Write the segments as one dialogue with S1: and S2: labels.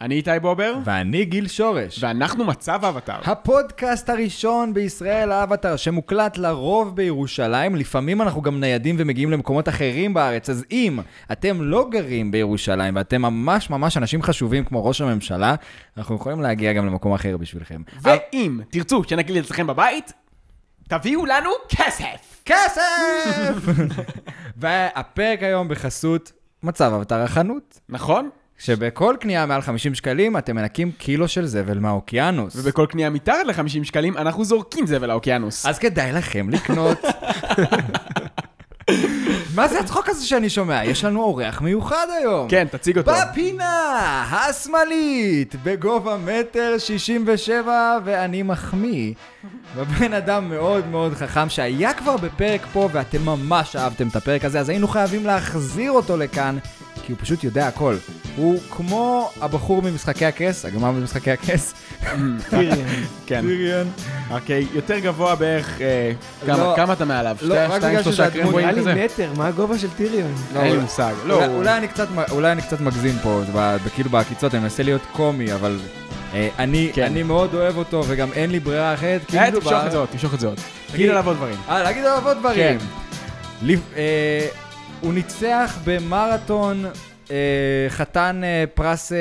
S1: אני איתי בובר,
S2: ואני גיל שורש.
S1: ואנחנו מצב אבטאר.
S2: הפודקאסט הראשון בישראל, האבטר, שמוקלט לרוב בירושלים, לפעמים אנחנו גם ניידים ומגיעים למקומות אחרים בארץ, אז אם אתם לא גרים בירושלים ואתם ממש ממש אנשים חשובים כמו ראש הממשלה, אנחנו יכולים להגיע גם למקום אחר בשבילכם. אבל-
S1: ואם תרצו שנקליט אצלכם בבית, תביאו לנו כסף!
S2: כסף! והפרק היום בחסות מצב אבטר החנות,
S1: נכון?
S2: שבכל קנייה מעל 50 שקלים אתם מנקים קילו של זבל מהאוקיינוס.
S1: ובכל קנייה מתחת ל-50 שקלים, אנחנו זורקים זבל לאוקיינוס.
S2: אז כדאי לכם לקנות. מה זה הצחוק הזה שאני שומע? יש לנו אורח מיוחד היום.
S1: כן, תציג אותו.
S2: בפינה השמאלית, בגובה מטר שישים ושבע, ואני מחמיא. ובן אדם מאוד מאוד חכם שהיה כבר בפרק פה, ואתם ממש אהבתם את הפרק הזה, אז היינו חייבים להחזיר אותו לכאן, כי הוא פשוט יודע הכל. הוא כמו הבחור ממשחקי הכס, הגמר ממשחקי הכס,
S1: כן,
S2: טיריון.
S1: אוקיי, יותר גבוה בערך, אה,
S2: לא.
S1: כמה- כמה אתה מעליו?
S2: לא, רק בגלל שזה הדמות.
S1: קרמבויים
S3: נראה
S1: כזה?
S3: לי מטר, מה הגובה של טיריון?
S2: לא,
S1: אין לי
S2: אולי-
S1: מושג. לא,
S2: אולי, אולי, אני קצת, מ- אולי אני קצת מגזים פה, ב- ב- כאילו בעקיצות, אני מנסה להיות קומי, אבל אה, אני,
S1: כן.
S2: כן. אני מאוד אוהב אותו, וגם אין לי ברירה אחרת, כי
S1: אה,
S2: מדובר...
S1: תמשוך את זה עוד, תמשוך את זה עוד. תגיד עליו עוד דברים.
S2: אה, להגיד עליו עוד דברים.
S1: כן.
S2: לפ- אה, הוא ניצח במרתון אה, חתן אה, פרס אה,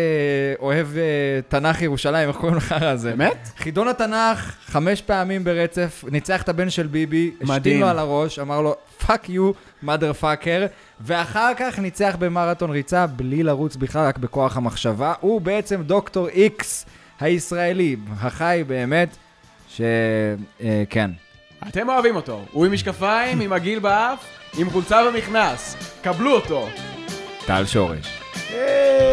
S2: אוהב אה, תנ"ך ירושלים, איך קוראים לך הזה?
S1: באמת?
S2: חידון התנ"ך, חמש פעמים ברצף, ניצח את הבן של ביבי,
S1: מדהים.
S2: השתין לו על הראש, אמר לו, פאק יו, mother fucker, ואחר כך ניצח במרתון ריצה בלי לרוץ בכלל, רק בכוח המחשבה. הוא בעצם דוקטור איקס הישראלי, החי באמת, ש... אה, כן.
S1: אתם אוהבים אותו. הוא עם משקפיים, עם עגיל באף, עם חולצה במכנס. קבלו אותו.
S2: טל שורש.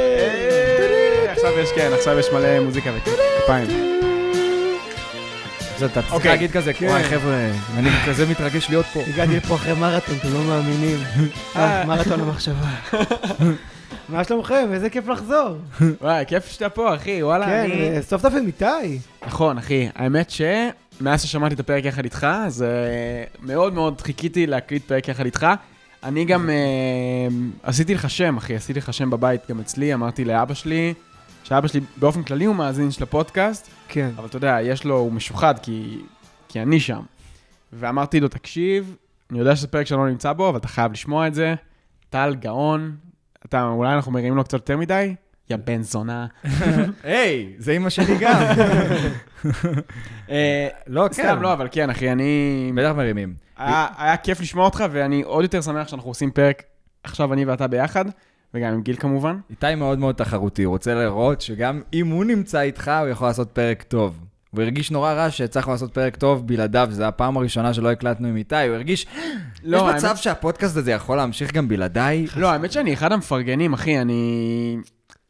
S1: היי! עכשיו יש, כן, עכשיו יש מלא מוזיקה וכפיים.
S2: עכשיו אתה צריך
S1: אוקיי.
S2: להגיד כזה,
S3: כן.
S2: וואי חבר'ה, אני כזה מתרגש להיות פה.
S3: הגעתי לפה אחרי מרתון, אתם לא מאמינים. אה, מרתון המחשבה. מה שלומכם? איזה כיף לחזור.
S1: וואי, כיף שאתה פה, אחי, וואלה,
S3: כן,
S1: אני...
S3: אה, סוף סוף עם איתי.
S1: נכון, אחי, האמת ש... מאז ששמעתי את הפרק יחד איתך, אז אה, מאוד מאוד חיכיתי להקליט פרק יחד איתך. אני גם אה, עשיתי לך שם, אחי, עשיתי לך שם בבית גם אצלי, אמרתי לאבא שלי, שאבא שלי באופן כללי הוא מאזין של הפודקאסט,
S3: כן.
S1: אבל אתה יודע, יש לו, הוא משוחד כי, כי אני שם. ואמרתי לו, תקשיב, אני יודע שזה פרק שאני לא נמצא בו, אבל אתה חייב לשמוע את זה. טל גאון, אתה, אולי אנחנו מרימים לו קצת יותר מדי? יא בן זונה.
S2: היי, זה אימא שלי גם.
S1: אה,
S2: לא, כן.
S1: סתם לא, אבל כן, אחי, אני...
S2: בטח מרימים.
S1: היה היה כיף לשמוע אותך, ואני עוד יותר שמח שאנחנו עושים פרק עכשיו, אני ואתה ביחד, וגם עם גיל כמובן.
S2: איתי מאוד מאוד תחרותי, הוא רוצה לראות שגם אם הוא נמצא איתך, הוא יכול לעשות פרק טוב. הוא הרגיש נורא רע שהצלחנו לעשות פרק טוב בלעדיו, זו הפעם הראשונה שלא הקלטנו עם איתי, הוא הרגיש, יש
S1: לא,
S2: מצב
S1: האמת-
S2: שהפודקאסט הזה יכול להמשיך גם בלעדיי?
S1: לא, האמת שאני אחד המפרגנים, אחי, אני...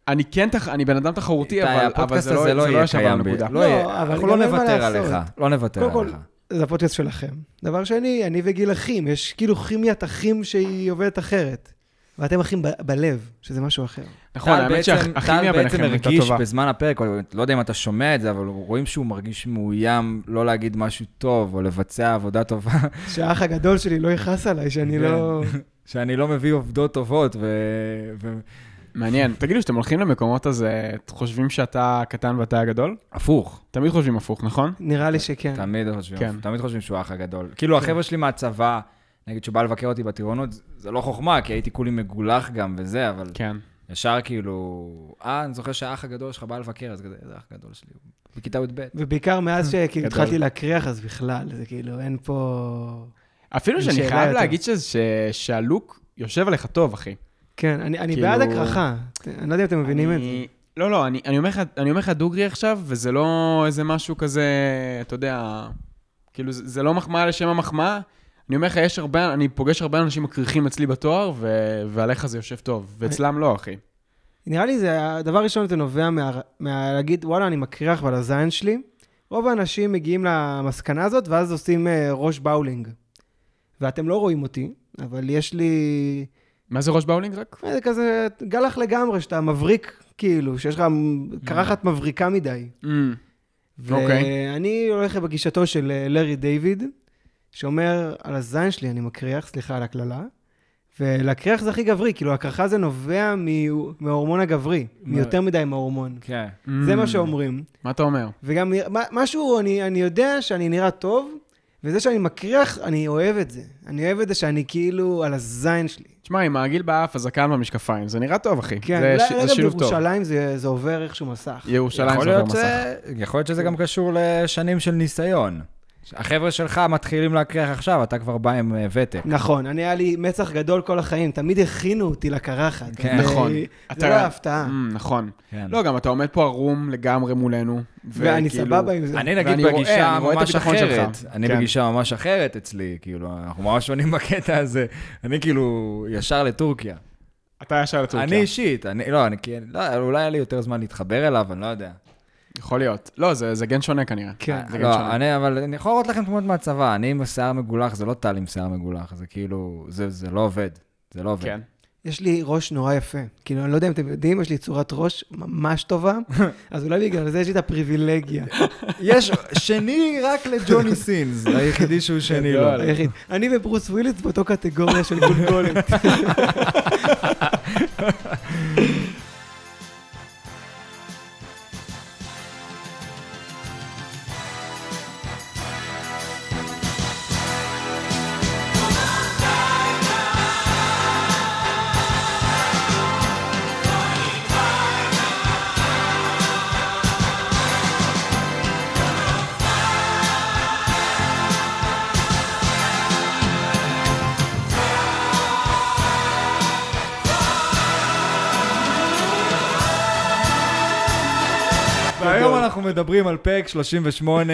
S1: אני כן, תח- אני בן אדם תחרותי,
S2: איתי,
S1: אבל אבל
S2: הפודקאסט
S1: זה לא
S2: הזה
S1: זה לא
S2: יהיה
S1: ישב על
S2: קיים, ב-
S1: הנקודה.
S2: לא יהיה-
S3: לא, אבל
S2: אנחנו לא
S3: גם אין מה
S2: נוותר
S3: לעשות.
S2: עליך, לא נוותר
S3: קודם כל,
S2: עליך.
S3: זה הפודקאסט שלכם. דבר שני, אני וגיל אחים, יש כאילו כימיית אחים שהיא עובדת אחרת. ואתם אחים ב- בלב, שזה משהו אחר.
S1: נכון,
S2: טל
S1: האמת
S2: בעצם-
S1: שהכימיה
S2: טל בעצם
S1: ביניכם הייתה
S2: הרגיש
S1: טובה.
S2: בזמן הפרק, או- לא יודע אם אתה שומע את זה, אבל רואים שהוא מרגיש מאוים לא להגיד משהו טוב, או לבצע עבודה טובה,
S3: שהאח הגדול שלי לא יכעס עליי, שאני
S2: כן.
S3: לא...
S2: שאני לא מביא עובדות טובות, ו- ו-
S1: מעניין. תגידו, כשאתם הולכים למקומות אז אה, חושבים שאתה הקטן ואתה הגדול?
S2: הפוך.
S1: תמיד חושבים הפוך, נכון?
S3: נראה לי שכן.
S2: תמיד חושבים,
S1: כן.
S2: תמיד חושבים שהוא האח הגדול. כאילו, החבר'ה שלי מהצבא, נגיד שהוא בא לבקר אותי בטירונות, זה לא חוכמה, כי הייתי כולי מגולח גם וזה, אבל
S1: כן.
S2: ישר כאילו, אה, אני זוכר שהאח הגדול שלך בא לבקר, אז כזה, זה האח הגדול שלי, הוא בכיתה י"ב.
S3: ובעיקר מאז שכאילו
S1: גדול.
S3: התחלתי להקריח, אז בכלל, זה כאילו, אין פה...
S1: אפילו
S3: זו
S1: שאני
S3: שאלה
S1: חייב
S3: יותר. להגיד
S1: להגיד שהלוק יושב עליך טוב, אחי.
S3: כן, אני, אני
S1: כאילו-
S3: בעד הקרחה. אני לא יודע אם אתם מבינים את זה.
S1: אני- לא, לא, אני, אני, אומר לך, אני אומר לך דוגרי עכשיו, וזה לא איזה משהו כזה, אתה יודע, כאילו, זה, זה לא מחמאה לשם המחמאה. אני אומר לך, יש הרבה, אני פוגש הרבה אנשים מקריחים אצלי בתואר, ו, ועליך זה יושב טוב, ואצלם לא, אחי.
S3: נראה לי זה, הדבר הראשון זה נובע מה, מה להגיד, וואלה, אני מקריח ועל הזין שלי. רוב האנשים מגיעים למסקנה הזאת, ואז עושים אה, ראש באולינג. ואתם לא רואים אותי, אבל יש לי...
S1: מה זה ראש באולינג רק?
S3: אה, זה כזה גלח לגמרי, שאתה מבריק, כאילו, שיש לך קרחת מבריקה מדי.
S1: Mm, אוקיי.
S3: ואני הולך בגישתו של אה, לארי דיוויד, שאומר, על הזין שלי אני מקריח, סליחה על הקללה, ולהקריח זה הכי גברי, כאילו הקרחה זה נובע מ- מההורמון הגברי,
S2: מה-
S3: מיותר מדי מההורמון.
S2: כן.
S3: זה מה
S1: Mm.
S3: שאומרים.
S1: מה אתה אומר?
S3: וגם מה- משהו, אני, אני יודע שאני נראה טוב, וזה שאני מקריח, אני אוהב את זה. אני אוהב את זה שאני כאילו על הזין שלי.
S1: תשמע, עם העגיל באף, הזקן במשקפיים, זה נראה טוב, אחי.
S3: כן,
S1: זה
S3: אולי-
S1: ש-
S3: אולי
S1: זה
S3: גם
S1: שילוב טוב.
S3: בירושלים זה, זה עובר איכשהו מסך.
S1: ירושלים
S2: יכול
S1: זה עובר
S2: להיות, אה,
S1: מסך. כן.
S2: ש... יכול להיות שזה גם קשור לשנים של ניסיון. החבר'ה שלך מתחילים להקריח עכשיו, אתה כבר בא עם אה, ותק.
S3: נכון, אני היה לי מצח גדול כל החיים, תמיד הכינו אותי לקרחת.
S2: כן,
S3: אז,
S1: נכון.
S3: אה,
S1: אתה-
S3: זה לא הפתעה.
S1: Mm, נכון.
S2: כן.
S1: לא, גם אתה עומד פה ערום לגמרי מולנו.
S3: ואני
S1: וכאילו-
S3: סבבה עם זה.
S2: אני נגיד
S1: ואני רואה,
S2: בגישה
S1: אני רואה את
S2: ממש
S1: הביטחון שלך.
S2: אחרת. אני
S1: כן.
S2: בגישה ממש אחרת אצלי, כאילו, אנחנו ממש שונים בקטע הזה. אני כאילו ישר לטורקיה.
S1: אתה ישר לטורקיה.
S2: אני אישית, אני, לא, אני כי, לא, אולי היה לי יותר זמן להתחבר אליו, אני לא יודע.
S1: יכול להיות. לא, זה זה גן שונה כנראה.
S3: כן.
S1: זה גם שונה.
S2: לא, אני, אבל אני יכול להראות לכם תמונות מהצבא, אני עם שיער מגולח, זה לא טל עם שיער מגולח, זה כאילו, זה, זה לא עובד. זה לא עובד.
S1: כן.
S3: יש לי ראש נורא יפה. כאילו, אני לא יודע אם אתם יודעים, יש לי צורת ראש ממש טובה, אז אולי בגלל זה יש לי את הפריבילגיה.
S2: יש שני רק לג'וני סינס, היחידי שהוא שני לו.
S1: גדול.
S3: היחיד. אני וברוס וויליס באותו קטגוריה של גולגולת.
S2: והיום אנחנו מדברים על פרק 38,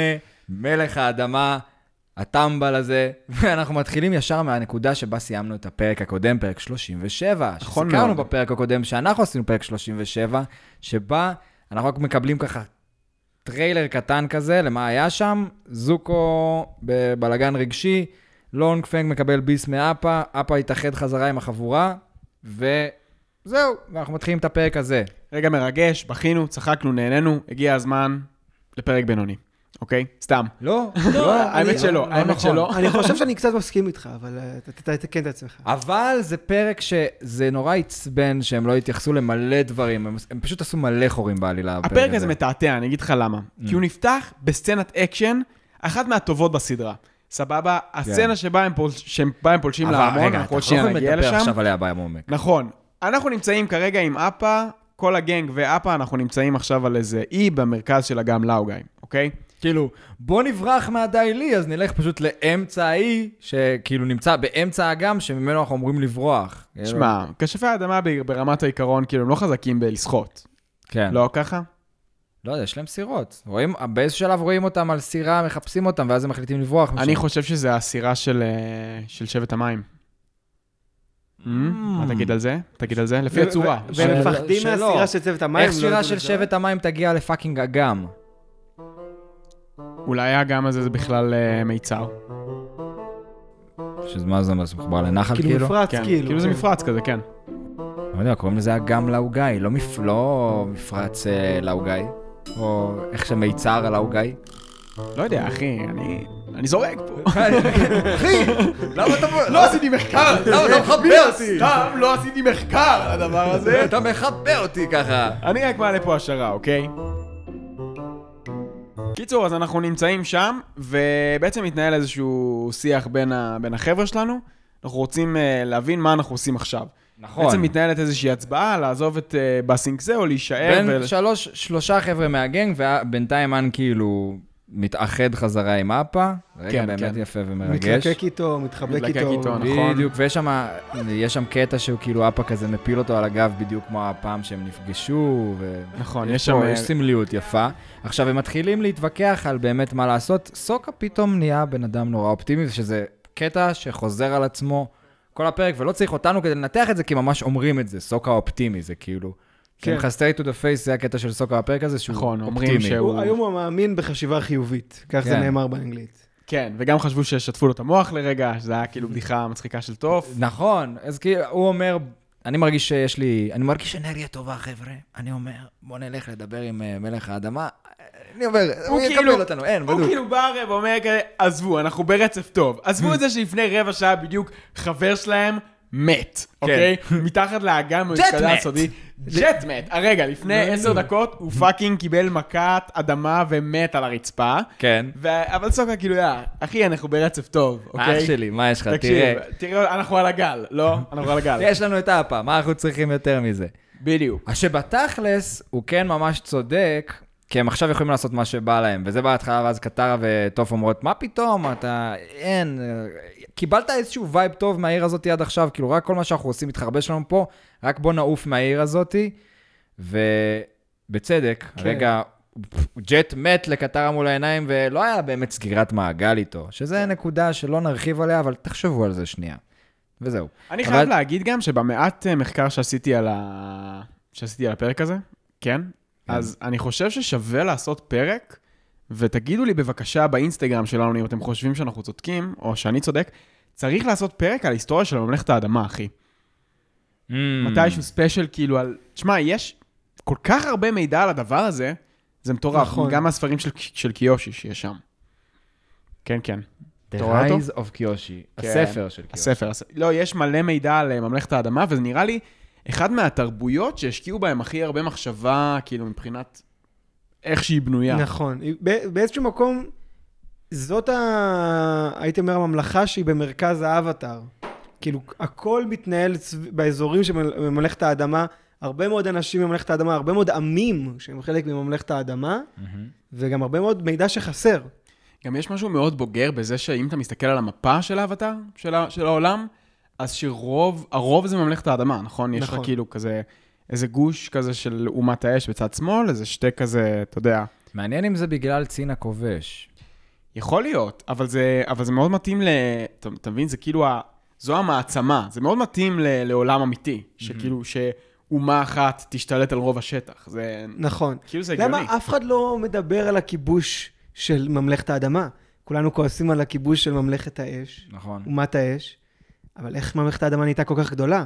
S2: מלך האדמה, הטמבל הזה, ואנחנו מתחילים ישר מהנקודה שבה סיימנו את הפרק הקודם, פרק 37.
S1: נכון
S2: שסיכרנו
S1: מאוד.
S2: בפרק הקודם שאנחנו עשינו פרק 37, שבה אנחנו רק מקבלים ככה טריילר קטן כזה למה היה שם, זוקו בבלגן רגשי, לונג פנג מקבל ביס מאפה, אפה התאחד חזרה עם החבורה, וזהו, ואנחנו מתחילים את הפרק הזה.
S1: רגע מרגש, בכינו, צחקנו, נהנינו, הגיע הזמן לפרק בינוני, אוקיי? סתם.
S2: לא,
S1: לא,
S2: לא,
S1: האמת שלא, האמת
S2: נכון.
S1: שלא.
S3: אני חושב שאני קצת מסכים איתך, אבל אה, ת- ת- תתקן את עצמך.
S2: אבל זה פרק שזה נורא עצבן שהם לא התייחסו למלא דברים, הם, הם פשוט עשו מלא חורים בעלילה. בפרק
S1: הפרק הזה מתעתע, אני אגיד לך למה.
S2: Mm.
S1: כי הוא נפתח בסצנת אקשן, אחת מהטובות בסדרה. סבבה? הסצנה שבה הם פול- שבה הם פולשים
S2: כן. אבל
S1: להמון,
S2: רגע,
S1: אנחנו עוד
S2: אתה
S1: שנייה
S2: לא יכול
S1: נגיע
S2: לדבר
S1: לשם.
S2: עכשיו עליה בעמומק.
S1: נכון. אנחנו נמצאים כרגע עם אפה, כל הגנג ואפה, אנחנו נמצאים עכשיו על איזה אי במרכז של אגם לאוגאי, אוקיי?
S2: כאילו, בוא נברח מהדיילי, אז נלך פשוט לאמצע האי, שכאילו נמצא באמצע האגם, שממנו אנחנו אמורים לברוח.
S1: שמע, כשפי האדמה ב- ברמת העיקרון, כאילו, הם לא חזקים בלסחוט.
S2: כן. לא.
S1: לא ככה?
S2: לא יודע, יש להם סירות. רואים, באיזשהו שלב רואים אותם על סירה, מחפשים אותם, ואז הם מחליטים לברוח. משם.
S1: אני חושב שזה הסירה של אה, של שבט המים.
S2: Mm.
S1: מה תגיד על זה? תגיד על זה? לפי הצורה.
S3: ו-
S2: של-
S3: והם מפחדים
S2: שלא.
S3: מהסירה של צוות המים.
S2: איך
S3: לא
S2: סירה
S3: יודעים
S2: של
S3: את זה.
S2: שבט המים תגיע לפאקינג אגם?
S1: אולי האגם הזה זה בכלל אה, מיצר.
S2: שמה זה מחובר לנחל
S3: כאילו מפרץ,
S1: כן,
S3: כאילו.
S1: כאילו זה
S3: כן.
S1: מפרץ כזה, כן.
S2: לא יודע, קוראים לזה אגם לאוגאי, לא, מפ... לא מפרץ אה, לאוגאי, או איך שמיצר על לאוגאי.
S1: לא יודע, אחי, אני... אני זורק פה.
S2: אחי, למה אתה...
S1: לא עשיתי מחקר!
S2: למה אתה מחבר אותי?
S1: סתם אה, לא עשיתי מחקר על הדבר הזה.
S2: אתה מחבר אותי ככה.
S1: אני רק מעלה פה השערה, אוקיי? קיצור, אז אנחנו נמצאים שם, ובעצם מתנהל איזשהו שיח בין, ה... בין החבר'ה שלנו. אנחנו רוצים uh, להבין מה אנחנו עושים עכשיו.
S2: נכון.
S1: בעצם מתנהלת איזושהי הצבעה לעזוב את uh, בסינקסה או להישאר.
S2: בין שלוש, שלושה חבר'ה מהגנג, ובינתיים אן כאילו מתאחד חזרה עם אפה. רגע,
S1: כן,
S2: באמת
S1: כן.
S2: יפה ומרגש.
S3: מתלקק איתו, מתחבק
S1: מתלקק
S3: איתו.
S1: איתו, נכון.
S2: בדיוק, ויש שם, יש שם קטע שהוא כאילו אפה כזה מפיל אותו על הגב, בדיוק כמו הפעם שהם נפגשו. ו...
S1: נכון, יש
S2: יש
S1: שם...
S2: פה, אה, יש סמליות יפה. עכשיו, הם מתחילים להתווכח על באמת מה לעשות. סוקה פתאום נהיה בן אדם נורא אופטימי, שזה קטע שחוזר על עצמו כל הפרק, ולא צריך אותנו כדי לנתח את זה, כי ממש אומרים את זה, סוקה אופטימי, זה כאילו... כן.
S3: כן.
S2: חסטי to the face זה הקטע של סוקה בפרק הזה, שהוא
S1: נכון, אומרים
S2: אופטימי.
S1: שהוא-
S3: הוא- היום הוא מאמין בחשיבה חיובית, כך זה
S2: כן.
S3: נאמר באנגלית.
S1: כן, וגם חשבו ששטפו לו את המוח לרגע, שזה היה כאילו בדיחה מצחיקה של טוף.
S2: נכון, אז כאילו, הוא אומר, אני מרגיש שיש לי, אני מרגיש אנרגיה טובה, חבר'ה. אני אומר, בוא נלך לדבר עם אה, מלך האדמה. אני אומר, הוא יקבל אותנו, אין,
S1: הוא
S2: בדיוק.
S1: כאילו בא הרי
S2: Hmm.
S1: ואומר כזה, עזבו, אנחנו ברצף טוב. עזבו את זה שלפני רבע שעה בדיוק חבר שלהם מת, אוקיי? מתחת לאגם הוא התקדם
S2: כן. מת. לא,
S1: הסודי. ג'ט מת. אה, רגע, לפני עשר דקות הוא
S2: Hmm.
S1: פאקינג קיבל מכת אדמה ומת על הרצפה.
S2: כן.
S1: ו- אבל סוקה כאילו, יא, אחי, אנחנו ברצף טוב, אוקיי?
S2: אח שלי, מה יש לך? תראה.
S1: תקשיב, תראה, אנחנו על הגל, לא? אנחנו על הגל.
S2: יש לנו את האפה, מה אנחנו צריכים יותר מזה?
S1: בדיוק.
S2: אז שבתכלס, הוא כן ממש צודק, כי הם עכשיו יכולים לעשות מה שבא להם, וזה בהתחלה, ואז קטרה וטוף אומרות, מה פתאום, אתה... אין... אה, קיבלת איזשהו וייב טוב מהעיר הזאת עד עכשיו, כאילו, רק כל מה שאנחנו עושים מתחרבש לנו פה, רק בוא נעוף מהעיר הזאת, ובצדק, כן. רגע, ג'ט מת לקטרה מול העיניים, ולא היה באמת סגירת מעגל איתו, שזה נקודה שלא נרחיב עליה, אבל תחשבו על זה שנייה. וזהו.
S1: אני
S2: אבל-
S1: חייב להגיד גם שבמעט אה, מחקר שעשיתי על ה... שעשיתי על הפרק הזה, כן? אז אני חושב ששווה לעשות פרק, ותגידו לי בבקשה באינסטגרם שלנו, אם אתם חושבים שאנחנו צודקים, או שאני צודק, צריך לעשות פרק על היסטוריה של ממלכת האדמה, אחי. מתישהו ספיישל כאילו על... תשמע, יש כל כך הרבה מידע על הדבר הזה, זה מטורף.
S3: נכון.
S1: גם מהספרים של, של קיושי שיש שם. כן, כן.
S2: The
S1: אתה רואה אותו?
S2: Rise of Kyoshi,
S1: כן.
S2: הספר של קיושי.
S1: הספר, הספר. לא, יש מלא מידע על אה, ממלכת האדמה, וזה נראה לי אחד מהתרבויות שהשקיעו בהם הכי הרבה מחשבה, כאילו, מבחינת איך שהיא בנויה.
S3: נכון. ב- באיזשהו מקום, זאת ה... הייתי אומר הממלכה שהיא במרכז האבטאר. כאילו, הכל מתנהל סב- באזורים של ממ- ממלכת האדמה, הרבה מאוד אנשים מממלכת האדמה, הרבה מאוד עמים שהם חלק מממלכת האדמה, וגם הרבה מאוד מידע שחסר.
S1: גם יש משהו מאוד בוגר בזה שאם אתה מסתכל על המפה של האבטר, של, ה- של העולם, אז שרוב, הרוב זה ממלכת האדמה, נכון? יש לך
S3: נכון.
S1: כאילו כזה, איזה גוש כזה של אומת האש בצד שמאל, איזה שתי כזה, אתה יודע.
S2: מעניין אם זה בגלל צין הכובש.
S1: יכול להיות, אבל זה, אבל זה מאוד מתאים ל... אתה, אתה מבין? זה כאילו ה... זו המעצמה, זה מאוד מתאים ל, לעולם אמיתי, שכאילו שאומה אחת תשתלט על רוב השטח. זה...
S3: נכון.
S1: כאילו זה הגיוני.
S3: למה אף אחד לא מדבר על הכיבוש של ממלכת האדמה? כולנו כועסים על הכיבוש של ממלכת האש,
S2: נכון.
S3: אומת האש, אבל איך ממלכת האדמה נהייתה כל כך גדולה?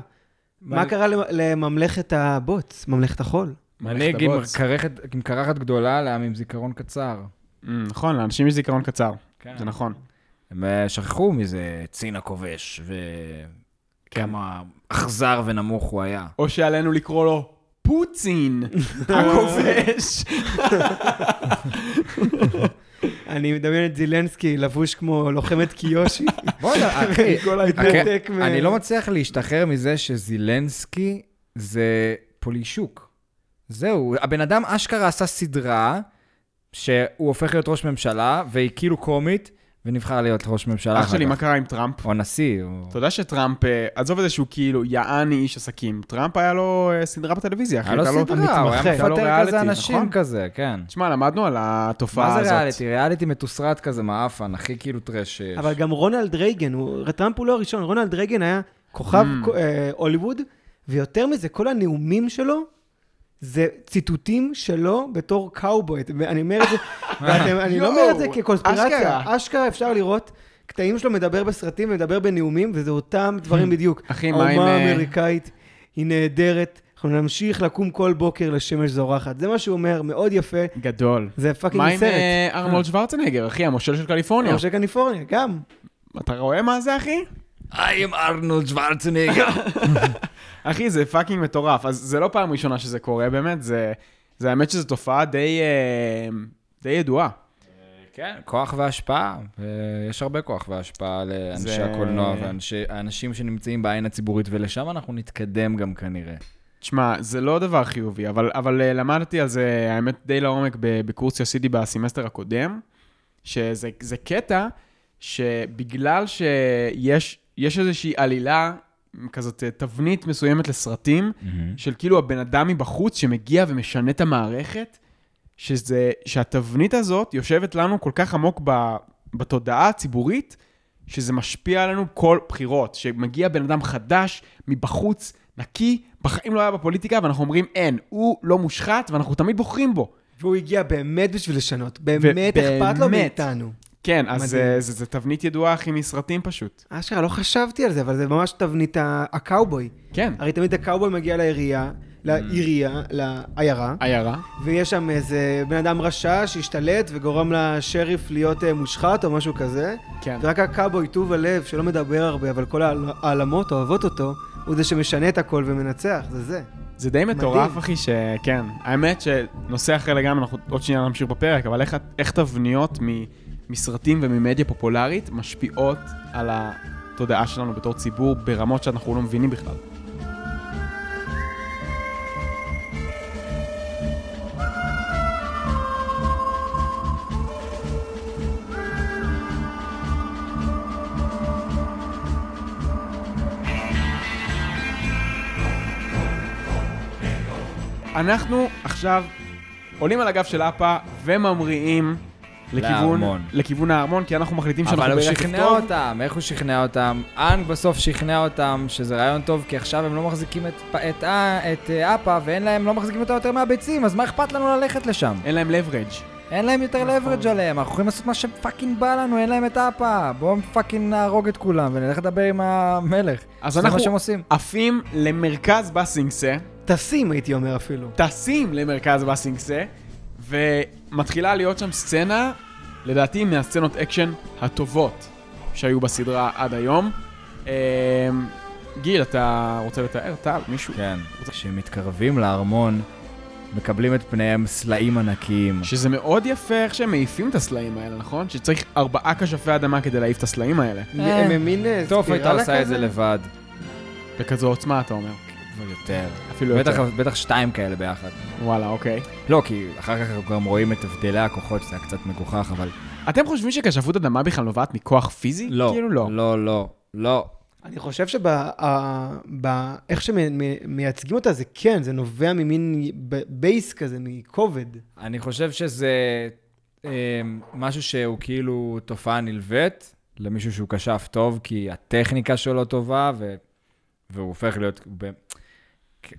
S3: מה קרה למ- לממלכת הבוץ, ממלכת החול?
S1: מערכת
S2: מנהיג עם
S1: הבוץ.
S2: קרחת- עם קרחת גדולה לעם עם זיכרון קצר.
S1: אמ, נכון, לאנשים יש זיכרון קצר,
S2: כן.
S1: זה נכון.
S2: הם אה, שכחו מזה צין הכובש, וכמה
S1: כן.
S2: אכזר ונמוך הוא היה.
S1: או שעלינו לקרוא לו פוצין הכובש.
S3: אני מדמיין את זילנסקי לבוש כמו לוחמת קיושי.
S2: בוא'נה, אה, אחי,
S3: כל ההתנתק
S2: כן,
S3: מ-
S2: אוקיי. אני לא מצליח להשתחרר מזה שזילנסקי זה פולישוק. זהו, הבן אדם אשכרה עשה סדרה שהוא הופך להיות ראש ממשלה, והיא כאילו קומית, ונבחר להיות ראש ממשלה
S1: אח
S2: אחר
S1: שלי, מה
S2: כך.
S1: קרה עם טראמפ?
S2: או נשיא, או...
S1: אתה יודע שטראמפ, אה, עזוב את זה שהוא כאילו יעני איש עסקים, טראמפ היה לו אה, סדרה בטלוויזיה, אחי, לא
S2: היה לו
S1: הייתה
S2: סדרה, הוא היה
S1: המתמחה, הייתה לו
S2: מפטר כזה
S1: ריאליטי,
S2: אנשים
S1: נכון?
S2: כזה, כן.
S1: תשמע, למדנו על התופעה הזאת.
S2: מה זה ריאליטי? ריאליטי מתוסרט כזה, מעפן, הכי כאילו טרש שיש.
S3: אבל גם רונלד רייגן, הוא- טראמפ הוא לא הראשון, רונלד רייגן היה כוכב
S1: Mm.
S3: כ- אה, הוליווד, ויותר מזה, כל הנאומים שלו זה ציטוטים שלו בתור קאובוי. אני אומר את זה, ואתם- אני לא אומר את זה
S1: יואו,
S3: כקונספירציה.
S1: אשכרה.
S3: אשכרה אפשר לראות קטעים שלו מדבר בסרטים ומדבר בנאומים, וזה אותם דברים בדיוק.
S1: Hmm. אחי, מה עם,
S3: האומה
S1: אה,
S3: האמריקאית היא נהדרת, אנחנו נמשיך לקום כל בוקר לשמש זורחת. זה מה שהוא אומר, מאוד יפה.
S1: גדול.
S3: זה פאקינג
S1: מה עם
S3: סרט. אה,
S1: אה, ארנולד שוורצנגר, אחי, המושל של קליפורניה?
S3: משה קליפורניה, גם.
S1: אתה רואה מה זה, אחי?
S2: היי עם ארנולד שוורצנגר.
S1: אחי, זה פאקינג מטורף. אז זה לא פעם ראשונה שזה קורה, באמת, זה... זה האמת שזו תופעה די... אה, די ידועה.
S2: כן, כוח והשפעה. אה, יש הרבה כוח והשפעה לאנשי
S1: זה-
S2: הקולנוע והאנשים שנמצאים בעין הציבורית, ולשם אנחנו נתקדם גם כנראה.
S1: תשמע, זה לא דבר חיובי, אבל, אבל אה, למדתי על זה, האמת, די לעומק ב- בקורס שעשיתי בסמסטר הקודם, שזה זה קטע שבגלל שיש יש איזושהי עלילה, כזאת אה, תבנית מסוימת לסרטים, של כאילו הבן אדם מבחוץ שמגיע ומשנה את המערכת, שזה, שהתבנית הזאת יושבת לנו כל כך עמוק ב, בתודעה הציבורית, שזה משפיע עלינו כל בחירות. שמגיע בן אדם חדש, מבחוץ, נקי, בחיים לא היה בפוליטיקה, ואנחנו אומרים אין, הוא לא מושחת, ואנחנו תמיד בוחרים בו.
S3: והוא הגיע באמת בשביל לשנות, באמת אכפת לו
S1: באמת.
S3: מאיתנו.
S1: כן, אז
S3: מדהים.
S1: זה, זה, זה תבנית ידועה, אחי, מסרטים פשוט.
S3: אשכרה, לא חשבתי על זה, אבל זה ממש תבנית ה- הקאובוי.
S1: כן. Mm.
S3: הרי תמיד הקאובוי מגיע לעירייה, לעירייה, לעיירה,
S1: עיירה.
S3: ויש שם איזה בן אדם רשע שהשתלט וגורם לשריף להיות אה, מושחת או משהו כזה.
S1: כן.
S3: ורק הקאבוי, טוב הלב, שלא מדבר הרבה, אבל כל העל- העלמות אוהבות אותו, הוא זה שמשנה את הכל ומנצח, זה זה.
S1: זה די מטורף,
S3: מדהים.
S1: אחי, שכן. האמת שנושא אחר לגמרי, אנחנו עוד שנייה נמשיך בפרק, אבל איך, איך תבניות מ- מסרטים וממדיה פופולרית משפיעות על התודעה שלנו בתור ציבור ברמות שאנחנו לא מבינים בכלל. אנחנו עכשיו עולים על הגב של אפה וממריאים לכיוון,
S2: לארמון.
S1: לכיוון הארמון, כי אנחנו מחליטים שאנחנו
S2: אבל הוא
S1: ברכב
S2: שכנע
S1: טוב.
S2: אותם, איך הוא שכנע אותם? אנג בסוף שכנע אותם שזה רעיון טוב, כי עכשיו הם לא מחזיקים את, פ- את, אה, את אה, אפה, ואין להם, לא מחזיקים אותה יותר מהביצים, אז מה אכפת לנו ללכת לשם?
S1: אין להם leverage.
S2: אין להם יותר
S1: נכון.
S2: leverage עליהם, אנחנו יכולים לעשות מה שפאקינג בא לנו, אין להם את אפה. בואו פאקינג נהרוג את כולם ונלך לדבר עם המלך.
S1: אז
S2: זה
S1: אנחנו
S2: מה שהם עושים.
S1: עפים למרכז בסינגסה,
S3: טסים, הייתי אומר אפילו.
S1: טסים למרכז בסינגסה, ומתחילה להיות שם סצנה, לדעתי מהסצנות אקשן הטובות שהיו בסדרה עד היום. אמ, גיל, אתה רוצה לתאר? טל, מישהו?
S2: כן. כשהם מתקרבים לארמון, מקבלים את פניהם סלעים ענקיים.
S1: שזה מאוד יפה איך שהם מעיפים את הסלעים האלה, נכון? שצריך ארבעה כשפי אדמה כדי להעיף את הסלעים האלה.
S3: הם במין אה,
S2: טוב, הייתה
S3: ספירלה
S2: עושה את
S3: כזה?
S2: זה לבד.
S1: בכזו עוצמה, אתה אומר.
S2: אבל לא יותר.
S1: אפילו
S2: בטח-
S1: יותר.
S2: בטח שתיים כאלה ביחד.
S1: וואלה, אוקיי.
S2: לא, כי אחר כך אנחנו גם רואים את הבדלי הכוחות, שזה היה קצת מגוחך, אבל...
S1: אתם חושבים שכשפות אדמה בכלל נובעת מכוח פיזי?
S2: לא.
S1: כאילו לא.
S2: לא, לא, לא.
S3: אני חושב אה, שאיך שמייצגים אותה זה כן, זה נובע ממין ב- בייס כזה, מכובד.
S2: אני חושב שזה אה, משהו שהוא כאילו תופעה נלווית למישהו שהוא כשף טוב, כי הטכניקה שלו לא טובה, ו... והוא הופך להיות... ב...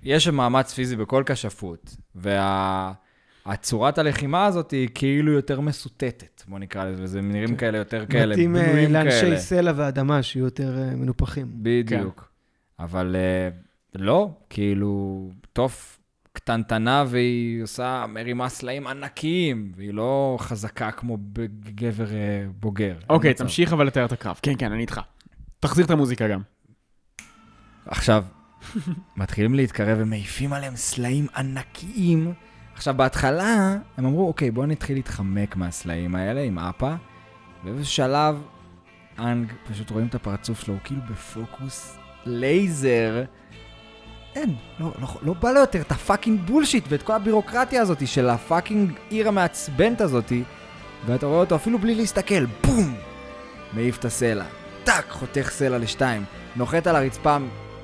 S2: יש שם מאמץ פיזי בכל כשפות, וה... הצורת הלחימה הזאת היא כאילו יותר מסוטטת, בוא נקרא לזה, וזה נראים כאלה יותר כאלה,
S3: כן. מתאים אה,
S2: בנויים כאלה.
S3: לאנשי סלע ואדמה שיהיו יותר אה, מנופחים.
S2: בדיוק.
S1: כן.
S2: אבל אה, לא, כאילו, תוף קטנטנה והיא עושה, מרימה סלעים ענקיים, והיא לא חזקה כמו גבר אה, בוגר.
S1: אוקיי,
S2: אין מצב.
S1: תמשיך אבל לתאר את הקרב. כן, כן, אני איתך. תחזיר את המוזיקה גם.
S2: עכשיו, מתחילים להתקרב, הם מעיפים עליהם סלעים ענקיים. עכשיו, בהתחלה, הם אמרו, אוקיי, בואו נתחיל להתחמק מהסלעים האלה עם אפה. ובאיזשהו שלב, אנג, פשוט רואים את הפרצוף שלו, הוא כאילו בפוקוס לייזר. אין, לא, לא, לא בא לו יותר את הפאקינג בולשיט ואת כל הבירוקרטיה הזאת של הפאקינג עיר המעצבנת הזאת, ואתה רואה אותו אפילו בלי להסתכל, בום! מעיף את הסלע, טאק, חותך סלע לשתיים, נוחת על הרצפה,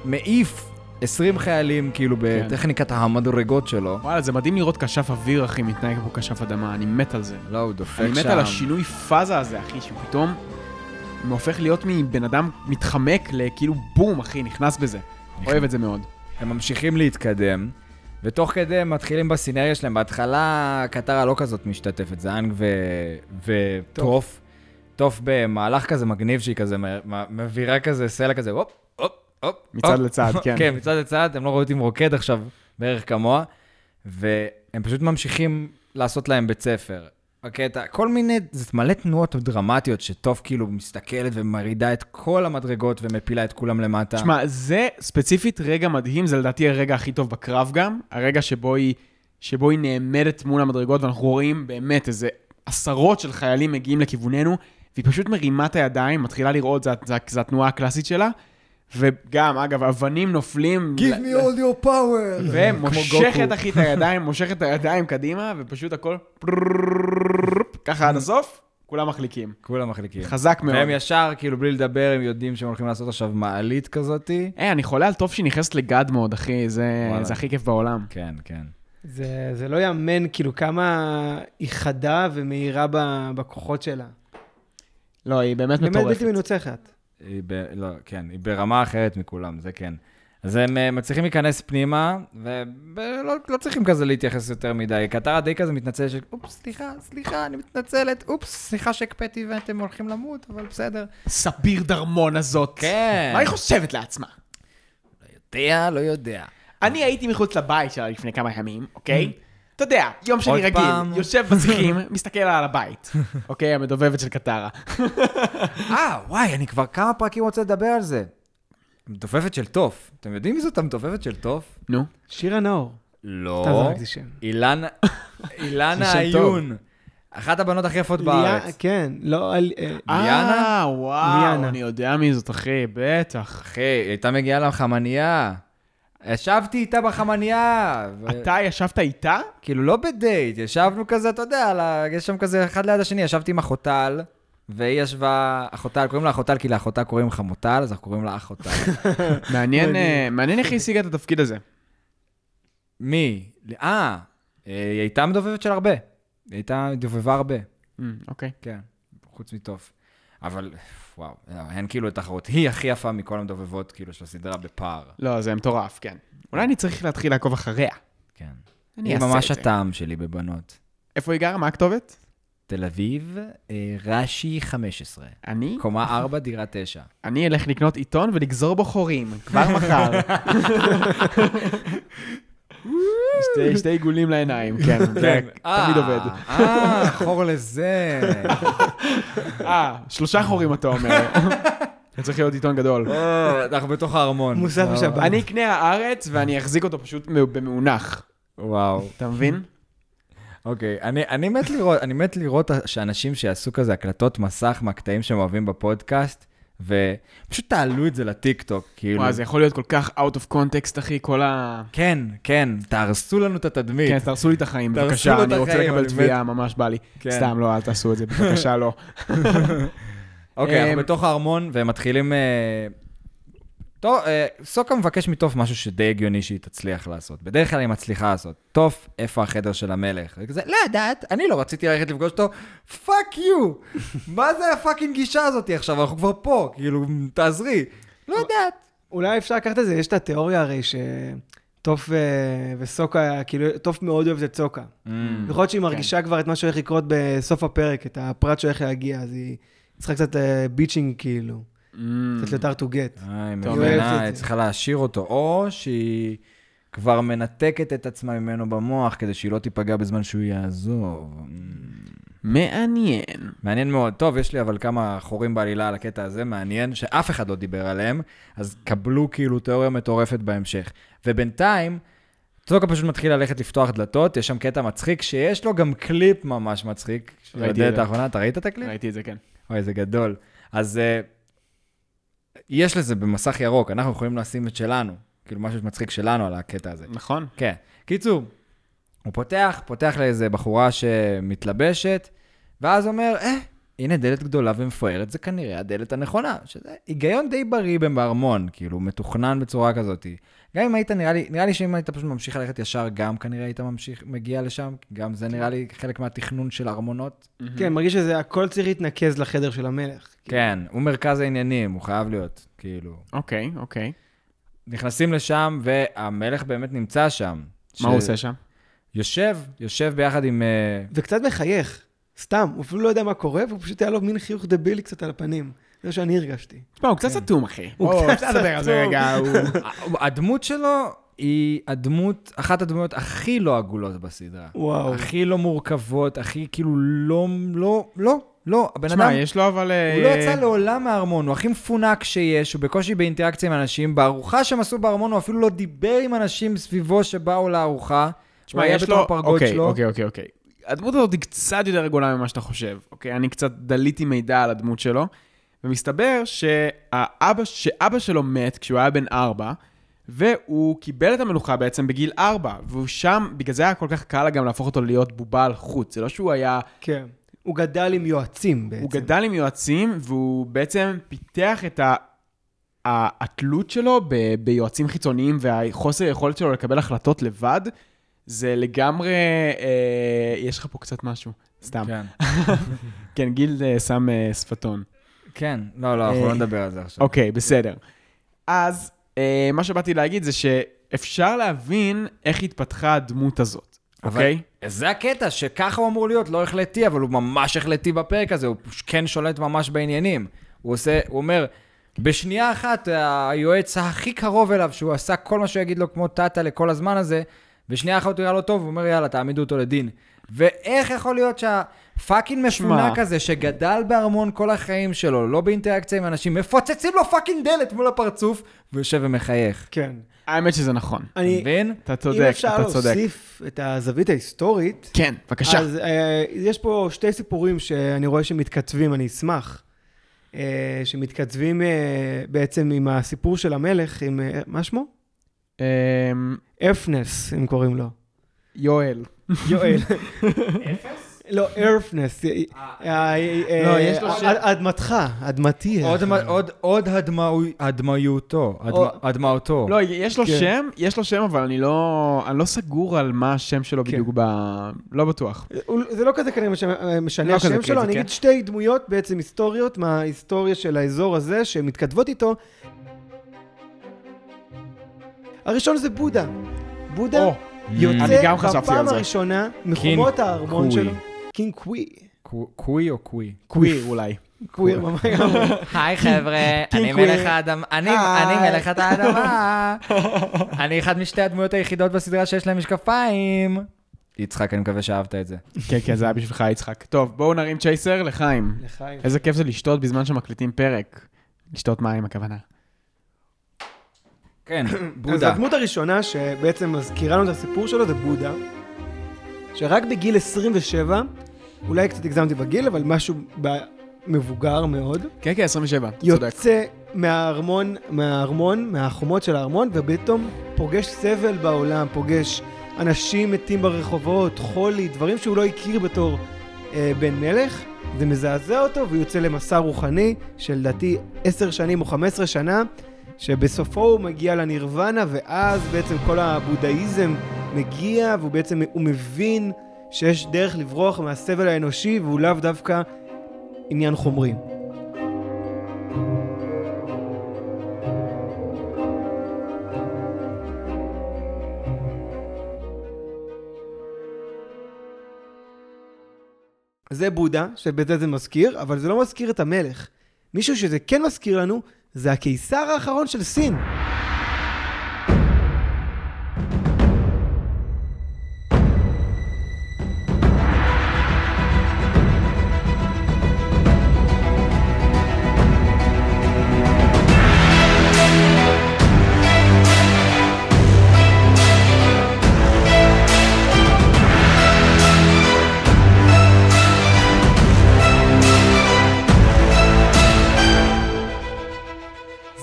S2: מעיף 20 חיילים כאילו בטכניקת המדורגות שלו.
S1: וואלה, זה מדהים לראות כשף אוויר, אחי, מתנהג כמו כשף אדמה, אני מת על זה.
S2: לא, הוא דופק שם.
S1: אני מת על השינוי פאזה הזה, אחי, שפתאום הופך להיות מבן אדם מתחמק לכאילו בום, אחי, נכנס בזה. אוהב את זה מאוד.
S2: הם ממשיכים להתקדם, ותוך כדי הם מתחילים בסינרגיה שלהם. בהתחלה קטרה לא כזאת משתתפת, זה אנג ו... וטוף. טוף במהלך כזה מגניב שהיא כזה מ- מ- מבהירה כזה סלע כזה, הופ, הופ, הופ.
S1: מצד
S2: הופ.
S1: לצד, כן.
S2: כן, מצד לצד, הם לא רואים רוקד עכשיו בערך כמוה, והם פשוט ממשיכים לעשות להם בית ספר. הקטע, כל מיני, זה מלא תנועות דרמטיות שטוף כאילו מסתכלת ומרעידה את כל המדרגות ומפילה את כולם למטה.
S1: תשמע, זה ספציפית רגע מדהים, זה לדעתי הרגע הכי טוב בקרב גם, הרגע שבו היא, שבו היא נעמדת מול המדרגות, ואנחנו רואים באמת איזה עשרות של חיילים מגיעים לכיווננו, והיא פשוט מרימה את הידיים, מתחילה לראות, זו התנועה הקלאסית שלה, וגם, אגב, אבנים נופלים... ל- ל-
S2: your power.
S1: ומושכת, אחי, את הידיים, מושכת את הידיים קדימה, ופשוט הכל פררררררררררררררררררררררררררררררררררררררררררררררר, ככה עד הסוף, כולם מחליקים.
S2: כולם מחליקים.
S1: חזק מאוד.
S2: והם ישר, כאילו, בלי לדבר, הם יודעים שהם הולכים לעשות עכשיו מעלית כזאתי.
S1: היי, אני חולה על טוב שהיא נכנסת לגד מוד, אחי, זה
S2: וואלה.
S1: זה הכי כיף בעולם.
S2: כן, כן.
S3: זה, זה לא יאמן, כאילו, כמה היא חדה ומהירה ב- בכוחות שלה.
S1: לא, היא באמת
S3: באמת
S1: מטורפת.
S3: בלתי מנוצחת.
S2: היא ב... לא, כן, היא ברמה אחרת מכולם, זה כן. אז הם אה, מצליחים להיכנס פנימה, ולא לא צריכים כזה להתייחס יותר מדי. קטרה די כזה מתנצל, ש... אופס, סליחה, סליחה, אני מתנצלת, אופס, סליחה שהקפאתי ואתם הולכים למות, אבל בסדר.
S1: ספיר דרמון הזאת.
S2: כן.
S1: מה היא חושבת לעצמה?
S2: יודע, לא יודע.
S1: אני הייתי מחוץ לבית שלה לפני כמה ימים, אוקיי? אתה יודע, יום שני
S2: עוד
S1: רגיל,
S2: פעם.
S1: יושב בשיחים, מסתכל על הבית, אוקיי? המדובבת של קטרה.
S2: אה, וואי, אני כבר כמה פרקים רוצה לדבר על זה. המתופפת של תוף. אתם יודעים מי זאת המתופפת של תוף?
S1: נו.
S3: שירה נאור. סתם
S2: לא.
S3: זרקתי שם.
S2: אילנה, אילנה
S1: זה שם טוב.
S2: עיון. אחת הבנות הכי יפות
S3: ליה-
S2: בארץ.
S1: אוקיי.
S3: כן, לא... על- אה,
S2: ליאנה?
S1: אה, וואו,
S3: ליאנה.
S1: אני יודע מי זאת, אחי, בטח.
S2: אחי, היא הייתה מגיעה לחמנייה. ישבתי איתה בחמנייה. ו-
S1: אתה ישבת איתה?
S2: כאילו, לא בדייט, ישבנו כזה, אתה יודע, על ה- יש שם כזה אחד ליד השני, ישבתי עם אחוטל, והיא ישבה, אחוטל, קוראים לה אחוטל כי לאחותה קוראים חמוטל, אז אנחנו קוראים לה אחוטל.
S1: מעניין אה, מעניין איך היא השיגה את התפקיד הזה.
S2: מי? אה, אה, היא הייתה מדובבת של הרבה. היא הייתה, דובבה הרבה,
S1: אה, אוקיי.
S2: כן, חוץ מטוב. אבל, וואו, הן כאילו תחרות. היא הכי יפה מכל המדובבות, כאילו, של הסדרה בפער.
S1: לא, זה מטורף, כן. אולי אני צריך להתחיל לעקוב אחריה.
S2: כן.
S1: אני
S2: היא
S1: אעשה
S2: ממש
S1: את זה.
S2: הטעם שלי בבנות.
S1: איפה היא גרה? מה הכתובת?
S2: תל אביב, אה, רש"י 15.
S1: אני?
S2: קומה 4, דירה 9.
S1: אני אלך לקנות עיתון ולגזור בו חורים, כבר מחר. שתי- שתי עיגולים לעיניים, כן, זה תמיד
S2: אה,
S1: עובד.
S2: אה, חור לזה.
S1: אה, שלושה חורים אתה אומר. זה צריך להיות עיתון גדול.
S2: אה, אנחנו בתוך הארמון.
S3: מוסף
S2: וואו.
S3: ושבת.
S1: אני אקנה הארץ ואני אחזיק אותו פשוט מ- במאונח.
S2: וואו.
S1: אתה מבין?
S2: אוקיי, אני- אני מת לראות, אני מת לראות שאנשים שיעשו כזה הקלטות מסך מהקטעים שהם אוהבים בפודקאסט, ופשוט תעלו את זה לטיקטוק, כאילו.
S1: וואי, זה יכול להיות כל כך out of context, אחי, כל ה...
S2: כן, כן, תהרסו לנו את התדמית.
S1: כן, אז תהרסו לי את החיים,
S2: תהרסו
S1: בבקשה,
S2: לו
S1: אני
S2: את
S1: רוצה
S2: החיים,
S1: לקבל
S2: אני מת.
S1: תביעה, ממש בא לי.
S2: כן.
S1: סתם, לא, אל תעשו את זה, בבקשה, לא.
S2: אוקיי,
S1: אמ,
S2: אנחנו בתוך הארמון, והם מתחילים... אה, טוב, אה, סוקה מבקש מתוף משהו שדי הגיוני שהיא תצליח לעשות. בדרך כלל היא מצליחה לעשות. תוף, איפה החדר של המלך? היא כזה, לא יודעת, אני לא רציתי ללכת לפגוש אותו, פאק יו! מה זה הפאקינג גישה הזאת עכשיו? אנחנו כבר פה, כאילו, תעזרי. לא יודעת.
S3: אולי אפשר לקחת את זה, יש את התיאוריה הרי שטוף ו- וסוקה, כאילו, טוף מאוד אוהבת את סוקה.
S1: Mm.
S3: יכול
S1: כן.
S3: להיות שהיא מרגישה כבר את מה שהולך לקרות בסוף הפרק, את הפרט שהולך להגיע, אז היא צריכה קצת אה, ביצ'ינג, כאילו.
S1: Mm,
S3: קצת יותר to get.
S2: אה, היא
S1: טוב,
S2: מבינה,
S3: אוהבת
S2: היא
S3: את זה.
S2: צריכה להשאיר אותו, או שהיא כבר מנתקת את עצמה ממנו במוח כדי שהיא לא תיפגע בזמן שהוא יעזוב. אמ.
S1: מעניין.
S2: מעניין מאוד. טוב, יש לי אבל כמה חורים בעלילה על הקטע הזה, מעניין, שאף אחד לא דיבר עליהם, אז קבלו כאילו תיאוריה מטורפת בהמשך. ובינתיים, צוקה פשוט מתחיל ללכת לפתוח דלתות, יש שם קטע מצחיק, שיש לו גם קליפ ממש מצחיק. של
S1: ראיתי את
S2: הדלת
S1: זה.
S2: האחרונה, אתה ראית את הקליפ?
S1: ראיתי את זה, כן.
S2: אוי, זה גדול. אז אה, יש לזה במסך ירוק, אנחנו יכולים לשים את שלנו, כאילו משהו מצחיק שלנו על הקטע הזה.
S1: נכון.
S2: כן. קיצור, הוא פותח, פותח לאיזה בחורה שמתלבשת, ואז אומר, אה, הנה דלת גדולה ומפוארת, זה כנראה הדלת הנכונה. שזה היגיון די בריא בארמון, כאילו, מתוכנן בצורה כזאת. גם אם היית, נראה לי, נראה לי שאם היית פשוט ממשיך ללכת ישר, גם כנראה היית ממשיך, מגיע לשם, גם זה נראה לי חלק מהתכנון של ארמונות.
S1: Mm-hmm.
S3: כן, מרגיש שזה, הכל צריך להתנקז לחדר של המלך. כאילו.
S2: כן, הוא מרכז העניינים, הוא חייב להיות, כאילו.
S1: אוקיי, אוקיי.
S2: נכנסים לשם, והמלך באמת נמצא שם.
S1: מה הוא עושה שם?
S2: יושב, יושב ביחד עם... אה,
S3: וקצת מחייך, סתם, הוא אפילו לא יודע מה קורה, והוא פשוט היה לו מין חיוך דבילי קצת על הפנים. זה מה שאני הרגשתי.
S1: תשמע, הוא קצת
S2: כן.
S1: סתום, אחי.
S3: הוא
S1: בוא,
S3: קצת
S1: אפשר לדבר על זה
S3: סתום.
S1: רגע, הוא...
S2: הדמות שלו היא הדמות, אחת הדמויות הכי לא עגולות בסדרה.
S3: וואו.
S2: הכי לא מורכבות, הכי כאילו לא, לא, לא, לא. הבן אדם,
S1: תשמע, יש לו אבל... אה,
S2: הוא לא יצא לעולם מהארמון, הוא הכי מפונק שיש, הוא בקושי באינטראקציה עם אנשים. בארוחה שהם עשו בארמון, הוא אפילו לא דיבר עם אנשים סביבו שבאו לארוחה.
S1: תשמע,
S2: הוא היה
S1: יש
S2: בתוך
S1: לו...
S2: הפרגוד
S1: אוקיי,
S2: שלו.
S1: אוקיי, אוקיי, אוקיי. הדמות הזאת היא קצת יותר רגולה ממה שאתה חושב, אוקיי? אני קצת דליתי מידע על הדמות שלו, ומסתבר שהאבא, שאבא שלו מת כשהוא היה בן ארבע, והוא קיבל את המלוכה בעצם בגיל ארבע, והוא שם, בגלל זה היה כל כך קל לה גם להפוך אותו להיות בובה על חוט. זה לא שהוא היה
S3: כן. הוא גדל עם יועצים בעצם.
S1: הוא גדל עם יועצים, והוא בעצם פיתח את ה... ה- התלות שלו ב- ביועצים חיצוניים והחוסר יכולת שלו לקבל החלטות לבד, זה לגמרי... אה, יש לך פה קצת משהו, סתם. כן,
S2: כן,
S1: כן גיל אה, שם אה, שפתון.
S2: כן, לא, לא, אנחנו
S1: אה,
S2: לא נדבר על זה עכשיו.
S1: אוקיי, בסדר. אז אה, מה שבאתי להגיד זה שאפשר להבין איך התפתחה הדמות הזאת,
S2: אבל-
S1: אוקיי?
S2: זה הקטע, שככה הוא אמור להיות, לא החלטי, אבל הוא ממש החלטי בפרק הזה, הוא פש- כן שולט ממש בעניינים. הוא עושה, הוא אומר,
S4: בשנייה אחת, אה, היועץ הכי קרוב אליו, שהוא עשה כל מה שהוא יגיד לו כמו טאטה לכל הזמן הזה, בשנייה אחת הוא נראה לא טוב, הוא אומר, יאללה, תעמידו אותו לדין. ואיך יכול להיות שהפאקינג מפונק
S1: שמע.
S4: הזה, שגדל בארמון כל החיים שלו, לא באינטראקציה עם אנשים, מפוצצים לו פאקינג דלת מול הפרצוף, והוא יושב ומחייך.
S3: כן.
S1: האמת שזה נכון.
S4: אתה
S3: אני,
S4: מבין?
S1: אתה
S3: אם
S1: צודק,
S3: אפשר
S1: אתה צודק.
S3: להוסיף את הזווית ההיסטורית,
S1: כן, בבקשה.
S3: אז אה, יש פה שתי סיפורים שאני רואה שמתכתבים, אני אשמח, אה, שמתכתבים אה, בעצם עם הסיפור של המלך, עם, אה, מה שמו?
S1: אמ,
S3: אפנס, אם קוראים לו.
S1: יואל.
S3: יואל. לא, ארפנס.
S1: אה,
S3: אה,
S1: לא, יש לו שם.
S3: אדמתך,
S2: כן,
S3: אדמתי.
S4: עוד מ- עוד- עוד הדמאו- הדמאותו, הדמא-
S3: או-
S4: הדמעותו.
S1: לא, יש לו
S3: כן.
S1: שם, יש לו שם, אבל אני לא אני לא סגור על מה השם שלו
S3: כן.
S1: בדיוק ב... לא בטוח.
S3: הוא- זה לא כזה כנראה מש- משנה
S1: לא כזה
S3: השם שלו,
S1: קריטי,
S3: אני
S1: כן.
S3: אגיד שתי דמויות בעצם היסטוריות מההיסטוריה של האזור הזה, שמתכתבות איתו. הראשון זה בודה. בודה
S1: או, אני
S3: יוצא
S1: גם חשבתי על
S3: בפעם
S1: זה.
S3: הראשונה מחומות הארמון
S4: קווי.
S3: שלו. קינג קווי.
S4: קו- קווי או קווי?
S1: קוויר אולי.
S3: קווי, ממש. לא. לגמרי.
S4: היי חבר'ה, אני
S1: קוויר.
S4: מלך האדמה, אני
S3: היי.
S4: אני מלך האדמה. אני אחת משתי הדמויות היחידות בסדרה שיש להם משקפיים. יצחק, אני מקווה שאהבת את זה.
S1: כן, כן, זה היה בשבילך, יצחק. טוב, בואו נרים צ'ייסר לחיים.
S3: לחיים.
S1: איזה כיף זה לשתות בזמן שמקליטים פרק. לשתות מים, הכוונה.
S4: כן,
S3: אז הדמות הראשונה שבעצם מזכירה לנו את הסיפור שלו זה בודה, שרק בגיל 27, אולי קצת הגזמתי בגיל, אבל משהו ב- מבוגר מאוד,
S1: כן, כן, 27, אתה צודק.
S3: יוצא מהארמון, מהארמון, מהחומות של הארמון, ופתאום פוגש סבל בעולם, פוגש אנשים מתים ברחובות, חולי, דברים שהוא לא הכיר בתור אה, בן מלך. זה מזעזע אותו, והוא יוצא למסע רוחני של לדעתי 10 שנים או 15 שנה, שבסופו הוא מגיע לנירוונה, ואז בעצם כל הבודהיזם מגיע, והוא בעצם, הוא מבין שיש דרך לברוח מהסבל האנושי, והוא לאו דווקא עניין חומרי. זה בודה, שבזה זה מזכיר, אבל זה לא מזכיר את המלך. מישהו שזה כן מזכיר לנו, זה הקיסר האחרון של סין.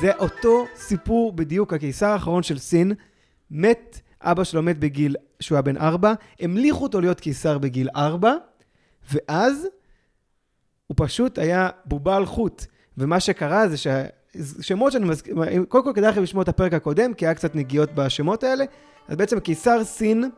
S3: זה אותו סיפור בדיוק, הקיסר האחרון של סין, מת, אבא שלו מת בגיל, שהוא היה בן ארבע, המליכו אותו להיות קיסר בגיל ארבע, ואז הוא פשוט היה בובה על חוט. ומה שקרה זה שהשמות שאני מזכיר, קודם כל כדאי לכם לשמוע את הפרק הקודם, כי היה קצת נגיעות בשמות האלה. אז בעצם קיסר סין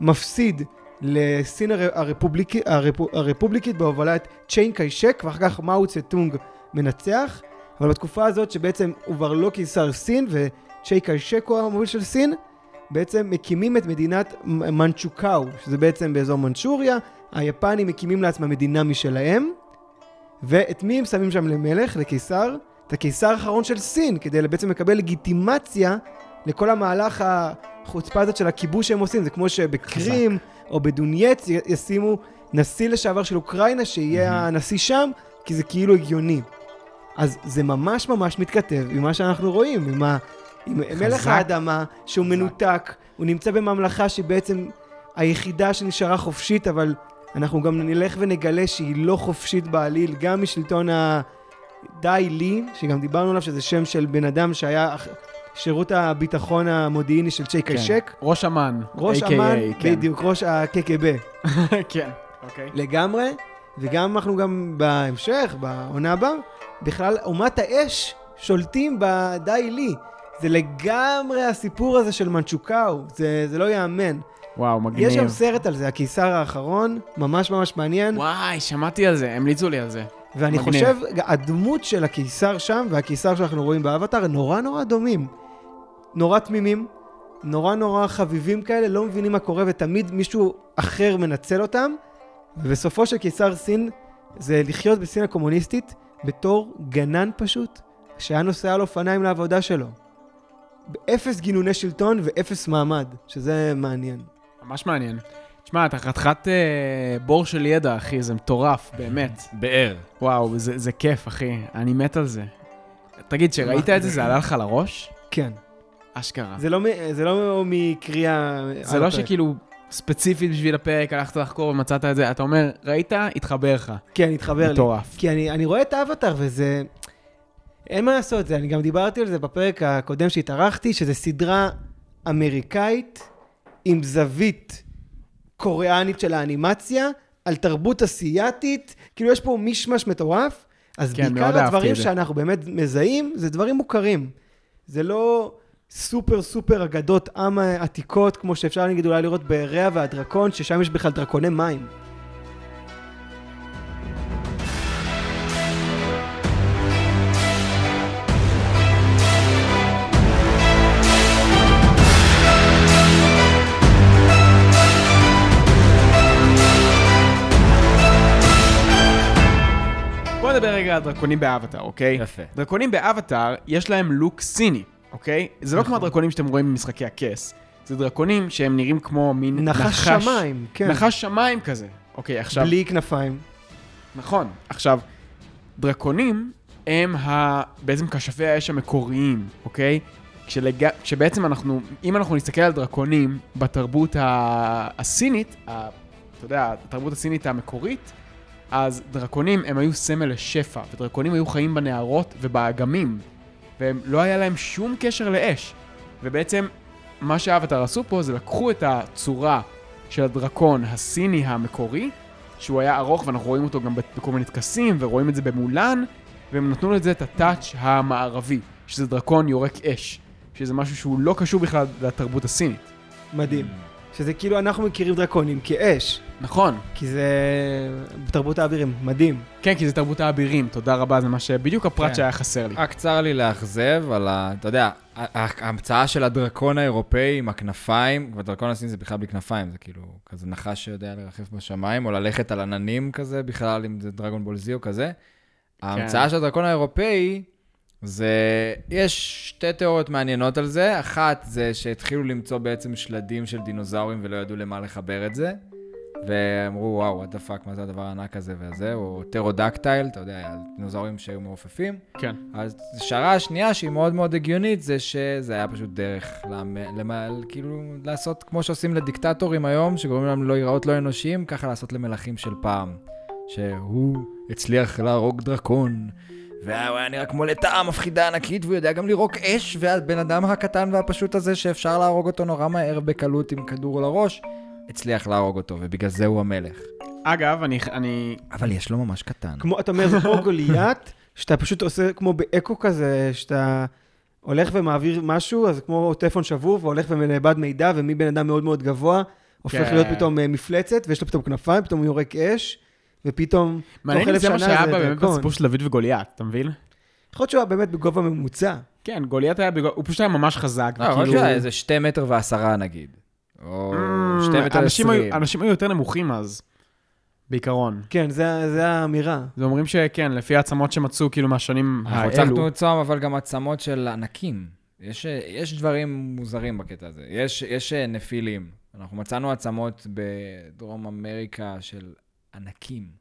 S3: מפסיד לסין הר... הרפובליק... הרפ... הרפובליקית בהובלת צ'יין קיישק, ואחר כך מאו צטונג מנצח. אבל בתקופה הזאת שבעצם הוא כבר לא קיסר סין, וצ'יי קיישק הוא המוביל של סין, בעצם מקימים את מדינת מ- מנצ'וקאו, שזה בעצם באזור מנצ'וריה, היפנים מקימים לעצמם מדינה משלהם, ואת מי הם שמים שם למלך, לקיסר? את הקיסר האחרון של סין, כדי בעצם לקבל לגיטימציה לכל המהלך החוצפה הזאת של הכיבוש שהם עושים, זה כמו שבקרים או בדונייץ י- ישימו נשיא לשעבר של אוקראינה, שיהיה הנשיא שם, כי זה כאילו הגיוני. אז זה ממש ממש מתכתב עם מה שאנחנו רואים, עם, ה... עם מלך האדמה, שהוא מנותק, הוא נמצא בממלכה שהיא בעצם היחידה שנשארה חופשית, אבל אנחנו גם נלך ונגלה שהיא לא חופשית בעליל, גם משלטון הדאי לי, שגם דיברנו עליו, שזה שם של בן אדם שהיה אח- שירות הביטחון המודיעיני של
S1: כן.
S3: צ'יי קיישק.
S1: ראש אמ"ן.
S3: ראש
S1: AKA,
S3: אמ"ן,
S1: כן.
S3: בדיוק, ראש הקק"ב.
S1: כן. אוקיי.
S3: לגמרי, וגם אנחנו גם בהמשך, בעונה הבאה, בכלל אומת האש שולטים בדאי לי. זה לגמרי הסיפור הזה של מנצ'וקאו, זה, זה לא ייאמן.
S1: וואו, מגניב.
S3: יש גם סרט על זה, הקיסר האחרון, ממש ממש מעניין,
S1: וואי, שמעתי על זה, המליצו לי על זה.
S3: ואני
S1: מגניב.
S3: חושב, הדמות של הקיסר שם והקיסר שאנחנו רואים באבטאר נורא נורא דומים. נורא תמימים, נורא נורא חביבים כאלה, לא מבינים מה קורה ותמיד מישהו אחר מנצל אותם. ובסופו של קיסר סין זה לחיות בסין הקומוניסטית בתור גנן פשוט, שהיה נוסע על אופניים לעבודה שלו. אפס גינוני שלטון ואפס מעמד, שזה מעניין.
S1: ממש מעניין. תשמע, אתה חתיכת אה, בור של ידע, אחי, זה מטורף, באמת.
S2: באר.
S1: וואו, זה, זה כיף, אחי, אני מת על זה. תגיד, שראית את זה, זה עלה לך לראש?
S3: כן.
S1: אשכרה.
S3: זה לא, מ- זה לא מקריאה...
S1: זה
S3: על
S1: לא
S3: הפרק.
S1: שכאילו ספציפית בשביל הפרק, הלכת לחקור ומצאת את זה, אתה אומר, ראית, התחבר לך.
S3: כן, התחבר לי.
S1: מטורף.
S3: כי אני, אני רואה את האבטר וזה... אין מה לעשות, זה, אני גם דיברתי על זה בפרק הקודם שהתארחתי, שזה סדרה אמריקאית עם זווית קוריאנית של האנימציה, על תרבות אסיאתית, כאילו יש פה מישמש מטורף, אז
S1: כן,
S3: כן,
S1: מאוד
S3: בעיקר
S1: אהבתי
S3: הדברים
S1: את זה.
S3: שאנחנו באמת מזהים, זה דברים מוכרים. זה לא סופר סופר אגדות עם עתיקות, כמו שאפשר נגיד אולי לראות ברע והדרקון, ששם יש בכלל דרקוני מים.
S1: בוא נדבר רגע על דרקונים באבטאר, אוקיי?
S2: יפה.
S1: דרקונים באבטאר, יש להם לוק סיני, אוקיי? זה לא כמו
S3: נכון.
S1: הדרקונים שאתם רואים במשחקי הכס. זה דרקונים שהם נראים כמו מין
S3: נחש שמיים, כן.
S1: נחש שמיים כזה. אוקיי, עכשיו...
S3: בלי כנפיים.
S1: נכון. עכשיו, דרקונים הם ה... בעצם כשפי האש המקוריים, אוקיי? כשלג... כשבעצם אנחנו, אם אנחנו נסתכל על דרקונים בתרבות ה... הסינית, ה... אתה יודע, התרבות הסינית המקורית, אז דרקונים הם היו סמל לשפע, ודרקונים היו חיים בנהרות ובאגמים, והם לא היה להם שום קשר לאש. ובעצם, מה שהאבטר עשו פה זה לקחו את הצורה של הדרקון הסיני המקורי, שהוא היה ארוך, ואנחנו רואים אותו גם בכל מיני טקסים, ורואים את זה במולן, והם נתנו לזה את הטאץ' המערבי, שזה דרקון יורק אש, שזה משהו שהוא לא קשור בכלל לתרבות הסינית.
S3: מדהים.
S1: Mm.
S3: שזה כאילו אנחנו מכירים דרקונים כאש,
S1: נכון.
S3: כי זה בתרבות האבירים, מדהים.
S1: כן, כי זה תרבות האבירים, תודה רבה, זה מה ש... בדיוק הפרט
S2: כן.
S1: שהיה חסר לי.
S2: רק צר לי לאכזב על ה... אתה יודע, ה- ה- ההמצאה של הדרקון האירופאי עם הכנפיים, והדרקון הסיני זה בכלל בלי כנפיים, זה כאילו כזה נחש שיודע לרחף בשמיים, או ללכת על עננים כזה, בכלל אם זה דרגון בול זי או כזה. ההמצאה של הדרקון האירופאי זה... יש שתי תיאוריות מעניינות על זה. אחת זה שהתחילו למצוא בעצם שלדים של דינוזאורים ולא ידעו למה לחבר את זה. ואמרו, וואו, וואט דה פאק, מה זה הדבר הענק הזה והזה, או טרודקטייל, אתה יודע, דינוזאורים שהיו מעופפים.
S1: כן.
S2: השערה השנייה, שהיא מאוד מאוד הגיונית, זה שזה היה פשוט דרך למ... למ... כאילו לעשות כמו שעושים לדיקטטורים היום, שגורמים להם לא להיראות לא אנושיים, ככה לעשות למלכים של פעם. שהוא הצליח להרוג דרקון, והוא היה נראה כמו לטאה מפחידה ענקית, והוא יודע גם לירוק אש, והבן אדם הקטן והפשוט הזה, שאפשר להרוג אותו נורא מהר בקלות עם כדור לראש, הצליח להרוג אותו, ובגלל זה הוא המלך.
S1: אגב, אני... אני...
S2: אבל יש לו ממש קטן.
S3: כמו, אתה אומר, זה כמו גוליית, שאתה פשוט עושה כמו באקו כזה, שאתה הולך ומעביר משהו, אז כמו טלפון שבור, והולך ונאבד מידע, ומי בן אדם מאוד מאוד גבוה, הופך
S1: כן.
S3: להיות פתאום אה, מפלצת, ויש לו פתאום כנפיים, פתאום הוא יורק אש, ופתאום,
S1: מעניין
S3: תוך
S1: אם
S3: אלף
S1: זה מה
S3: שנה
S1: שהיה
S3: זה
S1: באמת
S3: דרקון.
S1: בסיפור של דוד וגוליית, אתה מבין?
S3: יכול להיות שהוא היה באמת בגובה ממוצע.
S1: כן, גוליית היה, בגו- הוא פשוט היה ממש חזק,
S2: לא, אבל אתה יודע, איזה שתי מטר ועשרה נגיד. או
S1: Mm,
S2: שתי מטר
S1: אנשים היו-
S2: עשרים.
S1: אנשים היו יותר נמוכים אז, בעיקרון.
S3: כן, זה, זה האמירה.
S1: זה אומרים שכן, לפי העצמות שמצאו כאילו מהשנים
S2: אנחנו
S1: האלו.
S2: הצלחנו צום, אבל גם עצמות של ענקים. יש, יש דברים מוזרים בקטע הזה. יש, יש אה, נפילים. אנחנו מצאנו עצמות בדרום אמריקה של ענקים.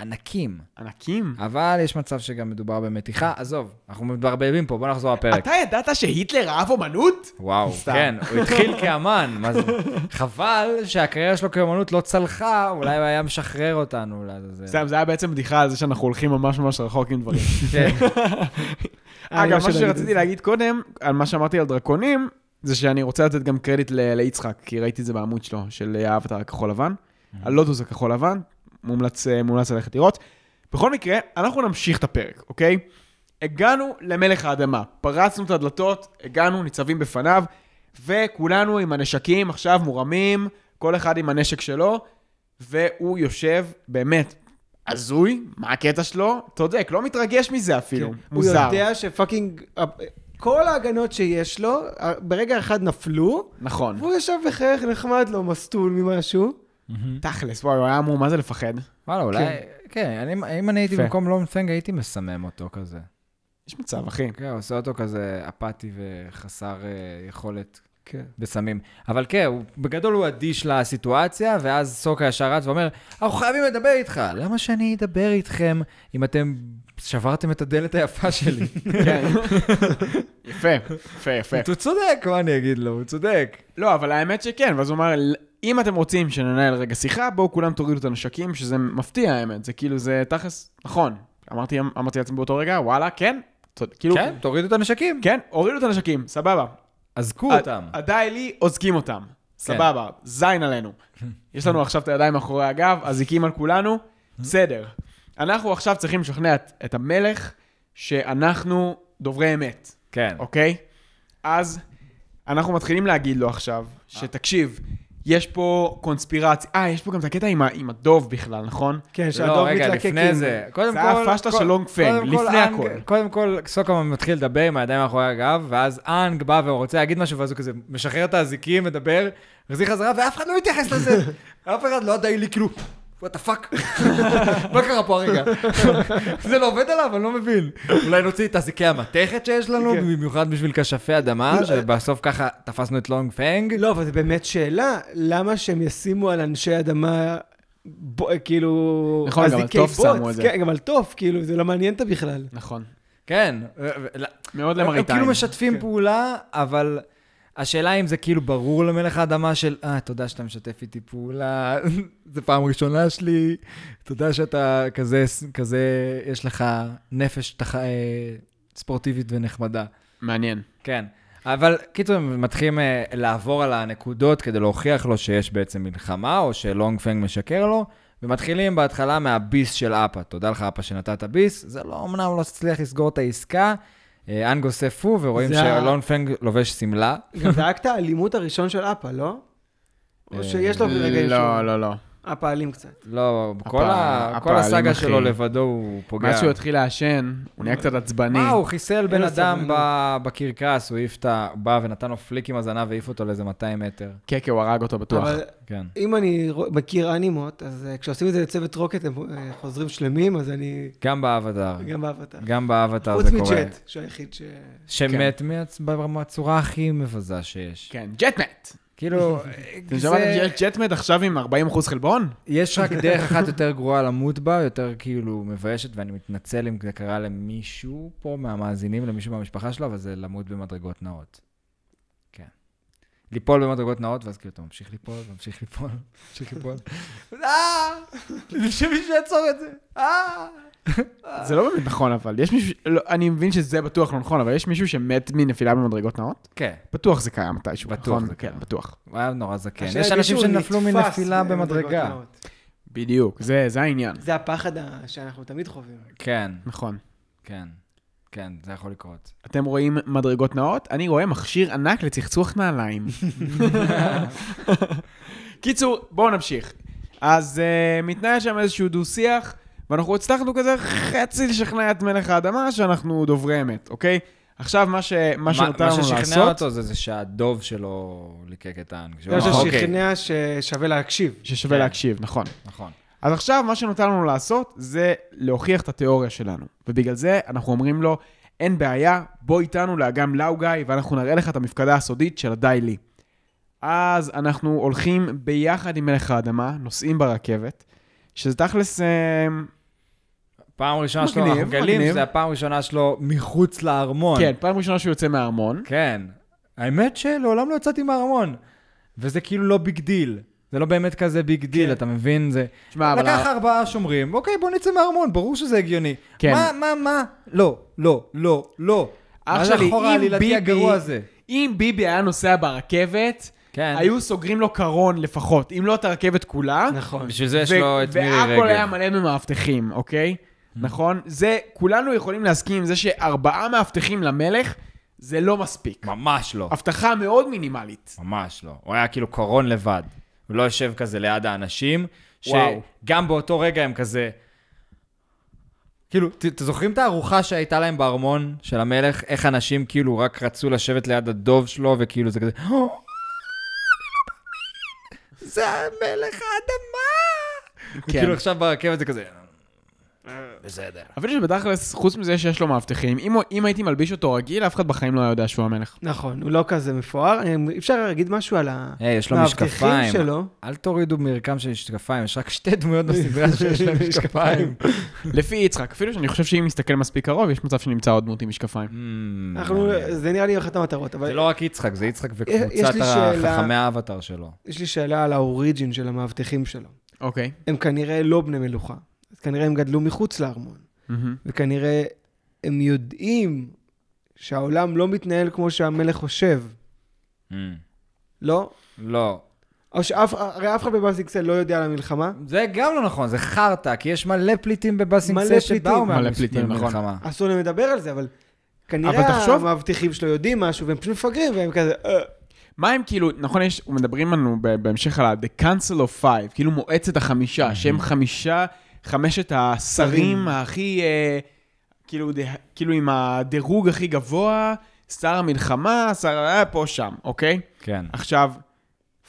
S2: ענקים.
S1: ענקים.
S2: אבל יש מצב שגם מדובר במתיחה. עזוב, אנחנו מתברבבים פה, בוא נחזור לפרק.
S1: אתה ידעת שהיטלר אהב אומנות?
S2: וואו,
S1: סתם.
S2: כן, הוא התחיל כאמן, מה זה? חבל שהקריירה שלו כאמנות לא צלחה, אולי הוא היה משחרר אותנו לעזאזל.
S1: סתם, זה היה בעצם בדיחה על זה שאנחנו הולכים ממש ממש רחוק עם דברים.
S2: כן.
S3: אני
S1: אגב,
S3: לא
S1: מה
S3: שואל להגיד את
S1: שרציתי
S3: זה.
S1: להגיד קודם, על מה שאמרתי על דרקונים, זה שאני רוצה לתת גם קרדיט ל- ליצחק, כי ראיתי את זה בעמוד שלו, של האבטר הכחול לבן,
S3: Mhm.
S1: הלוטוס הכחול לבן, מומלץ אה, מומלץ ללכת לראות. בכל מקרה, אנחנו נמשיך את הפרק, אוקיי? הגענו למלך האדמה, פרצנו את הדלתות, הגענו, ניצבים בפניו, וכולנו עם הנשקים עכשיו מורמים, כל אחד עם הנשק שלו, והוא יושב באמת הזוי, מה הקטע שלו? צודק, לא מתרגש מזה אפילו, מוזר.
S3: כן, הוא יודע שפאקינג... כל ההגנות שיש לו, ברגע אחד נפלו,
S1: נכון.
S3: והוא ישב בחייך נחמד לו, מסטול ממשהו.
S1: תכלס, וואי, הוא היה אמור, מה זה לפחד?
S2: וואלה, אולי... כן, אני- אם אני הייתי
S1: יפה.
S2: במקום לום פנג, הייתי מסמם אותו כזה.
S1: יש מצב, אחי.
S2: כן, הוא עושה אותו כזה אפאתי וחסר אה, יכולת
S3: כן.
S2: בסמים. אבל כן, הוא, בגדול הוא אדיש לסיטואציה, ואז סוקה ישר רץ ואומר, אנחנו חייבים לדבר איתך, למה שאני אדבר איתכם אם אתם שברתם את הדלת היפה שלי?
S1: כן. יפה, יפה, יפה.
S2: הוא צודק, מה אני אגיד לו? הוא צודק.
S1: לא, אבל האמת שכן, ואז הוא אמר, אם אתם רוצים שננהל רגע שיחה, בואו כולם תורידו את הנשקים, שזה מפתיע האמת, זה כאילו, זה תכלס, נכון. אמרתי, אמרתי לעצמי באותו רגע, וואלה, כן, צוד- כאילו,
S2: כן, תורידו את הנשקים.
S1: כן, אה, הורידו את הנשקים, סבבה.
S2: אזקו אותם.
S1: עדיין לי, אוזקים אותם.
S2: כן.
S1: סבבה, זין עלינו. יש לנו עכשיו את הידיים מאחורי הגב, אזיקים על כולנו, בסדר. אנחנו עכשיו צריכים לשכנע את- את המלך שאנחנו דוברי אמת.
S2: כן.
S1: אוקיי? אז אנחנו מתחילים להגיד לו עכשיו,
S2: אה.
S1: שתקשיב, יש פה קונספירציה, אה, יש פה גם את הקטע עם, ה- עם הדוב בכלל, נכון?
S3: כן,
S2: לא,
S3: שהדוב
S2: רגע,
S3: מתלקק
S2: לפני
S3: עם...
S2: זה. קודם
S1: זה
S2: כל...
S1: היה הפשלה
S2: כל-
S1: של לונג פנג,
S2: קודם כל,
S1: לפני
S2: אנג-
S1: הכל.
S2: קודם כל, סוקה מתחיל לדבר עם הידיים מאחורי הגב, ואז אנג בא ורוצה להגיד משהו, ואז הוא כזה משחרר את האזיקים, מדבר, מחזיר חזרה, ואף אחד לא מתייחס לזה. אף אחד לא די לי, כאילו, וואטה פאק, מה קרה פה הרגע? זה לא עובד עליו, אני לא מבין. אולי נוציא את אזיקי המתכת שיש לנו, במיוחד בשביל כשפי אדמה, שבסוף ככה תפסנו את לונג פנג.
S3: לא, אבל זו באמת שאלה, למה שהם ישימו על אנשי אדמה, ב- כאילו,
S1: נכון, גם על
S3: אזיקי
S1: תוף
S3: בוץ,
S1: שמו את זה.
S3: כן, גם על תוף, כאילו, זה לא מעניין אותה בכלל.
S1: נכון.
S2: כן. ו- ו-
S1: מאוד
S2: הם
S1: למראית עין.
S2: כאילו משתפים פעולה, אבל השאלה אם זה כאילו ברור למלך האדמה של, אה, תודה שאתה משתף איתי פעולה, זו פעם ראשונה שלי, תודה שאתה כזה, כזה, יש לך נפש תח... אה, ספורטיבית ונחמדה.
S1: מעניין.
S2: כן. אבל קיצור, הם מתחילים אה, לעבור על הנקודות כדי להוכיח לו שיש בעצם מלחמה, או שלונג פנג משקר לו, ומתחילים בהתחלה מהביס של אפה. תודה לך, אפה, שנתת ביס. זה לא, אמנם הוא לא הצליח לסגור את העסקה. אה, אנג עושה פו, ורואים
S3: זה ה-
S2: שלונג פנג לובש שמלה.
S3: גם זה אקט האלימות הראשון של אפה, לא?
S1: אה,
S3: או שיש לו ברגעים
S1: לא, לא, לא.
S3: שהוא אפה אלים קצת.
S2: לא, כל
S1: אפה-
S2: ה-
S1: אפה
S2: כל הסאגה
S1: אלים,
S2: שלו
S1: אחי.
S2: לבדו הוא פוגע.
S1: מאז שהוא התחיל לעשן, הוא נהיה קצת עצבני.
S2: מה, הוא חיסל בן
S3: לו
S2: אדם
S3: סבלנות.
S2: ב- בקרקס, הוא העיף את ה... בא ונתן לו פליק עם הזנב והעיף אותו לאיזה 200 מטר.
S1: קקה, הוא הרג אותו בטוח.
S3: אבל
S2: כן.
S3: אם אני רוא- מכיר אנימות, אז אה, כשעושים את זה לצוות רוקט, הם אה, חוזרים שלמים, אז אני
S2: גם באבטאר.
S3: גם באבטר.
S2: גם באבטאר
S3: חוץ
S2: זה קורה.
S3: מצ'אט, שהוא היחיד ש...
S2: שמת מעצ- בצורה הכי מבזה שיש.
S1: כן, ג'טמט.
S2: כאילו,
S1: אתם
S2: זה-
S1: שמעתם שיש ג'טמט עכשיו עם 40% חלבון?
S2: יש רק דרך אחת יותר גרועה למות בה, יותר כאילו מביישת, ואני מתנצל אם זה קרה למישהו פה מהמאזינים, למישהו מהמשפחה שלו, אבל זה למות במדרגות נאות. כן. ליפול במדרגות נאות, ואז כאילו אתה ממשיך ליפול, ממשיך ליפול, ממשיך ליפול. אה! שמישהו יעצור את זה. אה!
S1: זה לא באמת נכון, אבל יש מישהו... ש- לא, אני מבין שזה בטוח לא נכון, אבל יש מישהו שמת מנפילה במדרגות נאות?
S2: כן.
S1: בטוח זה קיים מתישהו.
S2: בטוח
S1: נכון?
S2: זה
S1: כן,
S2: קיים.
S1: בטוח.
S2: הוא היה נורא זקן.
S3: השאלה
S2: כן, יש
S3: אם
S2: אנשים
S3: מישהו
S2: שנפלו
S3: נתפס
S2: מנפילה
S3: במדרגות
S2: במדרגה.
S3: נאות.
S1: בדיוק, זה, זה העניין.
S3: זה הפחד ה- שאנחנו תמיד חווים.
S2: כן.
S1: נכון.
S2: כן, כן, זה יכול לקרות.
S1: אתם רואים מדרגות נאות, אני רואה מכשיר ענק לצחצוח נעליים. קיצור, בואו נמשיך. אז uh, מתנהל שם איזשהו דו-שיח, ואנחנו הצלחנו כזה חצי לשכנע את מלך האדמה שאנחנו דוברי אמת, אוקיי? עכשיו, מה, ש... מה שנותר לנו לעשות... לא,
S2: מה ששכנע אותו זה, זה שהדוב שלו ליקק את האנג. שהוא
S3: זה
S2: אמר, "אוקיי,
S3: ששכנע ששווה להקשיב.
S1: ששווה
S2: כן.
S1: להקשיב, נכון.
S2: נכון.
S1: אז עכשיו, מה שנותר לנו לעשות זה להוכיח את התיאוריה שלנו. ובגלל זה אנחנו אומרים לו, אין בעיה, בוא איתנו לאגם לאוגאי, ואנחנו נראה לך את המפקדה הסודית של הדי לי. אז אנחנו הולכים ביחד עם מלך האדמה, נוסעים ברכבת, שזה תכלס... אה,
S2: פעם ראשונה שלו,
S1: מגניב,
S2: אנחנו מגלים
S1: מגניב.
S2: שזה הפעם הראשונה שלו מחוץ לארמון.
S1: כן, פעם ראשונה שהוא יוצא מהארמון.
S2: כן. האמת שלעולם לא יצאתי מהארמון. וזה כאילו לא ביג דיל. זה לא באמת כזה ביג
S1: כן.
S2: דיל, אתה מבין? זה...
S1: תשמע, אה, אבל...
S2: לקח
S1: ה-
S2: ארבעה שומרים, אוקיי, בוא נצא מהארמון, ברור שזה הגיוני.
S1: כן.
S2: מה, מה, מה? לא, לא, לא, לא.
S1: אח
S2: מה זה
S1: שלי,
S2: החור
S1: אם
S2: העלילתי
S1: ביבי-
S2: הגרוע הזה?
S1: אם ביבי היה נוסע ברכבת,
S2: כן.
S1: היו סוגרים לו קרון לפחות, אם לא את הרכבת כולה.
S3: נכון.
S2: בשביל זה יש
S1: ו-
S2: לו את מירי רגב. Mm-hmm.
S1: והכל היה מלא במאבטחים, אוקיי? נכון? זה, כולנו יכולים להסכים עם זה שארבעה מאבטחים למלך, זה לא מספיק.
S2: ממש לא.
S1: הבטחה מאוד מינימלית.
S2: ממש לא. הוא היה כאילו קורון לבד. הוא לא יושב כזה ליד האנשים,
S1: וואו.
S2: שגם באותו רגע הם כזה... כאילו, ת- אתם זוכרים את הארוחה שהייתה להם בארמון של המלך? איך אנשים כאילו רק רצו לשבת ליד הדוב שלו, וכאילו זה כזה... "אה, אני לא מאמין. זה המלך האדמה!
S1: כן.
S2: כאילו עכשיו ברכבת זה כזה...
S4: בסדר.
S1: אבל שבתכלס, חוץ מזה שיש לו מאבטחים, אם הוא- אם הייתי מלביש אותו רגיל, אף אחד בחיים לא היה יודע שהוא המלך.
S3: נכון, הוא לא כזה מפואר. אמ, אי אפשר להגיד משהו על ה...
S2: היי, יש לו
S3: מאבטחים
S2: משקפיים.
S3: שלו.
S2: אל תורידו מרקם של משקפיים, יש רק שתי דמויות בסדרה שיש להם משקפיים.
S1: לפי יצחק, אפילו שאני חושב שאם נסתכל מספיק קרוב, יש מצב שנמצא עוד דמות עם משקפיים.
S2: Mm,
S3: אנחנו,
S2: מעניין.
S3: זה נראה לי אחת המטרות,
S2: זה
S3: אבל
S2: לא רק יצחק, זה יצחק
S3: יש
S2: וקבוצת
S3: לי שאלה-
S2: חכמי האבטר שלו.
S3: יש לי שאלה על האוריג'ין של המאבטחים שלו.
S1: אוקיי.
S3: הם כנראה לא בני מלוכה. אז כנראה הם גדלו מחוץ לארמון.
S2: Mm-hmm.
S1: מהמם.
S3: וכנראה הם יודעים שהעולם לא מתנהל כמו שהמלך חושב,
S2: Mm.
S3: לא?
S2: לא. או
S3: או שאף, הרי אף אחד בבאזיקסל לא יודע על המלחמה.
S2: זה גם לא נכון, זה חרטא, כי יש מלא פליטים
S3: מלא
S2: בבאסינגסה שבאו
S3: פליטים.
S1: מלא
S2: מהמלחמה.
S1: פליטים, נכון.
S3: אסור להם לדבר על זה, אבל כנראה
S1: אבל תחשוב-
S3: המאבטחים שלו יודעים משהו, והם פשוט מפגרים, והם כזה, "אה,
S1: מה הם כאילו, נכון, יש, מדברים לנו ב- בהמשך על ה- The Council of Five, כאילו מועצת החמישה, שהם חמישה, חמשת השרים
S3: שרים.
S1: הכי, אה, כאילו, דה, כאילו עם הדירוג הכי גבוה, שר המלחמה, שר אה, פה, שם, אוקיי?
S2: כן.
S1: עכשיו,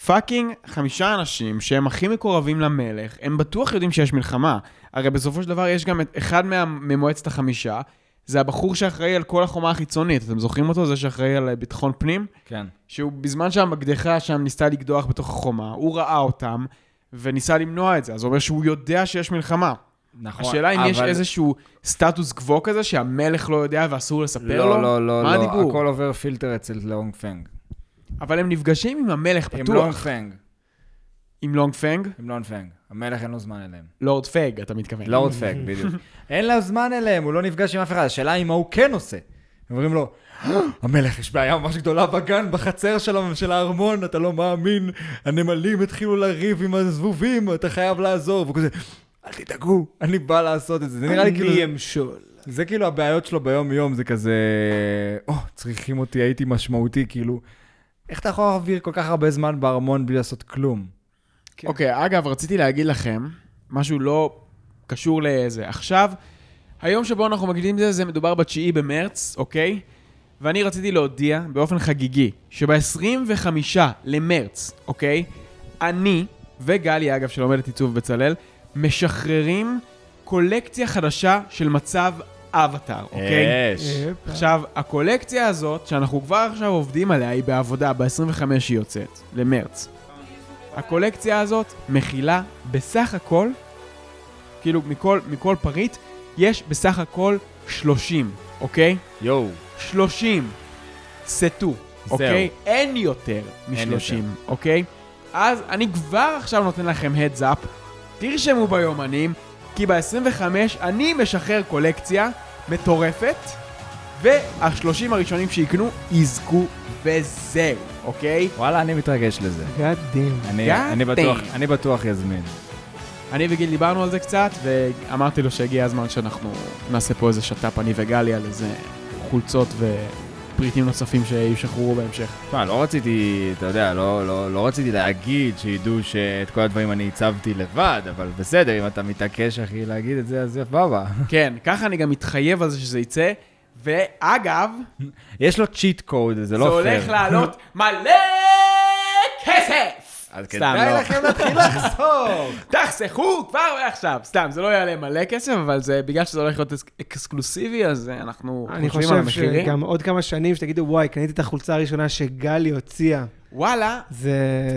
S1: פאקינג חמישה אנשים שהם הכי מקורבים למלך, הם בטוח יודעים שיש מלחמה. הרי בסופו של דבר יש גם את אחד מה, ממועצת החמישה, זה הבחור שאחראי על כל החומה החיצונית. אתם זוכרים אותו? זה שאחראי על אה, ביטחון פנים?
S2: כן.
S1: שהוא בזמן שהמקדחה שם ניסתה לקדוח בתוך החומה, הוא ראה אותם וניסה למנוע את זה. אז הוא אומר שהוא יודע שיש מלחמה.
S2: נכון.
S1: השאלה אם יש
S2: אבל-
S1: איזשהו סטטוס קוו כזה שהמלך לא יודע ואסור לספר לו?
S2: לא, לא, לא,
S1: מה
S2: לא,
S1: הדיבור?
S2: הכל עובר פילטר אצל לונג פנג.
S1: אבל הם נפגשים עם המלך,
S2: עם
S1: בטוח.
S2: לונג פנג.
S1: עם לונג פנג?
S2: עם לונג פנג. המלך אין לו זמן אליהם.
S1: לורד פג, אתה מתכוון.
S2: לורד פג, כן. לא בדיוק. אין לו זמן אליהם, הוא לא נפגש עם אף אחד, השאלה היא מה הוא כן עושה. הם אומרים לו, "אה, המלך, יש בעיה ממש גדולה בגן, בחצר שלו, של הארמון, אתה לא מאמין, הנמלים התחילו לריב עם הזבובים, אתה חייב לעזור, והוא כזה, אל תדאגו, אני בא לעשות את זה. זה נראה לי כאילו...
S3: אני אמשול.
S2: זה כאילו הבעיות שלו ביום-יום, זה כזה, או, צריכים אותי, הייתי משמעותי, כאילו, איך אתה יכול להעביר כל כך הרבה זמן בארמון בלי לעשות כלום?
S3: כן.
S1: אוקיי, okay, אגב, רציתי להגיד לכם, משהו לא קשור לזה. עכשיו, היום שבו אנחנו מקדימים את זה, זה מדובר ב-9 במרץ, אוקיי? ואני רציתי להודיע באופן חגיגי, שב-25 למרץ, אוקיי? אני וגלי, אגב, שלומדת עיצוב בצלאל, משחררים קולקציה חדשה של מצב אבטאר, אוקיי?
S2: אה, אש.
S3: יפ.
S1: עכשיו, הקולקציה הזאת, שאנחנו כבר עכשיו עובדים עליה, היא בעבודה, ב-25 היא יוצאת, למרץ. הקולקציה הזאת מכילה בסך הכל, כאילו מכל, מכל פריט, יש בסך הכל 30, אוקיי?
S2: יואו.
S1: 30 סטו, אוקיי? אין יותר
S2: אין
S1: מ-30, אוקיי? אז אני כבר עכשיו נותן לכם heads up, תרשמו ביומנים, כי ב-25 אני משחרר קולקציה מטורפת, וה-30 הראשונים שיקנו יזכו וזהו, אוקיי?
S2: וואלה, אני מתרגש לזה.
S3: God damn.
S2: אני,
S1: God
S2: אני, בטוח,
S1: damn.
S2: אני בטוח יזמין.
S1: אני וגיל דיברנו על זה קצת, ואמרתי לו שהגיע הזמן שאנחנו נעשה פה איזה שת"פ, אני וגלי, על איזה חולצות ופריטים נוספים שישחררו בהמשך.
S2: תשמע, לא רציתי, אתה יודע, לא, לא, לא רציתי להגיד שידעו שאת כל הדברים אני הצבתי לבד, אבל בסדר, אם אתה מתעקש, אחי, להגיד את זה, אז סבבה.
S1: כן, ככה אני גם מתחייב על זה שזה יצא. ואגב,
S2: יש לו צ'יט קוד, זה
S1: זה
S2: לא פייר.
S1: הולך לעלות מלא כסף! סתם,
S2: אז כדאי
S1: לא.
S2: לכם להתחיל לחסוך.
S1: תחסכו כבר עכשיו! סתם, זה לא יעלה מלא כסף, אבל זה בגלל שזה הולך להיות אס- אקסקלוסיבי, אז אה, אנחנו
S3: אני
S1: חושבים על
S3: חושב
S1: המחירים.
S3: שגם עוד כמה שנים שתגידו, וואי, קניתי את החולצה הראשונה שגלי הוציאה.
S1: וואלה,
S3: זה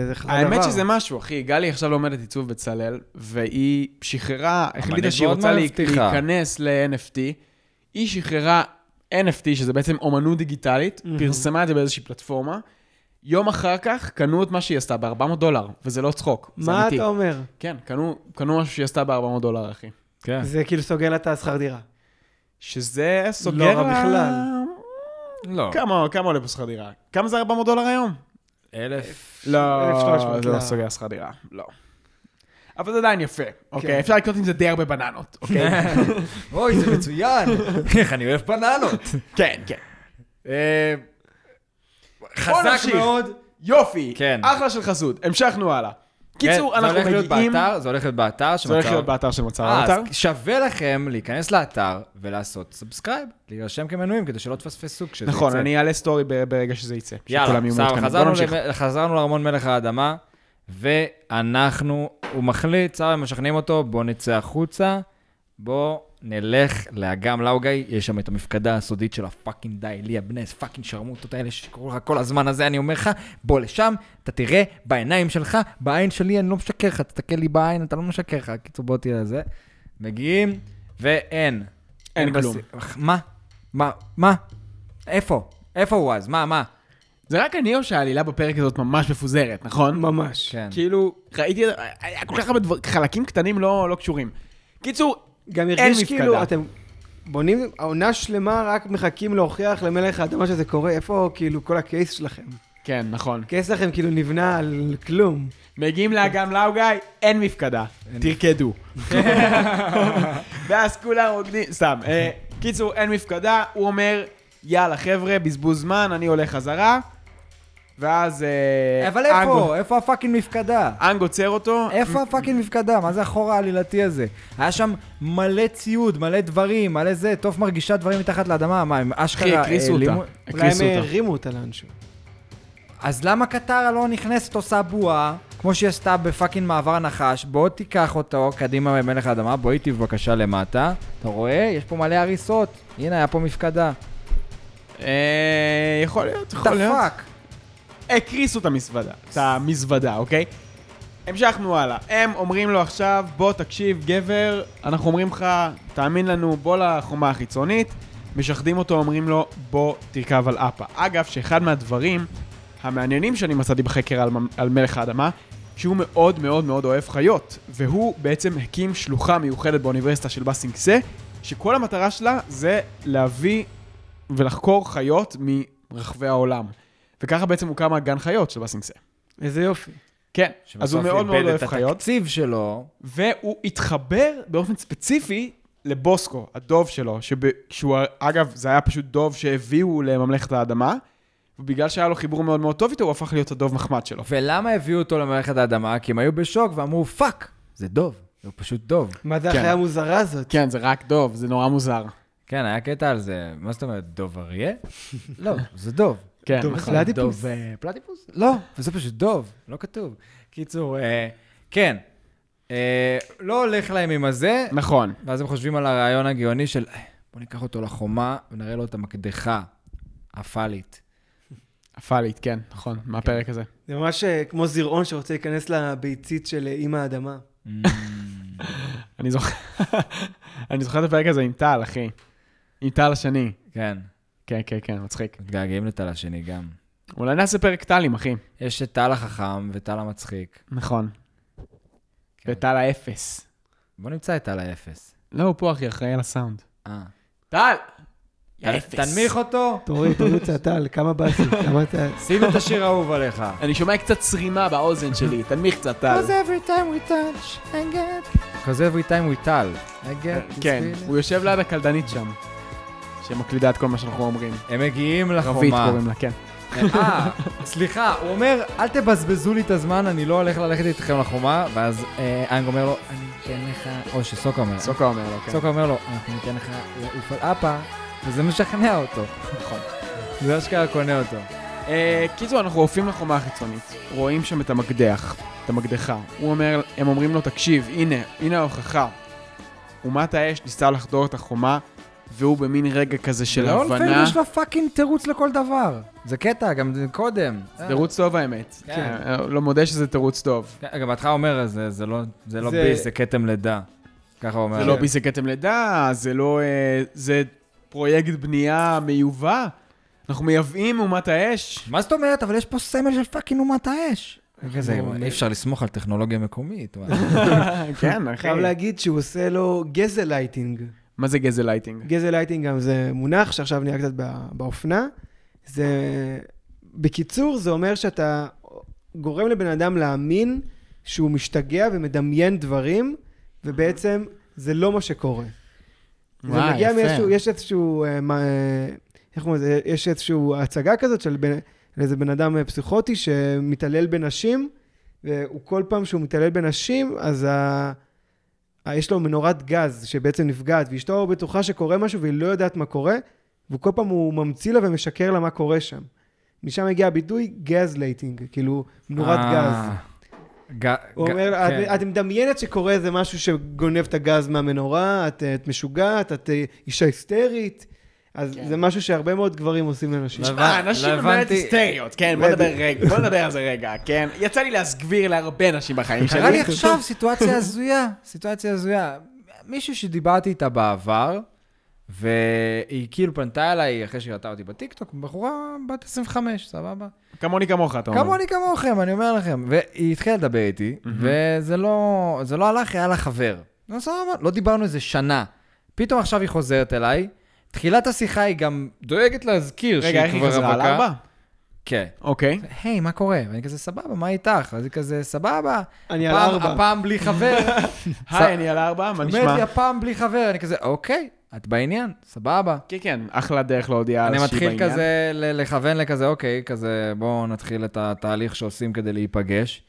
S3: זה חזר דבר.
S1: האמת שזה משהו, אחי. גלי עכשיו לומדת עיצוב בצלאל, והיא שחררה, החליטה
S2: אמנית
S1: שהיא
S2: מאוד
S1: רוצה לה-
S2: מבטיחה.
S1: להיכנס ל-NFT. היא שחררה NFT, שזה בעצם אומנות דיגיטלית,
S3: מהמם.
S1: פרסמה את זה באיזושהי פלטפורמה. יום אחר כך קנו את מה שהיא עשתה ב-400 דולר, וזה לא צחוק, זה
S3: מה
S1: אמיתי.
S3: אתה אומר?
S1: כן, קנו, קנו משהו שהיא עשתה ב-400 דולר, אחי.
S2: כן.
S3: זה כאילו סוגר לה את השכר דירה.
S1: שזה סוגר...
S3: לא רע
S1: לה-
S3: בכלל.
S2: לא.
S1: כמה, כמה עולה פה שכר דירה? כמה זה 400 דולר היום?
S2: אלף.
S1: לא,
S3: 1,300
S1: זה לא
S3: ל-
S1: סוגר שכר דירה, לא. אבל זה עדיין יפה, אוקיי? אפשר לקנות עם זה די הרבה בננות, אוקיי?
S2: אוי, זה מצוין. איך אני אוהב בננות.
S1: כן, כן.
S2: אה,
S1: נמשיך.
S2: חזק מאוד.
S1: יופי,
S2: כן.
S1: אחלה של חסות, המשכנו הלאה.
S2: כן,
S1: קיצור, אנחנו
S2: זה הולך להיות
S1: מגיעים...
S2: באתר, זה הולך להיות באתר.
S1: זה הולך
S2: שמצא-
S1: להיות באתר של מצב
S2: אה,
S1: האתר.
S2: אז שווה לכם להיכנס לאתר ולעשות סאבסקרייב, להירשם כמנויים כדי שלא תפספסו כשזה יצא.
S1: נכון, אני אעלה סטורי ב- ברגע שזה יצא.
S2: יאללה,
S1: שכולם יהיו
S2: בסדר,
S1: מעודכנים. בוא
S2: חזרנו
S1: נמשיך.
S2: למ- חזרנו לארמון מלך האדמה, ואנחנו, הוא מחליט, סבבה, משכנעים אותו, בוא נצא החוצה, בוא נלך לאגם לאוגי, יש שם את המפקדה הסודית של הפאקינג דאי, ליה בנס, פאקינג שרמוטות האלה שקראו לך כל הזמן הזה, אני אומר לך, בוא לשם, אתה תראה בעיניים שלך, בעין שלי, אני לא משקר לך, תסתכל לי בעין, אתה לא משקר לך, קיצור בוא תראה זה. מגיעים, ואין.
S1: אין כלום.
S2: בס- מה? מה? מה? איפה? איפה הוא אז? מה? מה?
S1: זה רק אני או שהעלילה בפרק הזאת ממש מפוזרת, נכון?
S3: ממש.
S2: כן.
S1: כאילו, ראיתי, היה כל כך הרבה דבר- חלקים קטנים לא לא קשורים. קיצור,
S3: גם
S1: אין
S3: הרגיש
S1: מפקדה.
S3: כאילו, אתם בונים, העונה שלמה רק מחכים להוכיח למלך האדמה שזה קורה, איפה כאילו כל הקייס שלכם?
S1: כן, נכון.
S3: הקייס שלכם כאילו נבנה על כלום.
S1: מגיעים לאגם לאוגי, אין מפקדה, תרקדו. ואז כולם רוקדים, סתם. אה, קיצור, אין מפקדה, הוא אומר, יאללה חבר'ה, בזבוז זמן, אני הולך חזרה. ואז... אה,
S2: אבל
S1: אנג-
S2: איפה? איפה הפאקינג מפקדה?
S1: אנג עוצר אותו.
S2: איפה הפאקינג מפקדה? מה זה החור העלילתי הזה? היה שם מלא ציוד, מלא דברים, מלא זה, טוב מרגישה דברים מתחת לאדמה, מה, הם
S1: אחי,
S2: אשכרה...
S1: הקריסו
S2: אה,
S1: אותה.
S2: לימו-
S3: אולי הם
S1: הקריסו אותה.
S3: הרימו אותה לאנשהו.
S2: אז למה קטרה לא נכנסת, עושה בועה, כמו שהיא עשתה בפאקינג מעבר נחש, בוא תיקח אותו קדימה ממלך האדמה, בוא איתי בבקשה למטה. אתה רואה? יש פה מלא הריסות. הנה, היה פה מפקדה.
S1: אה, יכול להיות,
S2: דה
S1: יכול להיות.
S2: פאק.
S1: הקריסו את המזוודה, את המזוודה, אוקיי? המשכנו הלאה. הם אומרים לו עכשיו, בוא תקשיב, גבר, אנחנו אומרים לך, תאמין לנו, בוא לחומה החיצונית. משחדים אותו, אומרים לו, בוא תרכב על אפה. אגב, שאחד מהדברים המעניינים שאני מצאתי בחקר על, מ- על מלך האדמה, שהוא מאוד מאוד מאוד אוהב חיות, והוא בעצם הקים שלוחה מיוחדת באוניברסיטה של בסינגסה, שכל המטרה שלה זה להביא ולחקור חיות מרחבי העולם. וככה בעצם הוקם הגן חיות של בסינגסה.
S3: איזה יופי.
S1: כן, אז הוא מאוד מאוד אוהב
S2: שבסוף איבד את
S1: חיות,
S2: התקציב שלו,
S1: והוא התחבר באופן ספציפי לבוסקו, הדוב שלו, שב... שהוא, אגב, זה היה פשוט דוב שהביאו לממלכת האדמה, ובגלל שהיה לו חיבור מאוד מאוד טוב איתו, הוא הפך להיות הדוב מחמד שלו.
S2: ולמה הביאו אותו למערכת האדמה? כי הם היו בשוק ואמרו, פאק, זה דוב. הוא פשוט דוב.
S3: מה זה
S1: כן.
S3: החיה המוזרה הזאת?
S1: כן, זה רק דוב, זה נורא מוזר.
S2: כן, היה קטע על זה. מה זאת אומרת, דוב אריה? לא, זה דוב.
S1: כן,
S3: דוב
S1: נכון.
S3: פלאדיפוס?
S2: דוב אה, פלטיפוס? לא, וזה פשוט דוב, לא כתוב. קיצור, אה, כן. אה, לא הולך להם עם הזה,
S1: נכון.
S2: ואז הם חושבים על הרעיון הגאוני של, "אה, בוא ניקח אותו לחומה ונראה לו את המקדחה הפאלית.
S1: הפאלית, כן, נכון, מהפרק הזה.
S3: זה ממש אה, כמו זרעון שרוצה להיכנס לביצית של אה, אימא האדמה.
S1: אני זוכר, אני זוכר את הפרק הזה עם טל, אחי. עם טל השני.
S2: כן,
S1: כן, כן, כן, מצחיק.
S2: מתגעגעים לטל השני גם.
S1: אולי נעשה פרק טלים, אחי.
S2: יש את טל החכם וטל המצחיק.
S1: נכון.
S2: כן.
S1: וטל האפס.
S2: בוא נמצא את טל האפס.
S1: לא, הוא פה, אחי, אחראי על הסאונד. אה,
S2: אה.
S1: טל!
S2: ת- תנמיך אותו,
S3: תוריד, תוריד קצת טל, כמה באסי, כמה אתה...
S2: שים את השיר האהוב עליך.
S1: אני שומע קצת צרימה באוזן שלי, תנמיך קצת, טל.
S2: every time we touch, I get... Because every time we tell, I get this
S1: כן,
S2: feeling.
S1: הוא יושב ליד הקלדנית שם, שמקלידה את כל מה שאנחנו אומרים.
S2: הם מגיעים
S1: רבית
S2: לחומה.
S1: קוראים לה, כן.
S2: אה, סליחה, הוא אומר, אל תבזבזו לי את הזמן, אני לא הולך ללכת איתכם לחומה, ואז אה, אנג אומר לו, אני אתן לך... או שסוקה אומר.
S1: סוקה אומר לו, כן.
S2: סוקה אומר לו, אנחנו ניתן לך לעוף על אפה, וזה משכנע אותו.
S1: נכון.
S2: זה אשכרה קונה אותו.
S1: אה, קיצור, אנחנו עופים לחומה החיצונית, רואים שם את המקדח, את המקדחה. הוא אומר, הם אומרים לו, תקשיב, הנה, הנה ההוכחה. אומת האש ניסה לחדור את החומה, והוא במין רגע כזה של
S2: לא,
S1: הבנה.
S2: יש לו פאקינג תירוץ לכל דבר. זה קטע, גם זה קודם.
S1: זה תירוץ טוב האמת.
S2: כן.
S1: כן. לא מודה שזה תירוץ טוב.
S2: כן, גם בהתחלה אומר, "זה- זה לא- זה לא
S3: זה-
S2: ביס, זה כתם לידה. ככה הוא אומר.
S1: זה לא ביסי כתם לידה, זה לא... אה, זה פרויקט בנייה מיובא. אנחנו מייבאים אומת האש.
S2: מה זאת אומרת? אבל יש פה סמל של פאקינג אומת האש. כזה,
S3: הוא אומר-
S2: אי אפשר לסמוך על טכנולוגיה מקומית. וואי.
S1: כן, אחי.
S3: חייב להגיד שהוא עושה לו גזל לייטינג.
S1: מה זה גזל לייטינג?
S3: גזל לייטינג גם זה מונח שעכשיו נהיה קצת בא- באופנה. זה... בקיצור, זה אומר שאתה גורם לבן אדם להאמין שהוא משתגע ומדמיין דברים, ובעצם זה לא מה שקורה. זה
S1: וואי,
S3: מגיע
S1: יפה.
S3: מאיזשהו, יש איזשהו, אה, מה, אה, איך קוראים לזה, יש איזשהו הצגה כזאת של בן, על איזה בן אדם אה, פסיכוטי שמתעלל בנשים, והוא כל פעם שהוא מתעלל בנשים, אז ה, ה, יש לו מנורת גז שבעצם נפגעת, ואשתו בטוחה שקורה משהו והיא לא יודעת מה קורה, וכל פעם הוא ממציא לה ומשקר לה מה קורה שם. משם הגיע הביטוי גז לייטינג, כאילו מנורת
S2: אה,
S3: גז.
S2: ג-
S3: הוא
S2: ג-
S3: אומר,
S2: כן.
S3: "את- את מדמיינת שקורה איזה משהו שגונב את הגז מהמנורה, את אה, את משוגעת, את אה, אישה היסטרית. אז זה משהו שהרבה מאוד גברים עושים לנשים.
S2: לא
S1: אה,
S2: הבנ-
S1: אנשים
S2: לא
S1: באמת
S2: הבנתי.
S1: היסטריות, כן, בוא נדבר
S3: בדיוק.
S1: רגע, בוא נדבר על זה רגע, כן? יצא לי להסגביר להרבה נשים בחיים שלי.
S2: קרה לי עכשיו סיטואציה הזויה, סיטואציה הזויה. מישהו שדיברתי איתה בעבר, והיא כאילו פנתה אליי אחרי שהיא ראתה אותי בטיקטוק, בחורה בת 25, סבבה?
S1: כמוני כמוך, אתה אומר.
S2: כמוני כמוכם, אני אומר לכם. והיא התחילה לדבר איתי, וזה לא, זה לא הלך, היה לה חבר. נו, סבבה, לא דיברנו איזה שנה. פתאום עכשיו היא חוזרת אליי, תחילת השיחה היא גם דואגת להזכיר שהיא כבר
S1: רגע, איך היא
S2: רווקה.
S1: חזרה על ארבע?
S2: כן.
S1: אוקיי.
S2: היי, מה קורה? ואני כזה, סבבה, מה איתך? אז היא כזה, סבבה.
S3: אני על
S2: הפעם-
S3: ארבע."
S2: הפעם בלי חבר.
S1: היי, אני על ארבע, מה
S2: אומרת
S1: נשמע?
S2: לי הפעם בלי חבר, אני כזה, אוקיי, את בעניין, סבבה.
S1: כן, כן, אחלה דרך להודיע על
S2: אני
S1: שהיא
S2: מתחיל
S1: בעניין.
S2: כזה ל- לכוון לכזה, אוקיי, כזה, בואו נתחיל את התהליך שעושים כדי להיפגש.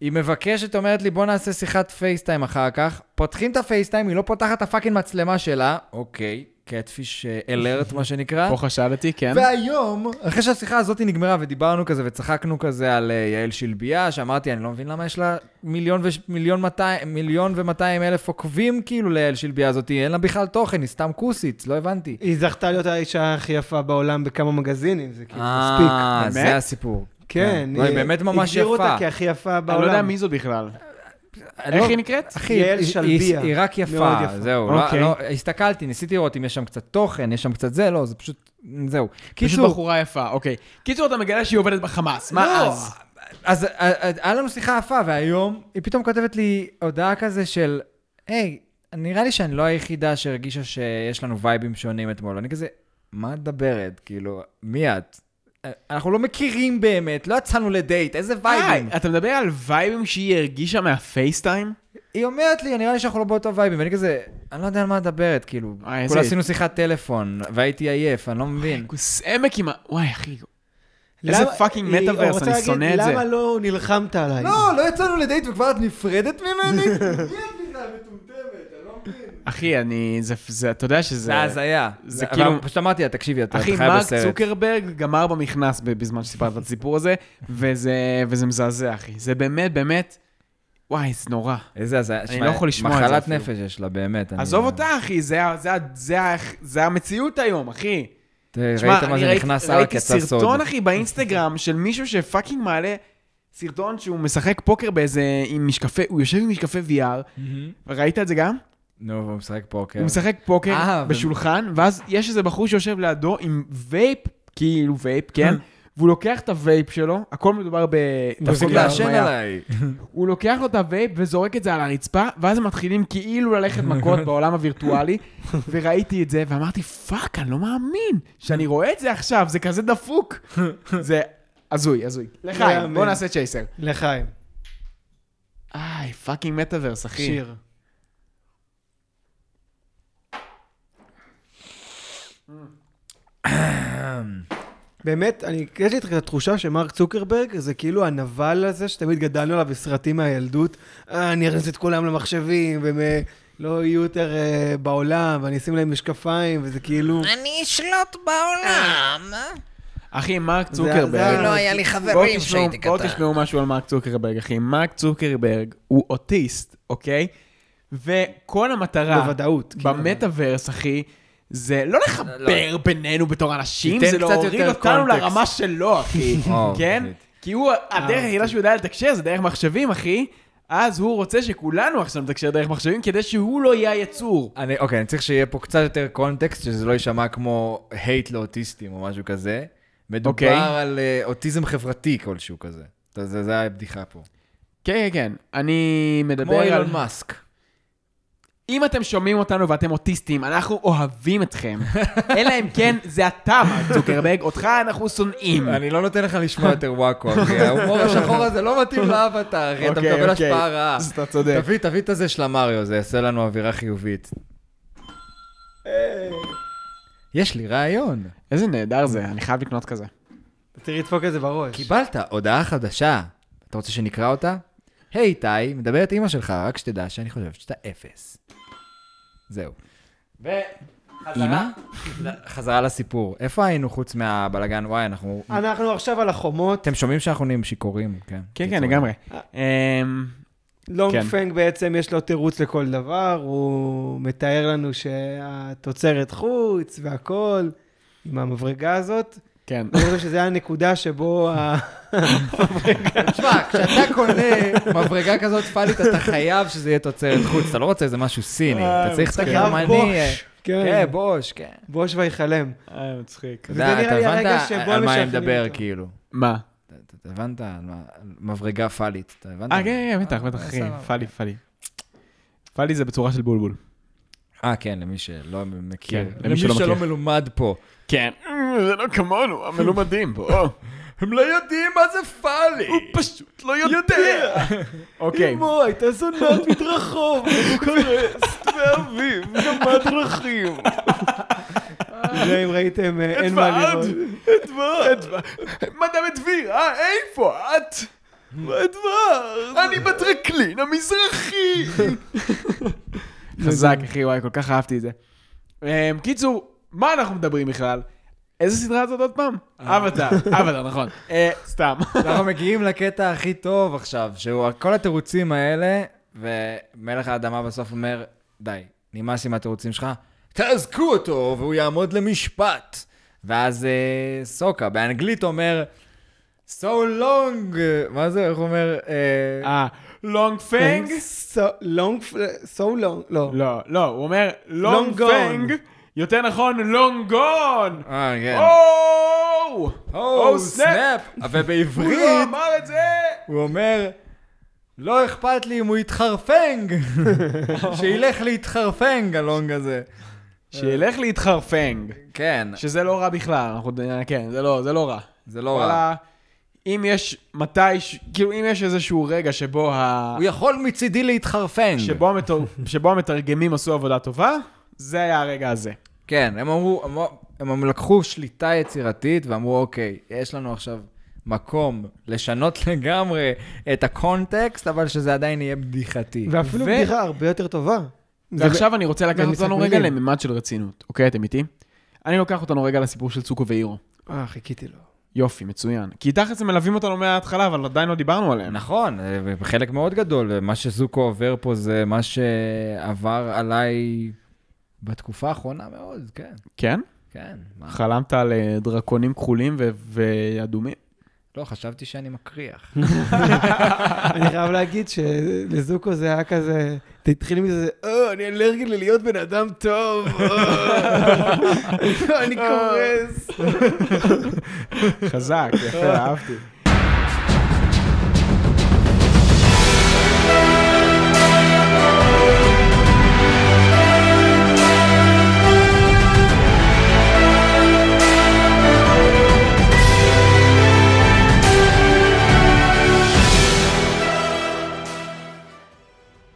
S2: היא מבקשת, אומרת לי, בוא נעשה שיחת פייסטיים אחר כך. פותחים את הפייסטיים, היא לא פותחת את הפאקינג מצלמה שלה, אוקיי, קטפיש אלרט, מה שנקרא.
S1: פה חשדתי, כן.
S2: והיום, אחרי שהשיחה הזאת נגמרה ודיברנו כזה וצחקנו כזה על אה, יעל שלביה, שאמרתי, אני לא מבין למה יש לה מיליון וש- מיליון 200 מיליון ומאתיים אלף עוקבים כאילו ליעל שלביה הזאת, אין לה בכלל תוכן, היא סתם כוסיץ, לא הבנתי.
S3: היא זכתה להיות האישה הכי יפה בעולם בכמה מגזינים, זה כאילו מספיק.
S2: אה,
S1: באמת?
S2: זה הסיפור.
S3: כן,
S2: לא, היא באמת ממש
S3: הגדירו
S2: יפה.
S3: אותה כהכי יפה
S1: אני לא
S3: בעולם.
S1: יודע מי זאת בכלל. איך היא נקראת?
S2: לא, אחי,
S3: יעל
S2: היא-
S3: שלביה.
S2: היא- היא רק
S3: מאוד
S2: יפה,
S3: יפה.
S2: זהו. לא-
S1: אוקיי.
S2: לא, הסתכלתי, ניסיתי לראות אם יש שם קצת תוכן, יש שם קצת זה, לא, זה פשוט, זהו.
S1: פשוט
S2: קיצור,
S1: בחורה יפה, אוקיי. קיצור, אתה מגלה שהיא עובדת בחמאס, מה
S2: לא,
S1: אז?
S2: אז אה, אה, היה לנו שיחה יפה, והיום היא פתאום כותבת לי הודעה כזה של, היי, נראה לי שאני לא היחידה שהרגישה שיש לנו וייבים שונים אתמול. אני כזה, מה את מדברת? כאילו, מי את? אה, אנחנו לא מכירים באמת, לא יצאנו לדייט, איזה וייבים.
S1: אה, אתה מדבר על וייבים שהיא הרגישה מהפייסטיים?
S2: היא אומרת לי, נראה לי שאנחנו לא באותו וייבים, ואני כזה, אני לא יודע על מה את מדברת, כאילו,
S1: אה, איזה-
S2: כולה עשינו שיחת טלפון, והייתי עייף, אני לא מבין.
S1: כוס עמק עם ה... וואי, אחי.
S3: למה-
S1: איזה פאקינג
S3: היא-
S1: מטאוורס,
S3: רוצה
S1: אני
S3: להגיד,
S1: שונא את זה.
S3: למה לא נלחמת עליי?
S2: לא יצאנו לדייט וכבר את נפרדת ממני? לא
S1: אחי, אני... זה- זה... אתה יודע שזה...
S2: זה הזיה.
S1: זה
S2: זה
S1: כאילו-
S2: כאילו... פשוט אמרתי לה, תקשיבי, אתה אתה
S1: אחי,
S2: חי
S1: מרק
S2: בסרט.
S1: צוקרברג גמר במכנס ב- בזמן שסיפרת את הסיפור הזה, וזה וזה מזעזע, אחי. זה באמת, באמת... וואי, זה נורא.
S2: איזה הזיה.
S1: אני
S2: שמע,
S1: לא יכול לשמוע את זה
S2: מחלת
S1: אפילו.
S2: נפש יש לה, באמת. אני-
S1: עזוב אותה, אחי, זה ה- זה ה- זה ה- זה המציאות היום, אחי.
S2: ת- ראית
S1: תשמע,
S2: מה
S1: אני
S2: זה
S1: ראיתי-
S2: נכנס רק
S1: ראיתי
S2: יצא סוד.
S1: סרטון, אחי, באינסטגרם של מישהו שפאקינג מעלה סרטון שהוא משחק פוקר באיזה... עם משקפי... הוא יושב עם משקפי VR, ראית את זה גם?
S2: נו, והוא משחק פוקר.
S1: הוא משחק פוקר
S2: כן. אה, ו-
S1: בשולחן, ואז יש איזה בחור שיושב לידו עם וייפ, כאילו וייפ, כן?
S2: אה.
S1: והוא לוקח את הווייפ שלו, הכל מדובר ב...
S2: תפסיק
S1: תפסיק
S2: לעשן
S1: להרמיה.
S2: עליי.
S1: הוא לוקח לו את הווייפ וזורק את זה על הרצפה, ואז הם מתחילים כאילו ללכת מכות בעולם הווירטואלי, וראיתי את זה, ואמרתי, פאק, אני לא מאמין שאני רואה את זה עכשיו, זה כזה דפוק. זה הזוי, הזוי. לחיים,
S3: יאמן.
S1: בוא נעשה צ'ייסר.
S3: לחיים,
S1: איי, פאקינג מטאוורס, אחי.
S3: שיר. באמת, אני, יש לי את התחושה שמרק צוקרברג זה כאילו הנבל הזה שתמיד גדלנו עליו בסרטים מהילדות. אה, אני אכניס את כולם למחשבים, והם אה, לא יהיו יותר אה, בעולם, ואני אשים להם משקפיים, וזה כאילו...
S5: אני אשלוט בעולם.
S1: אחי, מרק
S3: זה- זה-
S1: צוקרברג.
S5: לא היה לי חברים שהייתי
S1: בואו
S5: קטן.
S1: אה, תשמעו משהו על מרק צוקרברג, אחי. מרק צוקרברג הוא אוטיסט, אוקיי? וכל המטרה...
S3: בוודאות, כן.
S1: במטאוורס, אחי, זה לא לחבר בינינו בתור אנשים,
S2: תיתן
S1: זה
S2: קצת
S1: להוריד
S2: יותר
S1: אותנו
S2: קונטקסט.
S1: לרמה שלו, אחי.
S2: או,
S1: כן?
S2: באמת.
S1: כי הוא, הדרך היחידה שהוא יודע לתקשר זה דרך מחשבים, אחי. אז הוא רוצה שכולנו עכשיו נתקשר דרך מחשבים, כדי שהוא לא יהיה היצור.
S2: אני, אוקיי, אני צריך שיהיה פה קצת יותר קונטקסט, שזה לא יישמע כמו hate לאוטיסטים או משהו כזה. מדובר
S1: אוקיי.
S2: על אה, אוטיזם חברתי כלשהו כזה. אתה- זה זה הבדיחה פה.
S1: כן, כן, כן. אני מדבר
S2: כמו
S1: על... Hmm.
S2: אילון מאסק.
S1: אם אתם שומעים אותנו ואתם אוטיסטים, אנחנו אוהבים אתכם. אלא אם כן, זה אתה, מרק צוקרברג, אותך אנחנו שונאים.
S2: אני לא נותן לך לשמוע יותר וואקו, אחי. ההומור השחור הזה לא מתאים לאבטר, אחי. אתה
S1: אוקיי,
S2: מקבל
S1: אוקיי.
S2: השפעה רעה.
S1: אז אתה צודק.
S2: תביא, תביא את הזה של המריו, זה יעשה לנו אווירה חיובית. יש לי רעיון.
S1: איזה נהדר זה, אני חייב לקנות כזה.
S3: תראי לדפוק את זה בראש.
S2: קיבלת הודעה חדשה. אתה רוצה שנקרא אותה? היי, איתי, מדברת אימא שלך, רק שתדע שאני חושבת שאתה אפס. זהו. אימא? חזרה לסיפור. איפה היינו חוץ מהבלגן? וואי, אנחנו...
S3: אנחנו עכשיו על החומות.
S2: אתם שומעים שאנחנו נהיים שיכורים, כן.
S1: כן, כן, לגמרי. אמ,
S3: לונג
S1: כן.
S3: פנג בעצם יש לו תירוץ לכל דבר, הוא מתאר לנו שהתוצרת חוץ והכול, עם המברגה הזאת.
S1: כן.
S3: אני חושב שזו הנקודה שבו ה-
S2: תשמע, כשאתה קונה מברגה כזאת פאלית, אתה חייב שזה יהיה תוצרת חוץ. אתה לא רוצה איזה משהו סיני,
S1: אה,
S2: אתה צריך את הגרמני. אה,
S3: כן,
S2: כן, בוש, כן.
S3: בוש ויחלם.
S1: אה, מצחיק.
S2: אתה
S3: וזה
S2: יודע,
S3: נראה
S2: אתה
S3: לי
S2: הבנת
S3: הרגע שבו
S2: על מה אני
S3: משכנעים
S2: מדבר,
S3: אותו.
S2: כאילו.
S1: מה?
S2: אתה- אתה- אתה הבנת על מה- על מברגה פאלית, אתה הבנת?
S1: אה, כן, כן, בטח, בטח, אחי.
S2: סבבה.
S1: פאלי, פאלי. פאלי זה בצורה של בולבול.
S2: אה, כן, למי שלא מכיר.
S1: כן,
S2: למי
S1: למי שלא
S2: שלא
S1: מכיר.
S2: מלומד פה.
S1: כן. זה לא כמונו, המלומדים פה.
S2: הם לא יודעים מה זה פאלי.
S1: פשוט לא יודע. אוקיי,
S3: אמו, הייתה זונת מדרחוב, בוקרסט ואביב, כמה דרכים. זה אם ראיתם, אה, אין מה
S1: ועד.
S3: לראות.
S1: אדוארד, מדאם אדביר, אה, איפה את? אדוארד. אני בטרקלין המזרחי. חזק, אחי, וואי, כל כך אהבתי את זה. אמ, קיצור, מה אנחנו מדברים בכלל? איזה סדרה זאת עוד פעם? אבטאר, אה. אבטאר, נכון. אה, סתם.
S2: אנחנו מגיעים לקטע הכי טוב עכשיו, שהוא כל התירוצים האלה, ומלך האדמה בסוף אומר, די, נמאס עם התירוצים שלך, תאזקו אותו והוא יעמוד למשפט. ואז אה, סוקה באנגלית אומר, so long, אה, מה זה, איך הוא אומר? אה,
S1: אה, לונג פנג?
S3: לונג, סו לונג, לא.
S1: לא, לא, הוא אומר לונג
S3: Long gone.
S1: פנג, יותר נכון לונג גון.
S2: אה,
S1: Oh,
S2: כן.
S1: או!
S2: או,
S1: Oh, snap.
S2: סנאפ.
S1: הוא לא
S2: ובעברית
S1: אמר את זה!
S2: הוא אומר, לא אכפת לי אם הוא יתחרפנג, שילך להתחרפנג, הלונג הזה.
S1: שילך להתחרפנג,
S2: כן,
S1: שזה לא רע בכלל, אנחנו, כן, זה לא, זה לא רע.
S2: זה לא רע.
S1: וואלה, אם יש מתי, ש- כאילו אם יש איזשהו רגע שבו, ה...
S2: הוא יכול מצידי להתחרפן.
S1: שבו, המתור... שבו המתרגמים עשו עבודה טובה, זה היה הרגע הזה.
S2: כן, הם אמרו, הם, הם, הם לקחו שליטה יצירתית ואמרו, אוקיי, יש לנו עכשיו מקום לשנות לגמרי את הקונטקסט, אבל שזה עדיין יהיה בדיחתי.
S3: ואפילו
S1: ו-
S3: בדיחה הרבה יותר טובה.
S1: ועכשיו אני רוצה לקחת
S3: ומשחק
S1: אותנו רגע
S3: מילים.
S1: לממד של רצינות, אוקיי? אתם איתי? אני לוקח אותנו רגע לסיפור של צוקו ואירו.
S3: אה, חיכיתי לו.
S1: יופי, מצוין. כי תכלס הם מלווים אותנו מההתחלה, אבל עדיין לא דיברנו עליהם.
S2: נכון, חלק מאוד גדול, מה שזוקו עובר פה זה מה שעבר עליי בתקופה האחרונה מאוד, כן,
S1: כן?
S2: כן. מה?
S1: חלמת על אה, דרקונים כחולים ו- ואדומים?
S2: לא, חשבתי שאני מקריח.
S3: אני חייב להגיד שלזוקו זה היה כזה, אתה התחיל מזה, אה, אני אלרגי ללהיות בן אדם טוב, אה, אני קורס.
S1: חזק, יפה, אהבתי.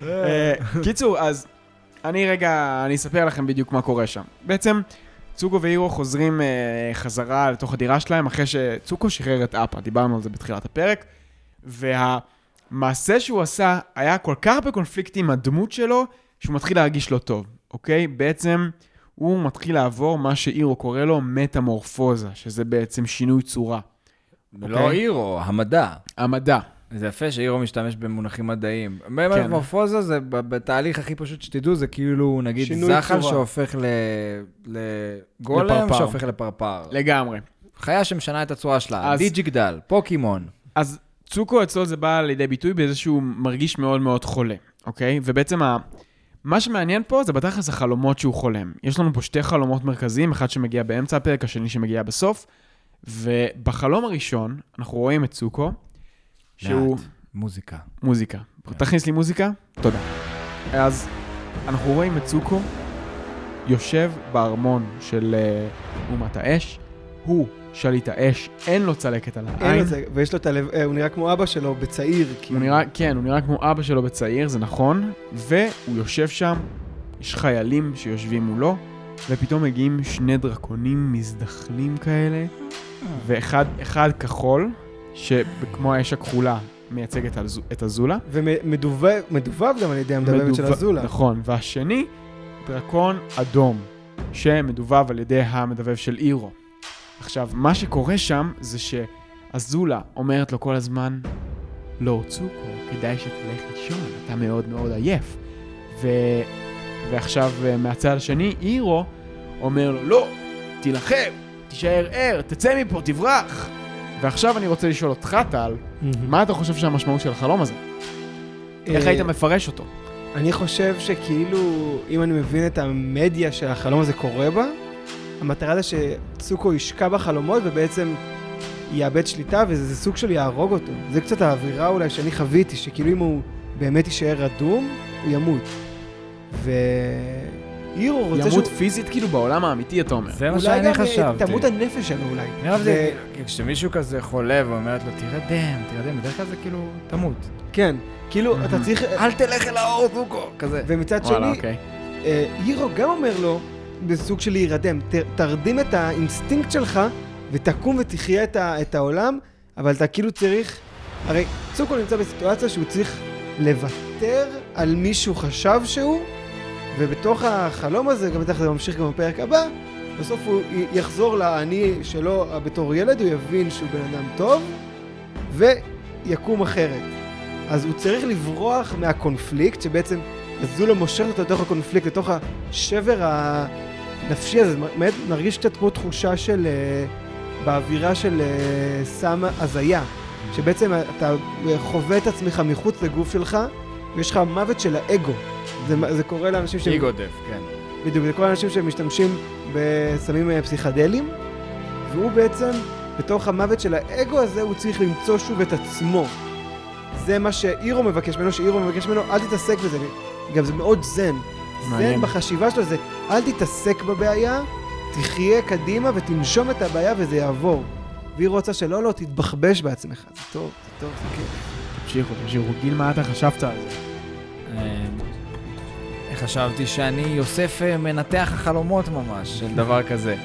S1: אה, קיצור, אז אני רגע, אני אספר לכם בדיוק מה קורה שם. בעצם, צוקו ואירו חוזרים אה, חזרה לתוך הדירה שלהם אחרי שצוקו שחרר את אפה, דיברנו על זה בתחילת הפרק, והמעשה שהוא עשה היה כל כך בקונפליקט עם הדמות שלו, שהוא מתחיל להרגיש לא טוב, אוקיי? בעצם הוא מתחיל לעבור מה שאירו קורא לו מטמורפוזה, שזה בעצם שינוי צורה.
S3: אוקיי.
S2: לא אירו, המדע.
S1: המדע.
S2: זה יפה שאירו משתמש במונחים מדעיים.
S3: כן.
S2: ממורפוזה זה ב- בתהליך הכי פשוט שתדעו, זה כאילו נגיד
S3: שינוי
S2: זחל
S3: צורה.
S2: שהופך ל- לגולם
S1: לפרפר.
S2: שהופך לפרפר.
S1: לגמרי.
S2: חיה שמשנה את הצורה שלה,
S1: אז-
S2: דיג'יגדל, פוקימון.
S1: אז צוקו אצלו זה בא לידי ביטוי באיזה שהוא מרגיש מאוד מאוד חולה, אוקיי? ובעצם ה... מה שמעניין פה זה בתכלס החלומות שהוא חולם. יש לנו פה שתי חלומות מרכזיים, אחד שמגיע באמצע הפרק, השני שמגיע בסוף, ובחלום הראשון אנחנו רואים את צוקו, שהוא...
S2: לאט, מוזיקה.
S1: מוזיקה. תכניס לי מוזיקה, תודה. אז אנחנו רואים את צוקו יושב בארמון של אה, אומת האש, הוא שליט האש, אין לו צלקת על העין.
S3: אין לו כאילו זה, ויש לו את הלב, אה, הוא נראה כמו אבא שלו בצעיר,
S1: אה, הוא
S3: כאילו.
S1: נראה, כן, הוא נראה כמו אבא שלו בצעיר, זה נכון, והוא יושב שם, יש חיילים שיושבים מולו, ופתאום מגיעים שני דרקונים מזדחלים כאלה, ואחד אחד כחול, שכמו האש הכחולה, מייצג את, הזו, את הזולה.
S3: ומדובב מדובב כאילו. גם על ידי המדבבת של
S1: מדובב-
S3: הזולה.
S1: נכון, והשני, דרקון אדום. שמדובב על ידי המדבב של אירו. עכשיו, מה שקורה שם זה שאזולה אומרת לו כל הזמן, לא, צוקו, כדאי שתלך לישון, אתה מאוד מאוד עייף. ו... ועכשיו, אה, מהצד השני, אירו אומר לו, לא, תילחם, תישאר ער, תצא מפה, תברח. ועכשיו אני רוצה לשאול אותך, טל, מה אתה חושב שהמשמעות של החלום הזה? איך
S3: אה,
S1: היית מפרש אותו?
S3: אני חושב שכאילו, אם אני מבין את המדיה שהחלום הזה קורה בה, המטרה זה שצוקו ישקע בחלומות ובעצם יאבד שליטה, וזה סוג של יהרוג אותו. זה קצת האווירה אולי שאני חוויתי, שכאילו אם הוא באמת יישאר אדום, הוא ימות. ואירו רוצה
S1: ימות פיזית כאילו בעולם האמיתי, אתה אומר.
S2: זה מה
S3: אולי גם
S2: שאני
S3: אה,
S2: חשבתי.
S3: תמות הנפש שלו אולי.
S2: אני אוהב את זה,
S3: ו-
S2: כי כשמישהו כזה חולה ואומרת לו, תירדם, תירדם, בדרך כלל זה כאילו, תמות.
S3: כן, כאילו, אתה צריך...
S2: אל תלך אל האור, זוקו, כזה.
S3: ומצד
S1: וואלה,
S3: שני,
S1: אוקיי.
S3: אה, הירו גם אומר לו, בסוג של להירדם, ת- תרדים את האינסטינקט שלך ותקום ותחיה את, ה, את העולם, אבל אתה כאילו צריך, הרי צוקו נמצא בסיטואציה שהוא צריך לוותר על מי שהוא חשב שהוא, ובתוך החלום הזה, גם בטח זה ממשיך גם בפרק הבא, בסוף הוא י- יחזור לאני שלו בתור ילד, הוא יבין שהוא בן אדם טוב, ויקום אחרת. אז הוא צריך לברוח מהקונפליקט, שבעצם אזולה מושך אותו לתוך הקונפליקט, לתוך השבר הנפשי הזה. מ- באמת מרגיש קצת כמו תחושה של... אה, באווירה של אה, סם הזיה, שבעצם אתה חווה את עצמך מחוץ לגוף שלך, ויש לך מוות של האגו. זה, זה קורה לאנשים שהם-
S2: איגו דף, כן.
S3: בדיוק, זה כל האנשים שמשתמשים בסמים אה, פסיכדליים, והוא בעצם, בתוך המוות של האגו הזה, הוא צריך למצוא שוב את עצמו. זה מה שאירו מבקש ממנו, שאירו מבקש ממנו, אל תתעסק בזה. גם זה מאוד זן.
S1: מעניין.
S3: זן בחשיבה שלו זה, אל תתעסק בבעיה, תחיה קדימה ותנשום את הבעיה וזה יעבור. והיא רוצה שלא, לא, תתבחבש בעצמך. זה טוב, זה טוב, זה כן. כיף.
S1: תמשיכו, תמשיכו. גיל, מה אתה חשבת על זה?
S2: אה, חשבתי שאני יוסף אה, מנתח החלומות ממש,
S3: Mm-hmm.
S2: של דבר כזה.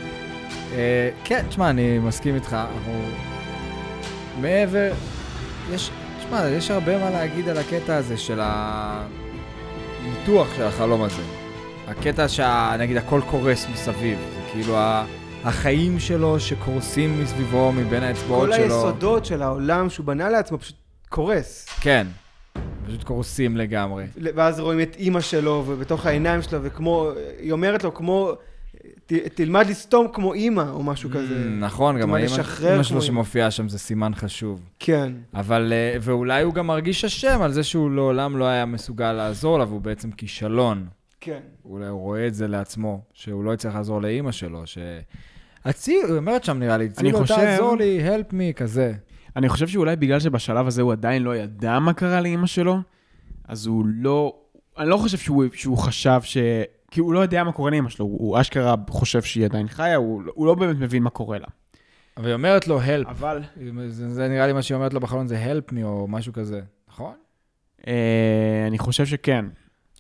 S2: אה, כן, תשמע, אני מסכים איתך, אנחנו... מעבר... יש... תשמע, יש הרבה מה להגיד על הקטע הזה של הניתוח של החלום הזה. הקטע שה... נגיד, הכל קורס מסביב. זה כאילו ה... החיים שלו שקורסים מסביבו, מבין האצבעות
S3: כל
S2: שלו.
S3: היסודות של העולם שהוא בנה לעצמו פשוט קורס.
S2: כן. פשוט קורסים לגמרי.
S3: ואז רואים את אימא שלו, ובתוך העיניים שלו, וכמו, היא אומרת לו, כמו, ת, תלמד לסתום כמו אימא, או משהו כזה.
S2: Mm, נכון, גם
S3: כלומר,
S2: האמא
S3: לשחרר
S2: אמא שלו
S3: כמו-
S2: שמופיעה שם זה סימן חשוב.
S3: כן.
S2: אבל, אה, ואולי הוא גם מרגיש אשם על זה שהוא לעולם לא היה מסוגל לעזור לה, והוא בעצם כישלון.
S3: כן.
S2: אולי הוא רואה את זה לעצמו, שהוא לא יצטרך לעזור לאימא שלו, ש... הציל, היא אומרת שם נראה לי,
S1: אני
S2: הצילו,
S1: חושב-
S2: תעזור לי, help me, כזה.
S1: אני חושב שאולי בגלל שבשלב הזה הוא עדיין לא ידע מה קרה לאימא שלו, אז הוא לא... אני לא חושב שהוא, שהוא חשב ש... כי הוא לא יודע מה קורה לאימא שלו, הוא, הוא אשכרה חושב שהיא עדיין חיה, הוא, לא- הוא לא באמת מבין מה קורה לה.
S2: אבל היא אומרת לו, help.
S1: אבל...
S2: זה, זה נראה לי מה שהיא אומרת לו בחלון, זה help me או משהו כזה, נכון?
S1: אה, אני חושב שכן.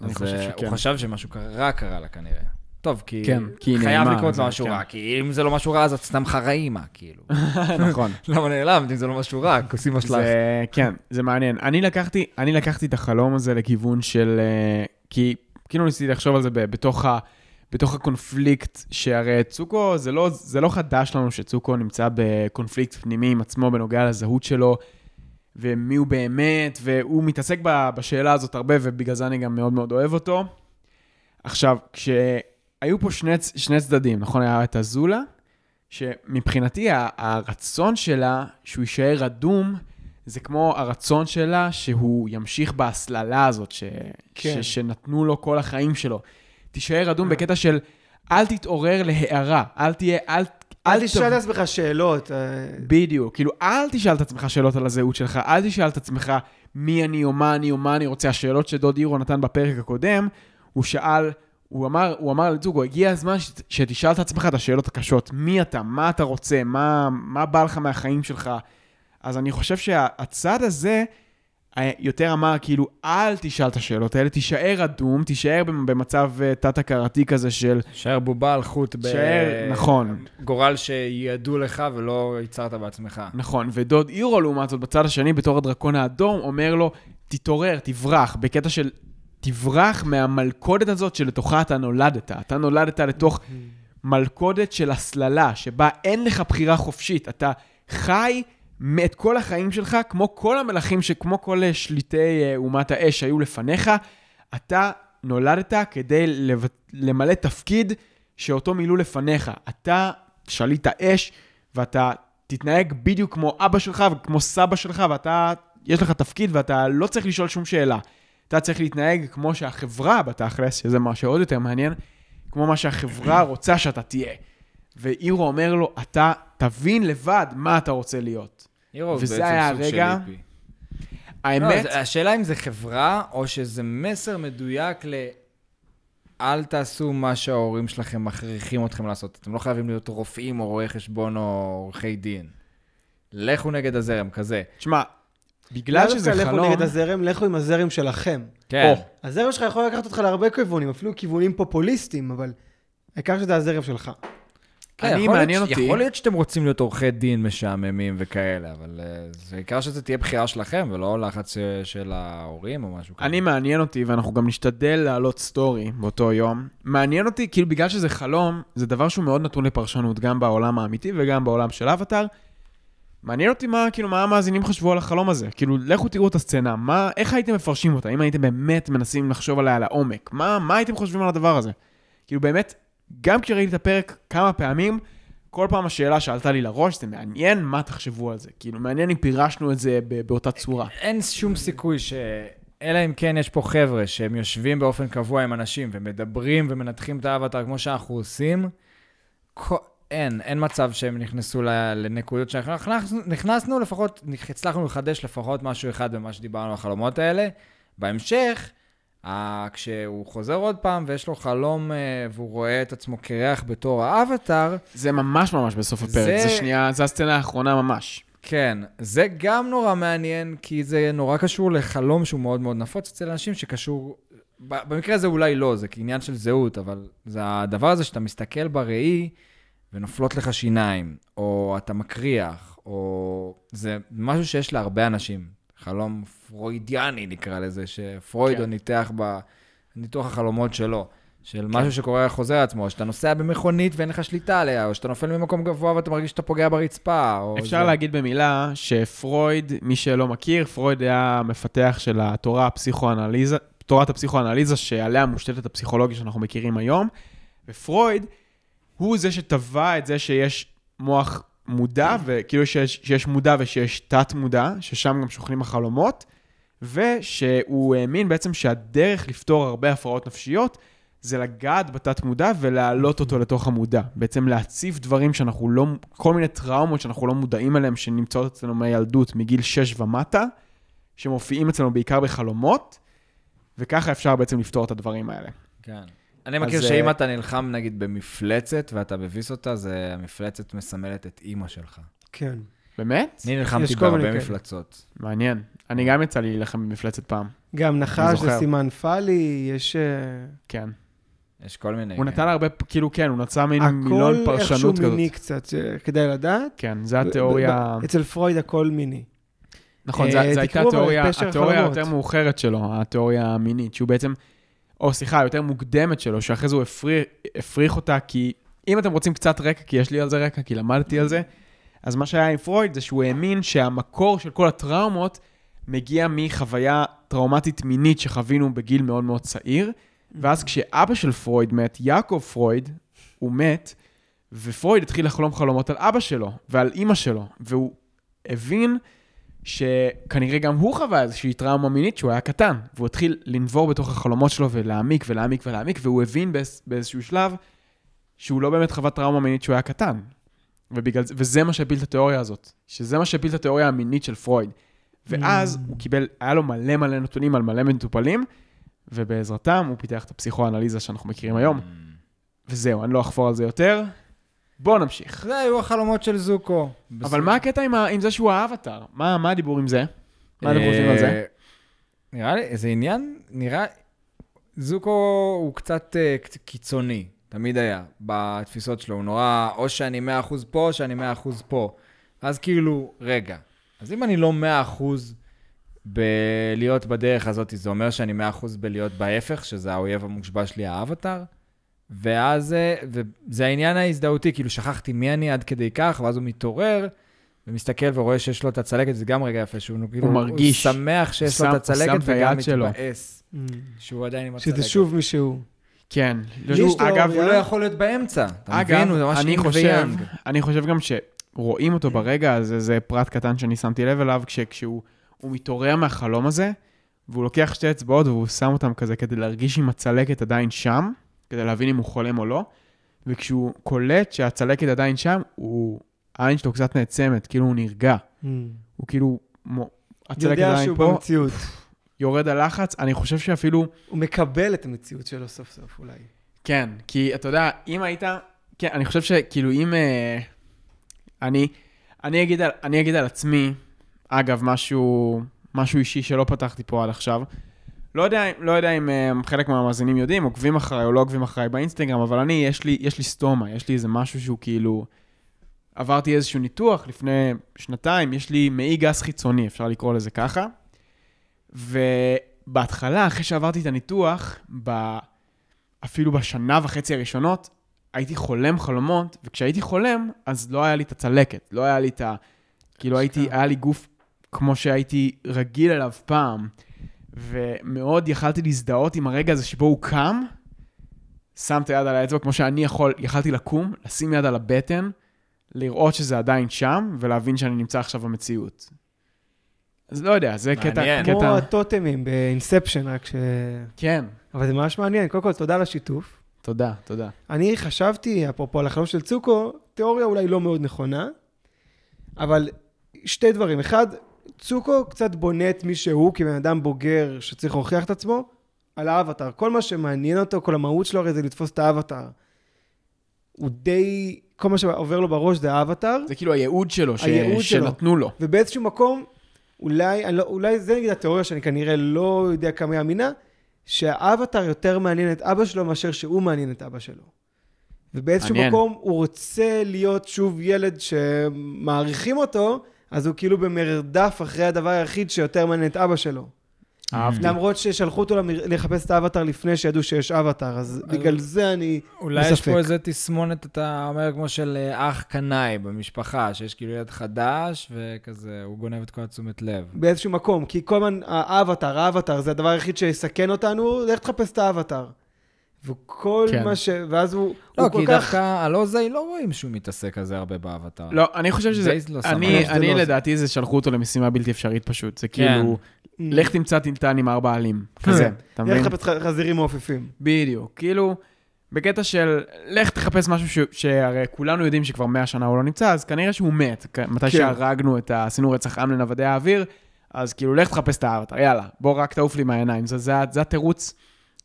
S1: אני
S2: אז
S1: חושב
S2: אה,
S1: שכן.
S2: הוא חשב שמשהו רע קרה לה כנראה. טוב, כי,
S1: כן, כי היא
S2: חייב
S1: נעימה,
S2: לקרות לו
S1: אז-
S2: משהו
S1: כן.
S2: רע, כי אם זה לא משהו רע, אז את סתם חראים, כאילו.
S1: נכון.
S2: למה נעלמת אם זה לא משהו רע? כוסים אשלח.
S1: זה, כן, זה מעניין. אני לקחתי, אני לקחתי את החלום הזה לכיוון של... אה, כי כאילו ניסיתי לחשוב על זה ב- בתוך, ה, בתוך הקונפליקט, שהרי צוקו, זה לא, זה לא חדש לנו שצוקו נמצא בקונפליקט פנימי עם עצמו בנוגע לזהות שלו, ומי הוא באמת, והוא מתעסק ב, בשאלה הזאת הרבה, ובגלל זה אני גם מאוד מאוד אוהב אותו. עכשיו, כשהיו פה שני, צ- שני צדדים, נכון? היה את אזולה, שמבחינתי ה- הרצון שלה שהוא יישאר אדום, זה כמו הרצון שלה שהוא ימשיך בהסללה הזאת ש...
S3: כן. אה.
S1: ש... שנתנו לו כל החיים שלו. תישאר אדום בקטע של אל תתעורר להערה, אל תהיה, אל...
S3: אל תשאל
S1: תב-
S3: את עצמך שאלות. אה,
S1: בדיוק, כאילו, אל תשאל את עצמך שאלות על הזהות שלך, אל תשאל את עצמך מי אני או מה אני או מה אני רוצה. השאלות שדוד אירו נתן בפרק הקודם, הוא שאל, הוא אמר, הוא אמר לזוגו, הגיע הזמן ש- שתשאל את עצמך את השאלות הקשות, מי אתה, מה אתה רוצה, מה, מה בא לך מהחיים שלך. אז אני חושב שהצד הזה אה, יותר אמר, כאילו, אל תשאל את השאלות האלה, תישאר אדום, תישאר במצב אה, תת-הכרתי כזה של
S2: שער בובה על חוט ב...
S1: תישאר, נכון.
S2: גורל שידעו לך ולא ייצרת בעצמך.
S1: נכון, ודוד אירו לעומת זאת בצד השני בתור הדרקון האדום אומר לו, תתעורר, תברח, בקטע של תברח מהמלכודת הזאת שלתוכה אתה נולדת. אתה נולדת לתוך מלכודת של הסללה, שבה אין לך בחירה חופשית. אתה חי את כל החיים שלך, כמו כל המלכים, שכמו כל אה, שליטי אה, אומת האש שהיו לפניך, אתה נולדת כדי לב... למלא תפקיד שאותו מילאו לפניך. אתה שליט האש, ואתה תתנהג בדיוק כמו אבא שלך וכמו סבא שלך, ואתה, יש לך תפקיד ואתה לא צריך לשאול שום שאלה. אתה צריך להתנהג כמו שהחברה בתכלס, שזה מה שעוד יותר מעניין, כמו מה שהחברה רוצה שאתה תהיה. ואירו אומר לו, אתה תבין לבד מה אתה רוצה להיות.
S2: הירו הוא
S1: וזה
S2: בעצם
S1: היה
S2: סוג
S1: הרגע-
S2: של AP. לא,
S1: האמת,
S2: זה- השאלה אם זה חברה, או שזה מסר מדויק ל... אל תעשו מה שההורים שלכם מכריחים אתכם לעשות. אתם לא חייבים להיות רופאים או רואי חשבון או עורכי דין. לכו נגד הזרם, כזה.
S1: תשמע,
S2: לא
S1: בגלל שזה
S3: לאו דווקא לכו
S1: חלום,
S3: לא נגד הזרם, לכו עם הזרם שלכם.
S2: כן.
S1: או.
S3: הזרם שלך יכול לקחת אותך להרבה כיוונים, אפילו כיוונים פופוליסטיים, אבל העיקר שזה הזרם שלך.
S2: כן,
S1: אני,
S2: יכול
S1: מעניין
S2: להיות,
S1: אותי.
S2: יכול להיות שאתם רוצים להיות עורכי דין משעממים וכאלה, אבל אה, זה העיקר שזה תהיה בחירה שלכם, ולא לחץ אה, של ההורים או משהו כזה.
S1: אני מעניין אותי, ואנחנו גם נשתדל להעלות סטורי באותו יום. מעניין אותי, כאילו בגלל שזה חלום, זה דבר שהוא מאוד נתון לפרשנות, גם בעולם האמיתי וגם בעולם של אבטאר. מעניין אותי מה, כאילו, מה המאזינים חשבו על החלום הזה. כאילו, לכו תראו את הסצנה, מה, איך הייתם מפרשים אותה? אם הייתם באמת מנסים לחשוב עליה לעומק, מה, מה הייתם חושבים על הדבר הזה? כאילו, באמת, גם כשראיתי את הפרק כמה פעמים, כל פעם השאלה שעלתה לי לראש, זה מעניין מה תחשבו על זה. כאילו, מעניין אם פירשנו את זה ב- באותה צורה.
S2: אין שום סיכוי ש... אלא אם כן יש פה חבר'ה שהם יושבים באופן קבוע עם אנשים ומדברים ומנתחים את האבטר כמו שאנחנו עושים, כל... אין, אין מצב שהם נכנסו ל... לנקודות שאנחנו נכנסנו, נכנסנו, לפחות הצלחנו לחדש לפחות משהו אחד במה שדיברנו על החלומות האלה. בהמשך, ה... כשהוא חוזר עוד פעם ויש לו חלום אה, והוא רואה את עצמו קרח בתור האבטר,
S1: זה ממש ממש בסוף הפרק,
S2: זה-
S1: זה, שנייה, זו הסצנה האחרונה ממש.
S2: כן, זה גם נורא מעניין, כי זה נורא קשור לחלום שהוא מאוד מאוד נפוץ אצל אנשים שקשור... ב- במקרה הזה אולי לא, זה כעניין של זהות, אבל זה הדבר הזה שאתה מסתכל בראי ונופלות לך שיניים, או אתה מקריח, או... זה משהו שיש להרבה אנשים. חלום פרוידיאני נקרא לזה, שפרויד
S1: כן.
S2: כן. ניתח בניתוח החלומות שלו. של
S1: כן.
S2: משהו שקורה חוזר עצמו, או שאתה נוסע במכונית ואין לך שליטה עליה, או שאתה נופל ממקום גבוה ואתה מרגיש שאתה פוגע ברצפה, או...
S1: אפשר
S2: זה...
S1: להגיד במילה שפרויד, מי שלא מכיר, פרויד היה המפתח של התורה הפסיכואנליזה, תורת הפסיכואנליזה שעליה מושתתת הפסיכולוגיה שאנחנו מכירים היום, ופרויד הוא זה שטבע את זה שיש מוח מודע, וכאילו שיש, שיש מודע ושיש תת-מודע, ששם גם שוכנים החלומות, ושהוא האמין בעצם שהדרך לפתור הרבה הפרעות נפשיות זה לגעת בתת-מודע ולהעלות אותו לתוך המודע. בעצם להציף דברים שאנחנו לא, כל מיני טראומות שאנחנו לא מודעים אליהן, שנמצאות אצלנו מהילדות, מגיל 6 ומטה, שמופיעים אצלנו בעיקר בחלומות, וככה אפשר בעצם לפתור את הדברים האלה.
S2: כן. אני מכיר
S1: אז,
S2: שאם
S1: אה,
S2: אתה נלחם, נגיד, במפלצת, ואתה מביס אותה, זה המפלצת מסמלת את אימא שלך.
S3: כן.
S1: באמת?
S2: אני נלחמתי
S3: יש כל מיני
S2: בהרבה
S3: כאלה.
S2: מפלצות.
S1: מעניין. אני גם יצא לי להילחם במפלצת פעם.
S3: גם
S1: אני
S3: נחש
S1: זוכר.
S3: זה סימן פאלי, יש... אה,
S1: כן.
S2: יש כל מיני.
S1: הוא
S2: כן.
S1: נתן הרבה, כאילו, כן, הוא נצא מין מילון
S3: הכל איכשהו
S1: פרשנות כזאת.
S3: מיני קצת, שכדאי לדעת.
S1: כן, זו התיאוריה...
S3: ב- ב- אצל פרויד הכל מיני.
S1: נכון,
S3: אה,
S1: זו
S3: תקראו
S1: הייתה
S3: על
S1: התיאוריה,
S3: פשר
S1: התיאוריה
S3: החלומות.
S1: היותר מאוחרת שלו, התיאוריה המינית, שהוא בעצם, או סליחה, היותר מוקדמת שלו, שאחרי זה הוא הפריך, הפריך אותה, כי אם אתם רוצים קצת רקע, כי יש לי על זה רקע, כי למדתי על זה, אז מה שהיה עם פרויד זה שהוא האמין שהמקור של כל הטראומות מגיע מחוויה טראומטית מינית שחווינו בגיל מאוד מאוד צעיר, ואז כשאבא של פרויד מת, יעקב פרויד, הוא מת, ופרויד התחיל לחלום חלומות על אבא שלו ועל אימא שלו, והוא הבין שכנראה גם הוא חווה איזושהי טראומה מינית שהוא היה קטן, והוא התחיל לנבור בתוך החלומות שלו ולהעמיק ולהעמיק ולהעמיק, והוא הבין באיז, באיזשהו שלב שהוא לא באמת חווה טראומה מינית שהוא היה קטן. ובגלל, זה- וזה מה שהפיל את התיאוריה הזאת, שזה מה שהפיל את התיאוריה המינית של פרויד. ואז הוא קיבל, היה לו מלא מלא נתונים על מלא מטופלים, ובעזרתם הוא פיתח את הפסיכואנליזה שאנחנו מכירים היום.
S2: Mm.
S1: וזהו, אני לא אחפור על זה יותר. בואו נמשיך.
S2: זה היו החלומות של זוקו.
S1: אבל מה הקטע עם, ה... עם זה שהוא האבטר? מה, מה הדיבור עם זה? מה אתם
S2: אה,
S1: חושבים על זה?
S2: נראה לי, זה עניין, נראה... זוקו הוא קצת אה, קצ- קיצוני, תמיד היה, בתפיסות שלו. הוא נורא, או שאני 100% פה, או שאני 100% פה. אז כאילו, רגע, אז אם אני לא 100%, בלהיות בדרך הזאת, זה אומר שאני 100% בלהיות בהפך, שזה האויב המושבע שלי, האבטאר. ואז, אה, וזה העניין ההזדהותי, כאילו שכחתי מי אני עד כדי כך, ואז הוא מתעורר ומסתכל ורואה שיש לו את הצלקת, זה גם רגע יפה, שהוא כאילו,
S1: מרגיש.
S2: הוא שמח שיש לו
S1: הוא
S2: את
S1: שם-
S2: הצלקת
S1: שם את
S2: וגם
S1: היד שלו.
S2: מתבאס, שהוא עדיין עם הצלקת.
S3: שזה שוב מישהו.
S1: כן.
S3: לי יש תיאוריה.
S1: אגב,
S2: הוא לא יכול להיות באמצע, אתה מבין? הוא ממש
S1: אני
S2: אינג
S1: חושב,
S2: ויאנג.
S1: אני חושב גם שרואים
S2: Mm.
S1: אותו ברגע הזה, זה פרט קטן שאני שמתי לב אליו, כש- כשהוא הוא מתעורר מהחלום הזה, והוא לוקח שתי אצבעות והוא שם אותם כזה כדי להרגיש אם הצלקת עדיין שם, כדי להבין אם הוא חולם או לא, וכשהוא קולט שהצלקת עדיין שם, הוא, העין שלו קצת נעצמת, כאילו הוא נרגע. הוא כאילו, מו- הצלקת
S3: יודע
S1: עדיין
S3: שהוא
S1: פה,
S3: במציאות.
S1: יורד הלחץ, אני חושב שאפילו...
S3: הוא מקבל את המציאות שלו סוף סוף אולי.
S1: כן, כי אתה יודע, אם היית... כן, אני חושב שכאילו אם... אה, אני, אני, אגיד על, אני אגיד על עצמי, אגב, משהו, משהו אישי שלא פתחתי פה עד עכשיו. לא יודע, לא יודע אם אה, חלק מהמאזינים יודעים, עוקבים אחריי או לא עוקבים אחריי באינסטגרם, אבל אני, יש לי, יש לי סטומה, יש לי איזה משהו שהוא כאילו... עברתי איזשהו ניתוח לפני שנתיים, יש לי מעי גס חיצוני, אפשר לקרוא לזה ככה. ובהתחלה, אחרי שעברתי את הניתוח, ב... אפילו בשנה וחצי הראשונות, הייתי חולם חלומות, וכשהייתי חולם, אז לא היה לי את הצלקת, לא היה לי את ה... כאילו הייתי, היה לי גוף כמו שהייתי רגיל אליו פעם, ומאוד יכלתי להזדהות עם הרגע הזה שבו הוא קם, שם את היד על האצבע, כמו שאני יכול, יכלתי לקום, לשים יד על הבטן, לראות שזה עדיין שם, ולהבין שאני נמצא עכשיו במציאות. אז לא יודע, זה קטע...
S2: מעניין.
S1: קטע-
S3: כמו הטוטמים באינספשן, רק ש...
S1: כן,
S3: אבל זה ממש מעניין. קודם כל, תודה על השיתוף.
S1: תודה, תודה.
S3: אני חשבתי, אפרופו על החלום של צוקו, תיאוריה אולי לא מאוד נכונה, אבל שתי דברים. אחד, צוקו קצת בונה את מי שהוא כבן אדם בוגר שצריך להוכיח את עצמו, על האבטאר. כל מה שמעניין אותו, כל המהות שלו הרי זה לתפוס את האבטאר. הוא די... כל מה שעובר לו בראש זה האבטאר.
S1: זה כאילו הייעוד שלו, ש...
S3: הייעוד שלו.
S1: שנתנו לו.
S3: ובאיזשהו מקום, אולי, אני לא, אולי זה נגיד התיאוריה שאני כנראה לא יודע כמה היא אמינה, שהאבטר יותר מעניין את אבא שלו מאשר שהוא מעניין את אבא שלו. ובאיזשהו
S1: מעניין.
S3: מקום הוא רוצה להיות שוב ילד שמעריכים אותו, אז הוא כאילו במרדף אחרי הדבר היחיד שיותר מעניין את אבא שלו.
S1: אהבתי.
S3: למרות ששלחו אותו למר- לחפש את האבטר לפני שידעו שיש אבטר, אז בגלל זה אני
S2: אולי יש
S3: בספק.
S2: פה איזה תסמונת, אתה אומר, כמו של אה, אח קנאי במשפחה, שיש כאילו ילד חדש, וכזה, הוא גונב את כל התשומת לב.
S3: באיזשהו מקום, כי כל הזמן האבטר, האבטר, זה הדבר היחיד שיסכן אותנו, לך תחפש את האבטר. וכל
S1: כן.
S3: מה ש... ואז הוא,
S2: לא,
S3: הוא כל
S2: כי
S3: כך...
S2: דווקא על אוזי לא רואים שהוא מתעסק על זה הרבה באבטר.
S1: לא, אני חושב שזה...
S2: בייז לא שם עליו.
S1: אני,
S2: זה
S1: אני
S3: לא
S1: לדעתי, זה שלחו אותו למשימה בלתי אפשרית פשוט. זה
S2: כן.
S1: כאילו, לך תמצא טילטן עם ארבע עלים. כזה, אתה
S3: Mm. כן. לך
S1: מבין?
S3: תחפש ח- חזירים מעופפים.
S1: בדיוק. כאילו, בקטע של לך תחפש משהו ש... שהרי כולנו יודעים שכבר 100 שנה הוא לא נמצא, אז כנראה שהוא מת. כ-
S2: כן.
S1: מתי שהרגנו את ה... עשינו רצח עם לנוודי האוויר, אז כאילו, לך תחפש את האבטר, יאללה, בוא רק תעוף לי מהעיניים. זה- זה ה- זה התירוץ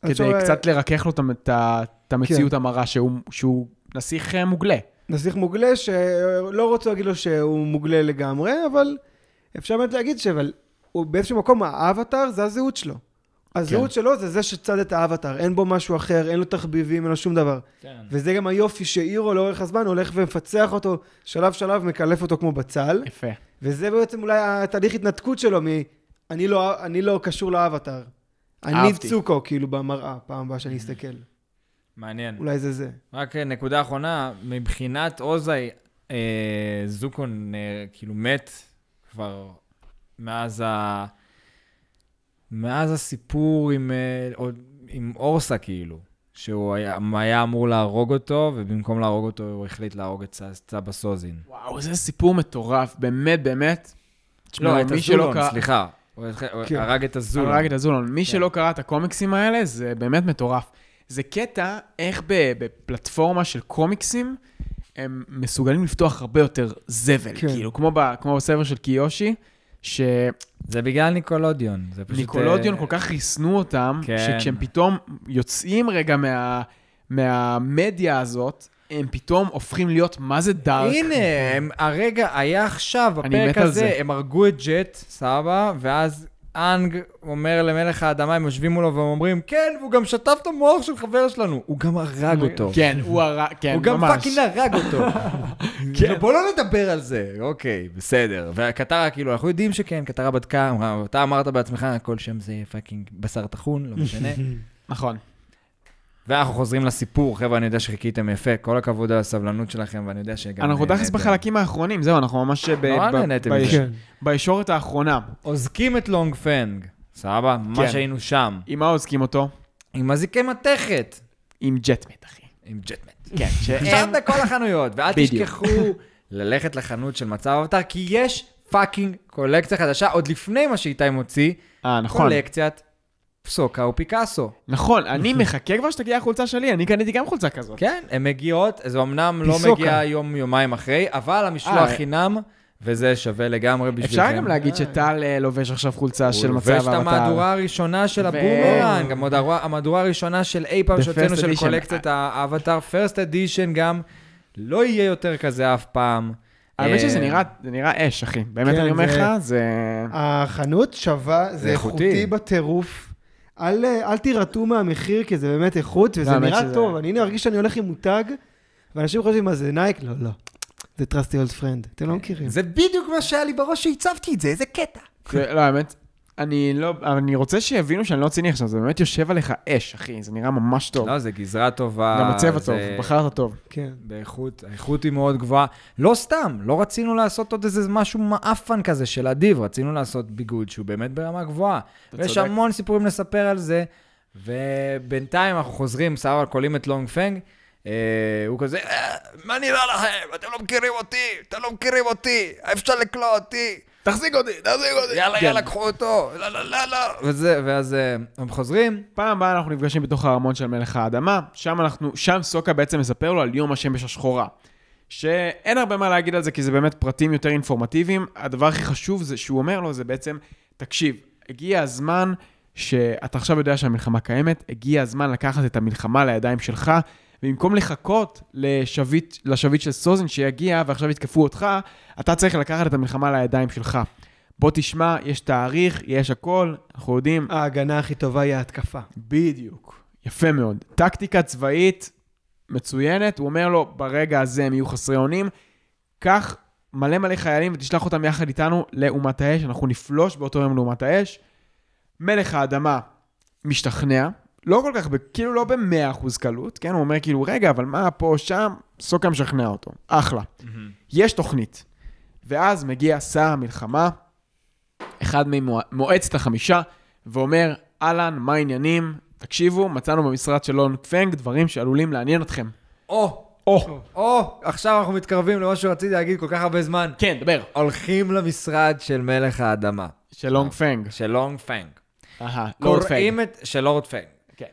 S3: אז
S1: כדי
S3: שוב,
S1: קצת לרכך לו את ה- את ה-
S2: כן.
S1: את המציאות המרה שהוא- שהוא נסיך אה, מוגלה.
S3: נסיך מוגלה, שלא רוצה להגיד לו שהוא מוגלה לגמרי, אבל אפשר באמת להגיד ש... אבל הוא באיזשהו מקום, האבטר זה הזהות שלו. הזהות שלו זה זה שצד את האבטר, אין בו משהו אחר, אין לו תחביבים, אין לו שום דבר.
S2: כן.
S3: וזה גם היופי שאירו לאורך הזמן הולך ומפצח אותו שלב שלב, מקלף אותו כמו בצל.
S1: יפה.
S3: וזה בעצם אולי התהליך התנתקות שלו מ... אני לא, אני לא קשור לאבטר. אני
S1: אהבתי.
S3: צוקו, כאילו, במראה, פעם הבאה שאני אסתכל.
S2: מעניין.
S3: אולי זה זה.
S2: רק אה, נקודה אחרונה, מבחינת אוזי, אה, זוקון אה, כאילו מת כבר מאז ה... מאז הסיפור עם, אה, עוד- עם אורסה, כאילו, שהוא היה, היה אמור להרוג אותו, ובמקום להרוג אותו, הוא החליט להרוג את סבא- סבא סוזין.
S1: וואו, זה סיפור מטורף, באמת, באמת. תשמע,
S2: לא, את
S1: מי שלא
S2: הזולון,
S1: קרא-
S2: סליחה. הוא התח- הוא
S3: כן.
S2: הרג את הזולון.
S1: הרג את הזולון. לא
S2: כן.
S1: מי שלא קרא את הקומיקסים האלה, זה באמת מטורף. זה קטע איך ב- בפלטפורמה של קומיקסים, הם מסוגלים לפתוח הרבה יותר זבל.
S3: כן.
S1: כאילו, כמו ב- כמו בספר של קיושי, שניקולודיון
S2: זה בגלל ניקולודיון. זה פשוט... אה,
S1: כל כך ריסנו אותם,
S2: כן.
S1: שכשהם פתאום יוצאים רגע מה- מהמדיה הזאת, הם פתאום הופכים להיות מה זה דארק.
S2: הנה, הם, הרגע היה עכשיו,
S1: אני מת
S2: הפרק
S1: על
S2: הזה,
S1: זה.
S2: הם הרגו את ג'ט, סבא, ואז אנג אומר למלך האדמה, הם יושבים מולו והם אומרים, כן, והוא גם שטף את המוח של חבר שלנו. הוא גם הרג אותו.
S1: כן, הוא הרע, כן,
S2: הוא גם
S1: ממש.
S2: פאקינג הרג אותו. כן. בוא לא נדבר על זה. אוקיי, בסדר. והקטרה, כאילו, אנחנו יודעים שכן, קטרה בדקה, אמרה, אתה אמרת בעצמך, כל שם זה פאקינג בשר טחון, לא משנה.
S1: נכון.
S2: ואנחנו חוזרים לסיפור, חבר'ה, אני יודע שחיכיתם יפה, כל הכבוד על הסבלנות שלכם, ואני יודע שגם... אה,
S1: אנחנו
S2: נהניתם.
S1: תכלס בחלקים האחרונים, זהו, אנחנו ממש ב-
S2: נורא
S1: ב-
S2: נהניתם
S1: ביש-
S2: לא מזה.
S3: כן.
S1: בישורת האחרונה.
S2: אוזקים את לונג פנג, סבבה?
S1: כן.
S2: מה שהיינו שם.
S1: עם מה אוזקים אותו?
S2: עם אזיקי מתכת.
S1: עם ג'טמט, אחי.
S2: עם ג'טמט.
S1: כן,
S2: עכשיו
S1: שהם...
S2: בכל החנויות, ואל
S1: בדיוק.
S2: תשכחו ללכת לחנות של מצב אבטר, כי יש פאקינג קולקציה חדשה, עוד לפני מה שאיתי מוציא,
S1: אה, נכון.
S2: קולקציית פסוקה ופיקאסו.
S1: נכון, אני מחכה כבר שתגיע החולצה שלי, אני קניתי גם חולצה כזאת.
S2: כן, הן מגיעות, זה אמנם לא
S3: פיסוקה.
S2: מגיע יום-יומיים אחרי, אבל המשלוח
S1: אה.
S2: חינם, וזה שווה לגמרי כן, בשבילכם.
S1: אפשר גם להגיד שטל אה, לובש עכשיו חולצה של מצב
S2: הוא לובש אוקיי. את
S1: האבטר.
S2: המהדורה הראשונה של
S1: ו-
S2: הבומרנג, גם עוד הרוע- המהדורה הראשונה של אי פעם
S1: The
S2: שהוצאנו
S1: first
S2: של
S1: edition.
S2: קולקציית האבטאר, פרסט אדישן גם, לא יהיה יותר כזה אף פעם.
S1: האמת
S2: אה,
S1: שזה נראה, זה נראה אש, אחי. באמת
S3: כן,
S1: אני אומר
S3: זה-
S1: לך, זה...
S3: החנות שווה,
S2: זה
S3: זה
S2: איכותי.
S3: איכותי בטירוף. אל, אל תירתעו מהמחיר, כי זה באמת איכות, וזה
S1: האמת
S3: נראה
S1: שזה-
S3: טוב. אני מרגיש שאני הולך עם מותג, ואנשים חושבים, מה זה נייק? לא, לא. זה trusty old friend, אתם לא מכירים.
S2: זה בדיוק מה שהיה לי בראש שהצבתי את זה, איזה קטע.
S1: זה- לא, האמת, אני לא... אני רוצה שיבינו שאני לא ציני עכשיו, זה באמת יושב עליך אש, אחי. זה נראה ממש טוב.
S2: לא, זה גזרה טובה.
S1: גם הצבע
S2: זה-
S1: טוב, בחרת טוב.
S3: כן.
S2: באיכות, האיכות היא מאוד גבוהה. לא סתם, לא רצינו לעשות עוד איזה משהו מעפן כזה של אדיב, רצינו לעשות ביגוד שהוא באמת ברמה גבוהה. ויש
S1: צודק.
S2: המון סיפורים לספר על זה, ובינתיים אנחנו חוזרים, סבא קולים את לונג פנג, אה, הוא כזה, "אה, מה נראה לכם? אתם לא מכירים אותי, אתם לא מכירים אותי, אפשר לקלוע אותי.
S1: תחזיק אותי, תחזיק אותי.
S2: יאללה,
S1: כן.
S2: יאללה, קחו אותו, לא, לא, לא, לא. וזה, ואז אה, הם חוזרים,
S1: פעם הבאה אנחנו נפגשים בתוך הארמון של מלך האדמה, שם אנחנו, שם סוקה בעצם מספר לו על יום השמש השחורה. שאין הרבה מה להגיד על זה, כי זה באמת פרטים יותר אינפורמטיביים. הדבר הכי חשוב זה שהוא אומר לו, זה בעצם, תקשיב, הגיע הזמן שאתה עכשיו יודע שהמלחמה קיימת, הגיע הזמן לקחת את המלחמה לידיים שלך, ובמקום לחכות לשביט, לשביט של סוזן שיגיע ועכשיו יתקפו אותך, אתה צריך לקחת את המלחמה לידיים שלך. בוא תשמע, יש תאריך, יש הכל, אנחנו יודעים,
S3: ההגנה הכי טובה היא ההתקפה.
S1: בדיוק. יפה מאוד. טקטיקה צבאית מצוינת, הוא אומר לו, ברגע הזה הם יהיו חסרי אונים, קח מלא מלא חיילים ותשלח אותם יחד איתנו לאומת האש, אנחנו נפלוש באותו יום לאומת האש. מלך האדמה משתכנע, לא כל כך, ב- כאילו לא במאה אחוז קלות, כן? הוא אומר כאילו, רגע, אבל מה פה, שם? סוקה משכנע אותו, אחלה. יש תוכנית. ואז מגיע שר המלחמה, אחד ממועצת החמישה, ואומר, אהלן, מה העניינים? תקשיבו, מצאנו במשרד של לונג פנג דברים שעלולים לעניין אתכם.
S2: או,
S1: או,
S2: או, עכשיו אנחנו מתקרבים למה שרציתי להגיד כל כך הרבה זמן.
S1: כן, דבר.
S2: הולכים למשרד של מלך האדמה,
S1: של לונג פנג.
S2: של לונג פנג.
S1: אהה, לורד פנג.
S2: קוראים את... של לורד פנג.
S1: כן.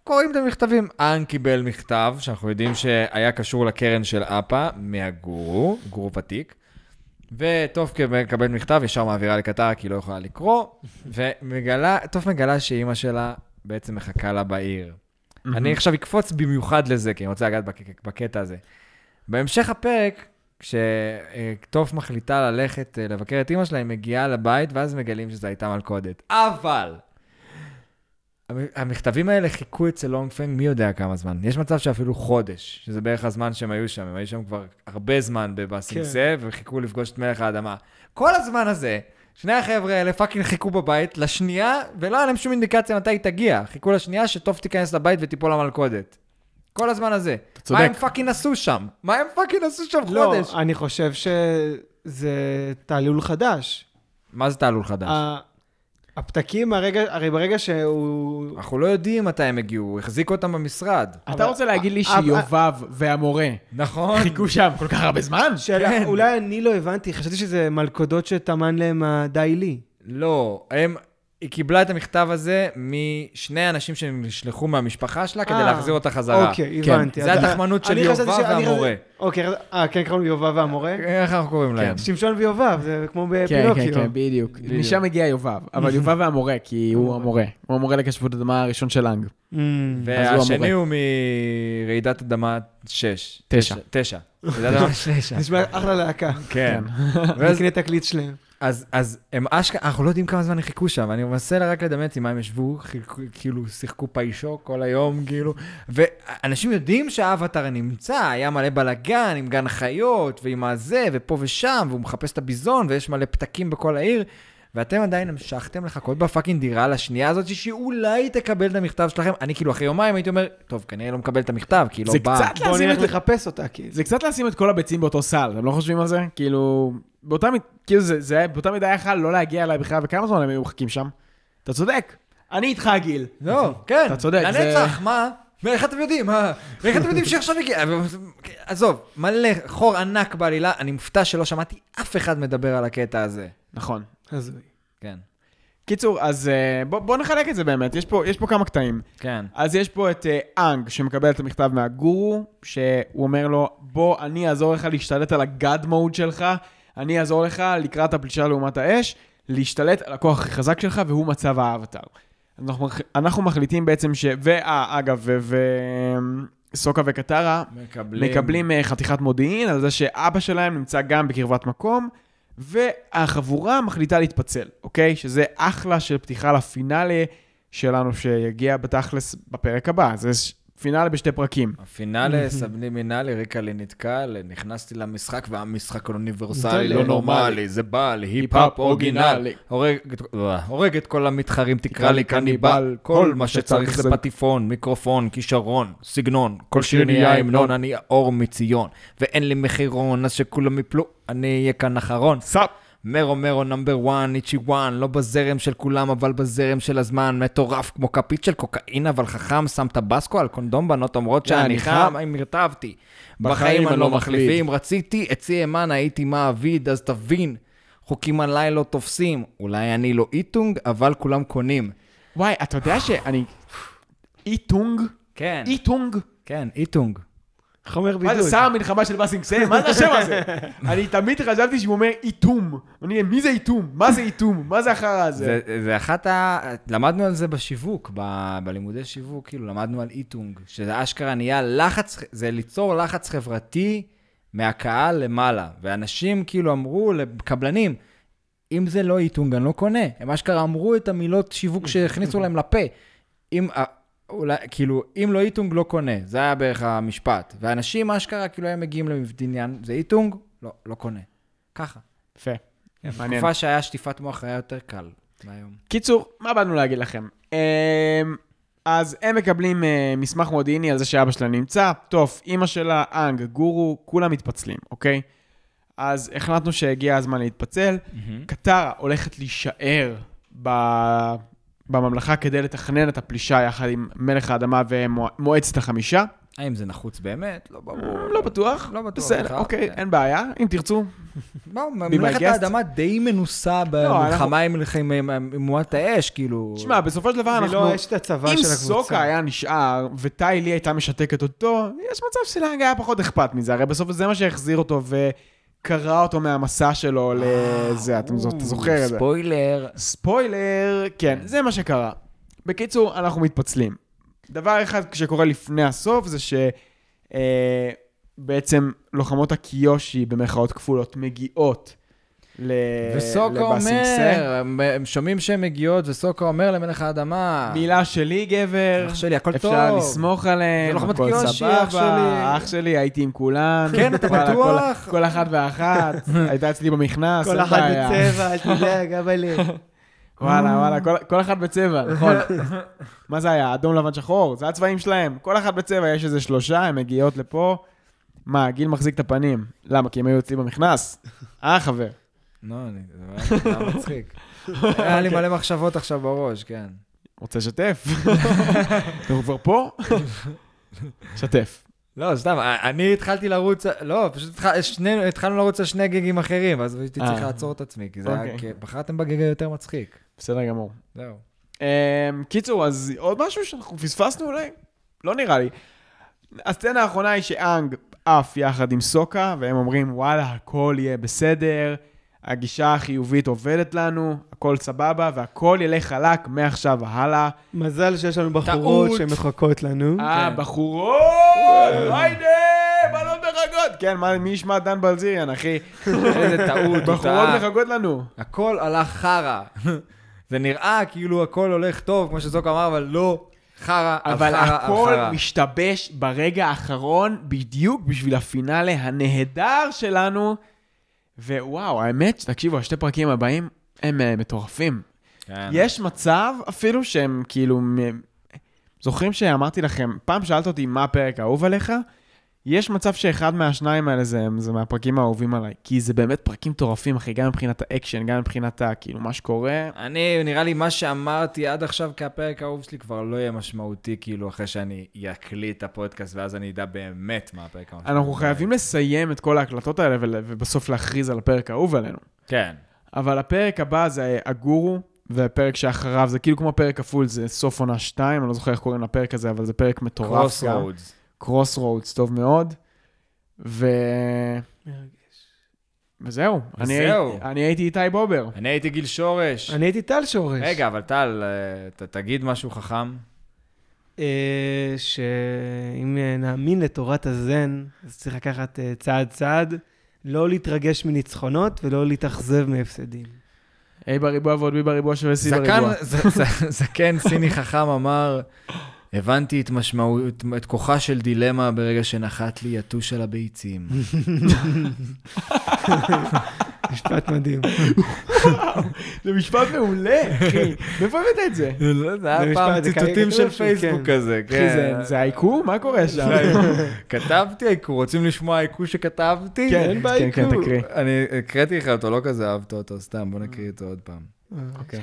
S2: וקוראים את המכתבים. אן קיבל מכתב, שאנחנו יודעים שהיה קשור לקרן של אפה, מהגורו, גורו ותיק. וטוף מקבל מכתב, ישר מעבירה לקטרה, כי היא לא יכולה לקרוא. ומגלה, טוף מגלה שאימא שלה בעצם מחכה לה בעיר. אני עכשיו אקפוץ במיוחד לזה, כי אני רוצה לגעת בק- בקטע הזה. בהמשך הפרק, כשטוף מחליטה ללכת אה, לבקר את אימא שלה, היא מגיעה לבית, ואז מגלים שזו הייתה מלכודת. אבל! המ- המכתבים האלה חיכו אצל לונג פנג מי יודע כמה זמן. יש מצב שאפילו חודש, שזה בערך הזמן שהם היו שם. הם היו שם כבר הרבה זמן בבאסינסה, כן. וחיכו לפגוש את מלך האדמה. כל הזמן הזה, שני החבר'ה האלה פאקינג חיכו בבית לשנייה, ולא היה להם שום אינדיקציה מתי היא תגיע. חיכו לשנייה שטוף תיכנס לבית ותיפול למלכודת. כל הזמן הזה.
S1: צודק.
S2: מה הם פאקינג עשו שם? מה הם פאקינג עשו שם
S3: לא,
S2: חודש?
S3: אני חושב שזה תעלול חדש.
S2: מה זה תעלול חדש?
S3: ה- הפתקים, הרגע- הרי ברגע שהוא...
S2: אנחנו לא יודעים מתי הם הגיעו, הוא החזיק אותם במשרד.
S1: אתה רוצה להגיד לי
S3: אבל-
S1: שיובב והמורה
S2: נכון.
S1: חיכו שם כל כך הרבה זמן?
S3: שאלה, אולי אני לא הבנתי, חשבתי שזה מלכודות שטמן להם הדי לי.
S2: לא, הם... היא קיבלה את המכתב הזה משני אנשים שנשלחו מהמשפחה שלה כדי
S3: אה,
S2: להחזיר אותה חזרה.
S3: אוקיי,
S1: כן,
S3: הבנתי.
S2: זה
S3: אז-
S2: התחמנות של
S3: אני חשבתי
S2: יובב
S3: ש- אני
S2: והמורה.
S3: חשבתי- אוקיי, אז- אה, כן, קראנו יובב והמורה?
S2: איך אנחנו קוראים להם?
S3: שמשון ויובב, זה כמו
S1: כן, כן,
S3: בפינוקיו.
S1: כן, בדיוק. משם הגיע יובב, אבל יובב והמורה, כי הוא המורה. הוא המורה לקשבות אדמה הראשון של לנג.
S3: Mm.
S1: אז הוא
S2: והשני
S1: המורה.
S2: הוא מרעידת אדמה 6.
S1: תשע.
S2: תשע. רעידת אדמה 6.
S3: נשמע אחלה להקה.
S2: כן. ואז
S3: נקנה תקליט שלהם.
S2: אז, אז הם אשכרה, אנחנו לא יודעים כמה זמן הם חיכו שם, אני מנסה רק לדמיין מה הם ישבו, חילקו, כאילו שיחקו פאישו כל היום, כאילו, ואנשים יודעים שהאבטר נמצא, היה מלא בלאגן עם גן החיות, ועם הזה, ופה ושם, והוא מחפש את הביזון, ויש מלא פתקים בכל העיר, ואתם עדיין המשכתם לחכות בפאקינג דירה לשנייה הזאת, שאולי תקבל את המכתב שלכם. אני כאילו אחרי יומיים הייתי אומר, טוב, כנראה לא מקבל את המכתב, כי היא לא
S1: זה
S2: באה.
S1: קצת
S3: בוא
S1: לשים את
S3: נלך לחפש אותה, כאילו. כי...
S1: זה קצת לשים את כל הביצים באותו סל, אתם לא חושבים על זה? כאילו, באותה, מ- כאילו זה, זה היה- באותה מידה יכל לא להגיע אליי בכלל, וכמה זמן הם היו מחכים שם? אתה צודק. אני איתך, גיל.
S2: לא, כן.
S1: אתה צודק, זה-
S2: לנצח, מה? איך אתם יודעים? מה? איך אתם יודעים שעכשיו הגיע? עזוב, מלא חור ענק בעלילה, אני מופתע שלא שמעתי אף אחד מדבר על הקטע הזה.
S1: נכון.
S3: הזוי.
S2: כן.
S1: קיצור, אז אה, בוא, בוא נחלק את זה באמת, יש פה, יש פה כמה קטעים.
S2: כן.
S1: אז יש פה את אה, אנג, שמקבל את המכתב מהגורו, שהוא אומר לו, בוא, אני אעזור לך להשתלט על הגאד מוד שלך, אני אעזור לך לקראת הפלישה לאומת האש, להשתלט על הכוח הכי חזק שלך, והוא מצב האבטר. אנחנו, מח- אנחנו מחליטים בעצם ש... ואה, אגב, ו... ו... אמ, סוקה וקטרה
S2: מקבלים.
S1: מקבלים אה, חתיכת מודיעין על זה שאבא שלהם נמצא גם בקרבת מקום, והחבורה מחליטה להתפצל, אוקיי? שזה אחלה של פתיחה לפינאלה שלנו שיגיע בתכלס בפרק הבא. זה ש- פינאלה בשתי פרקים.
S2: הפינאלה, סבני מינאלי, ריקה לי נתקל, נכנסתי למשחק והמשחק האוניברסלי,
S1: לא
S2: לא נורמלי, זה בעל, היפ-האפ אורגינל. הורג את- אה, הורג את כל המתחרים, תקרא לי קניבל, כל מה שצריך זה פטיפון, מיקרופון, כישרון, סגנון, כל שיר נהיה המנון, אני האור מציון, ואין לי מחירון, אז שכולם יפלו, אני אהיה כאן אחרון.
S1: סאפ.
S2: מרו מרו נאמבר 1, איצ'י 1, לא בזרם של כולם, אבל בזרם של הזמן, מטורף כמו כפית של קוקאין, אבל חכם, שם טבסקו על קונדום בנות אומרות שאני חם, אם הרטבתי. בחיים אני לא מחליף, ואם רציתי, אצלי אמן הייתי מעביד, אז תבין, חוקים עליי לא תופסים. אולי אני לא איטונג, אבל כולם קונים.
S1: וואי, אתה יודע שאני... איטונג?
S2: כן,
S1: איטונג?
S2: כן, איטונג.
S3: חומר בידוד.
S1: מה זה שר המלחמה של בסינגסן? מה זה השם הזה? אני תמיד חשבתי שהוא אומר איטום. אני, מי זה איטום? מה זה איטום? מה זה החרא הזה?
S2: זה, זה אחת ה... למדנו על זה בשיווק, ב... בלימודי שיווק, כאילו, למדנו על איטונג, שזה אשכרה נהיה לחץ, זה ליצור לחץ חברתי מהקהל למעלה. ואנשים כאילו אמרו לקבלנים, אם זה לא איטונג, אני לא קונה. הם אשכרה אמרו את המילות שיווק שהכניסו להם לפה. אם... ה- אולי, כאילו, אם לא איטונג, לא קונה. זה היה בערך המשפט. ואנשים אשכרה כאילו היו מגיעים לבניין, זה איטונג? לא, לא קונה. ככה.
S1: יפה. מעניין.
S2: תקופה שהיה שטיפת מוח היה יותר קל מהיום.
S1: קיצור, מה באנו להגיד לכם? אמ, אז הם מקבלים אה, מסמך מודיעיני על זה שאבא שלה נמצא, טוב, אימא שלה, אנג, גורו, כולם מתפצלים, אוקיי? אז החלטנו שהגיע הזמן להתפצל.
S2: Mm-hmm.
S1: קטרה הולכת להישאר ב... בממלכה כדי לתכנן את הפלישה יחד עם מלך האדמה ומועצת החמישה.
S2: האם זה נחוץ באמת? לא ברור.
S1: לא בטוח.
S2: אה. לא בטוח
S1: בסדר,
S2: בכלל,
S1: אוקיי,
S2: כן.
S1: אין בעיה, אם תרצו.
S2: בוא,
S1: my
S2: ממלכת
S1: guest.
S2: האדמה די מנוסה
S1: אנחנו-
S2: במלחמה עם מלח- עם- עם- עם מועט האש, כאילו...
S1: תשמע, בסופו של דבר
S3: היא
S1: אנחנו...
S3: לא אשת הצבא של
S1: אם
S3: הקבוצה.
S1: סוקה היה נשאר, וטיילי הייתה משתקת אותו, יש מצב שלאנג היה פחות אכפת מזה, הרי בסוף זה מה שהחזיר אותו וקרע אותו מהמסע שלו לזה, אתם זו- אתה זוכר את זה.
S2: ספוילר.
S1: ספוילר, כן, זה מה שקרה. בקיצור, אנחנו מתפצלים. דבר אחד שקורה לפני הסוף זה שבעצם לוחמות הקיושי, במרכאות כפולות, מגיעות ל-
S2: אה, וסוקו
S1: לבאסינגסן.
S2: אומר, הם- הם שומעים שהן מגיעות, וסוקו אומר למלך האדמה,
S1: מילה שלי, גבר.
S2: אח שלי, הכל טוב.
S1: אפשר לסמוך
S2: זה לא
S1: עליהם,
S2: לוחמת
S1: הכל
S2: קיושי, אח
S1: סבבה,
S2: שלי.
S1: אח שלי, הייתי עם כולן.
S2: כן, אתה
S1: וואלה,
S2: בטוח?
S1: כל- כל אחת ואחת, הייתה אצלי במכנס,
S3: כל
S1: אין
S3: אחד
S1: בעיה.
S3: בצבע, אתה יודע, גבלי.
S1: וואלה, וואלה, כל- כל אחת בצבע, נכון. מה זה היה? אדום, לבן, שחור? זה הצבעים שלהם. כל אחת בצבע, יש איזה שלושה, הן מגיעות לפה. מה, גיל מחזיק את הפנים. למה? כי הם היו אצלי במכנס? אה, חבר.
S2: נו, לא, אני- זה היה היה מצחיק. היה לי מלא מחשבות עכשיו בראש, כן.
S1: רוצה לשתף? אנחנו כבר פה? שתף.
S2: לא, סתם, אני התחלתי לרוץ, לא, פשוט התח- שנינו- התחלנו לרוץ על שני גיגים אחרים, אז הייתי
S1: אה.
S2: צריך לעצור את עצמי, כי זה היה,
S1: אוקיי.
S2: כי בחרתם בגיג היותר מצחיק.
S1: בסדר גמור.
S2: זהו.
S1: Um, קיצור, אז עוד משהו שאנחנו פספסנו אולי? לא נראה לי. הסצנה האחרונה היא שאנג עף יחד עם סוקה, והם אומרים, וואלה, הכל יהיה בסדר, הגישה החיובית עובדת לנו, הכל סבבה, והכל ילך חלק מעכשיו והלאה.
S2: אוקיי.
S3: מזל שיש לנו בחורות
S2: טעות.
S3: שמחכות לנו.
S2: אה.
S1: אה, בחורות! היידה! בלון דאגות! כן, מה- מי ישמע דן בלזיריאן, אחי?
S2: איזה טעות, הוא
S1: בחורות
S2: טעה.
S1: מחכות לנו.
S2: הכל הלך חרא.
S4: זה נראה כאילו הכל הולך טוב, כמו שזוקו אמר, אבל לא.
S2: חרא, על
S1: אבל
S2: חרא, על
S1: הכל
S2: חרא.
S1: משתבש ברגע האחרון בדיוק בשביל הפינאלה הנהדר שלנו. ווואו, האמת, תקשיבו, השתי פרקים הבאים הם אה, מטורפים.
S2: כן.
S1: יש מצב אפילו שהם כאילו... מ- זוכרים שאמרתי לכם, פעם שאלת אותי מה הפרק האהוב עליך? יש מצב שאחד מהשניים האלה זה, זה מהפרקים האהובים עליי, כי זה באמת פרקים מטורפים, אחי, גם מבחינת האקשן, גם מבחינת ה... כאילו, מה
S2: כן.
S1: שקורה.
S2: אני, נראה לי מה שאמרתי עד עכשיו כהפרק האהוב שלי כבר לא יהיה משמעותי, כאילו, אחרי שאני אקליט את הפודקאסט, ואז אני אדע באמת מה הפרק האהוב
S1: אנחנו חייבים לסיים את כל ההקלטות האלה ול- ובסוף להכריז על הפרק האהוב עלינו.
S2: כן.
S1: אבל הפרק הבא זה הגורו, והפרק שאחריו זה כאילו כמו פרק כפול, זה סוף עונה 2, אני לא זוכר איך קוראים לפרק הזה, אבל זה פרק מטורף
S2: קרוס
S1: גם.
S2: רודס.
S1: קרוס רודס, טוב מאוד. ו... וזהו. אני
S2: וזהו.
S1: הייתי- אני הייתי איתי בובר.
S2: אני הייתי גיל שורש.
S3: אני הייתי טל שורש.
S2: רגע, אבל טל, אה, ת- תגיד משהו חכם.
S3: אה, שאם אה, נאמין לתורת הזן, אז צריך לקחת אה, צעד צעד, לא להתרגש מניצחונות ולא להתאכזב מהפסדים.
S1: A בריבוע ועוד B בריבוע שווה C
S2: זקן,
S1: בריבוע.
S2: ז- ז- זקן כן, סיני חכם אמר, הבנתי את משמעות, את כוחה של דילמה ברגע שנחת לי יתוש על הביצים.
S3: משפט מדהים.
S1: זה משפט מעולה, אחי. מאיפה הבאת את זה?
S2: זה היה
S3: במשפט,
S2: פעם
S3: זה
S2: ציטוטים
S3: קריקטורה
S2: של
S3: שלי,
S2: פייסבוק
S3: כן.
S2: כזה,
S1: אחי, זה-
S2: כן.
S1: זה האיקו? מה קורה שם?
S2: כתבתי האיקו, רוצים לשמוע האיקו שכתבתי?
S1: כן, כן, כן,
S3: כאילו.
S1: תקריא.
S2: אני הקראתי לך אותו, לא כזה אהבת אותו, סתם, בוא נקריא אותו עוד פעם.
S3: אוקיי.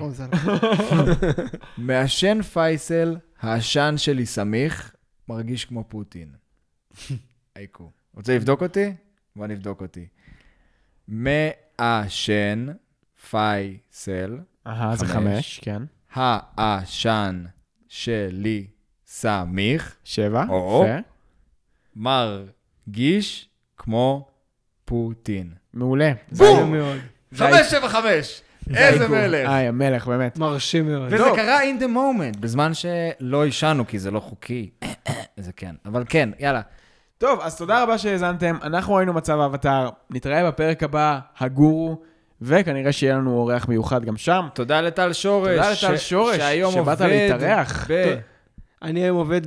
S2: מעשן פייסל, העשן שלי סמיך, מרגיש כמו פוטין. אייקו. רוצה לבדוק אותי? בוא נבדוק אותי. מעשן פייסל,
S1: אהה, זה
S2: חמש.
S1: חמש, כן.
S2: העשן שלי סמיך,
S1: שבע,
S2: או.
S1: יפה.
S2: מרגיש כמו פוטין.
S1: מעולה.
S3: בום! מאוד.
S2: חמש, שבע, חמש! איזה מלך!
S1: איי, המלך, באמת.
S3: מרשים מאוד.
S2: וזה קרה in the moment, בזמן שלא עישנו, כי זה לא חוקי. זה כן, אבל כן, יאללה.
S1: טוב, אז תודה רבה שהאזנתם. אנחנו ראינו מצב האבטר. נתראה בפרק הבא, הגורו, וכנראה שיהיה לנו אורח מיוחד גם שם.
S2: תודה לטל שורש.
S1: תודה לטל
S2: ש-
S1: שורש,
S2: שהיום
S1: שבאת
S2: עובד
S1: להתארח.
S2: ב...
S3: אני היום עובד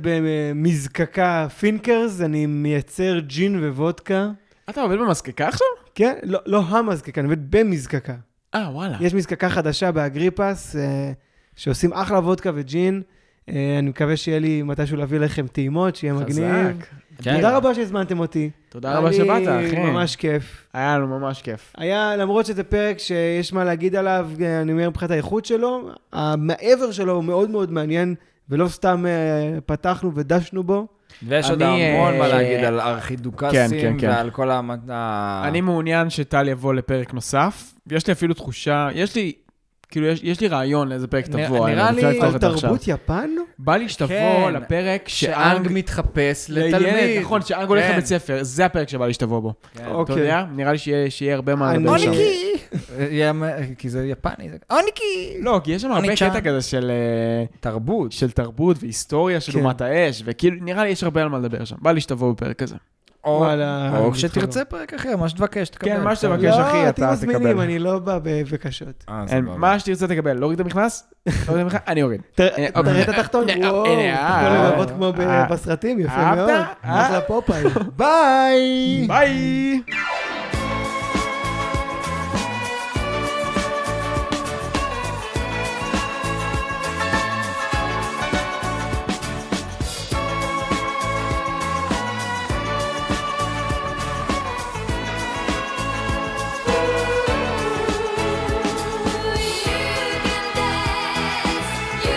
S3: במזקקה פינקרס, אני מייצר ג'ין ווודקה.
S1: אתה עובד במזקקה עכשיו?
S3: כן, לא, לא המזקקה, אני עובד במזקקה.
S1: אה, וואלה.
S3: יש מזקקה חדשה באגריפס, אה, שעושים אחלה וודקה וג'ין. אה, אני מקווה שיהיה לי מתישהו להביא לכם טעימות, שיהיה מגניב.
S1: חזק. כן.
S3: תודה רבה שהזמנתם אותי.
S1: תודה רבה שבאת, אחי.
S3: אני ממש כיף.
S1: היה לנו ממש כיף.
S3: היה, למרות שזה פרק שיש מה להגיד עליו, אה, אני אומר מבחינת האיכות שלו, המעבר שלו הוא מאוד מאוד מעניין, ולא סתם אה, פתחנו ודשנו בו.
S2: ויש עוד
S1: אני,
S2: המון מה
S1: אה,
S2: להגיד
S1: אה,
S2: על
S1: כן,
S2: ארכידוקסים
S1: כן, כן.
S2: ועל כל המ- ה...
S1: אני מעוניין שטל יבוא לפרק נוסף. יש לי אפילו תחושה, יש לי, כאילו, יש- יש לי רעיון לאיזה פרק
S2: נראה-
S1: תבוא.
S2: נראה
S1: אני רוצה
S2: לי-
S1: לפתוח
S3: על
S1: את זה עכשיו.
S3: תרבות יפן?
S1: בא לי שתבוא
S2: כן,
S1: לפרק
S2: שאנג
S1: שאנג...
S2: מתחפש
S1: לילד,
S2: לתלמיד.
S1: נכון, שאנג הולך
S2: כן.
S1: לבית ספר, זה הפרק שבא לי שתבוא בו. אתה
S3: אוקיי.
S1: יודע? נראה לי שיהיה שיהיה הרבה מה
S3: אני- לא,
S1: לדבר שם.
S2: כאילו
S5: אוניקי!
S2: יהיה מ- אה, כי זה יפני, זה אה,
S5: אוניקי!
S1: לא, כי יש שם הרבה
S5: אני-צ'אן.
S1: קטע כזה של, אה,
S2: תרבות.
S1: של תרבות והיסטוריה של
S3: כן.
S1: אומת האש, וכאילו, נראה לי יש הרבה על מה לדבר שם. בא לי שתבוא בפרק הזה.
S2: או-
S3: וואלה,
S2: או
S3: אני
S2: כשתרצה פרק אחר, מה שתבקש, תקבל.
S1: כן, מה שתבקש,
S2: בסדר.
S1: אחי, אתה
S3: לא, אתם מזמינים,
S1: תקבל.
S3: אני לא בא בבקשות.
S2: אה,
S1: אין,
S2: סבבה.
S1: מה שתרצה תקבל, להוריד את המכנס? להוריד את המכנס? אני אוריד.
S3: תראה
S1: אוקיי.
S3: תראה את התחתון,
S1: הנה,
S3: וואו,
S1: הנה,
S3: כל
S1: אה,
S3: הגבות כמו ב-
S1: אה.
S3: בסרטים, יפה
S1: אהבת?
S3: מאוד.
S1: אה?
S3: אחלה פופאי.
S2: ביי!
S1: ביי!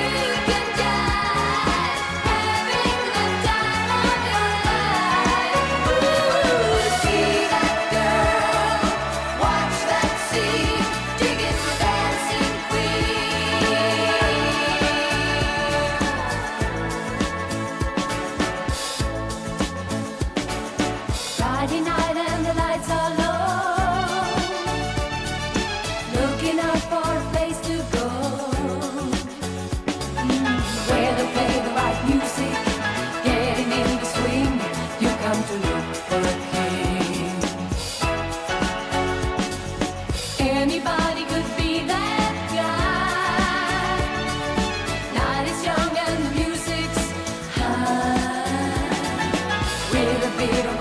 S6: Having the time of your life. Ooh, see that girl. With a bit of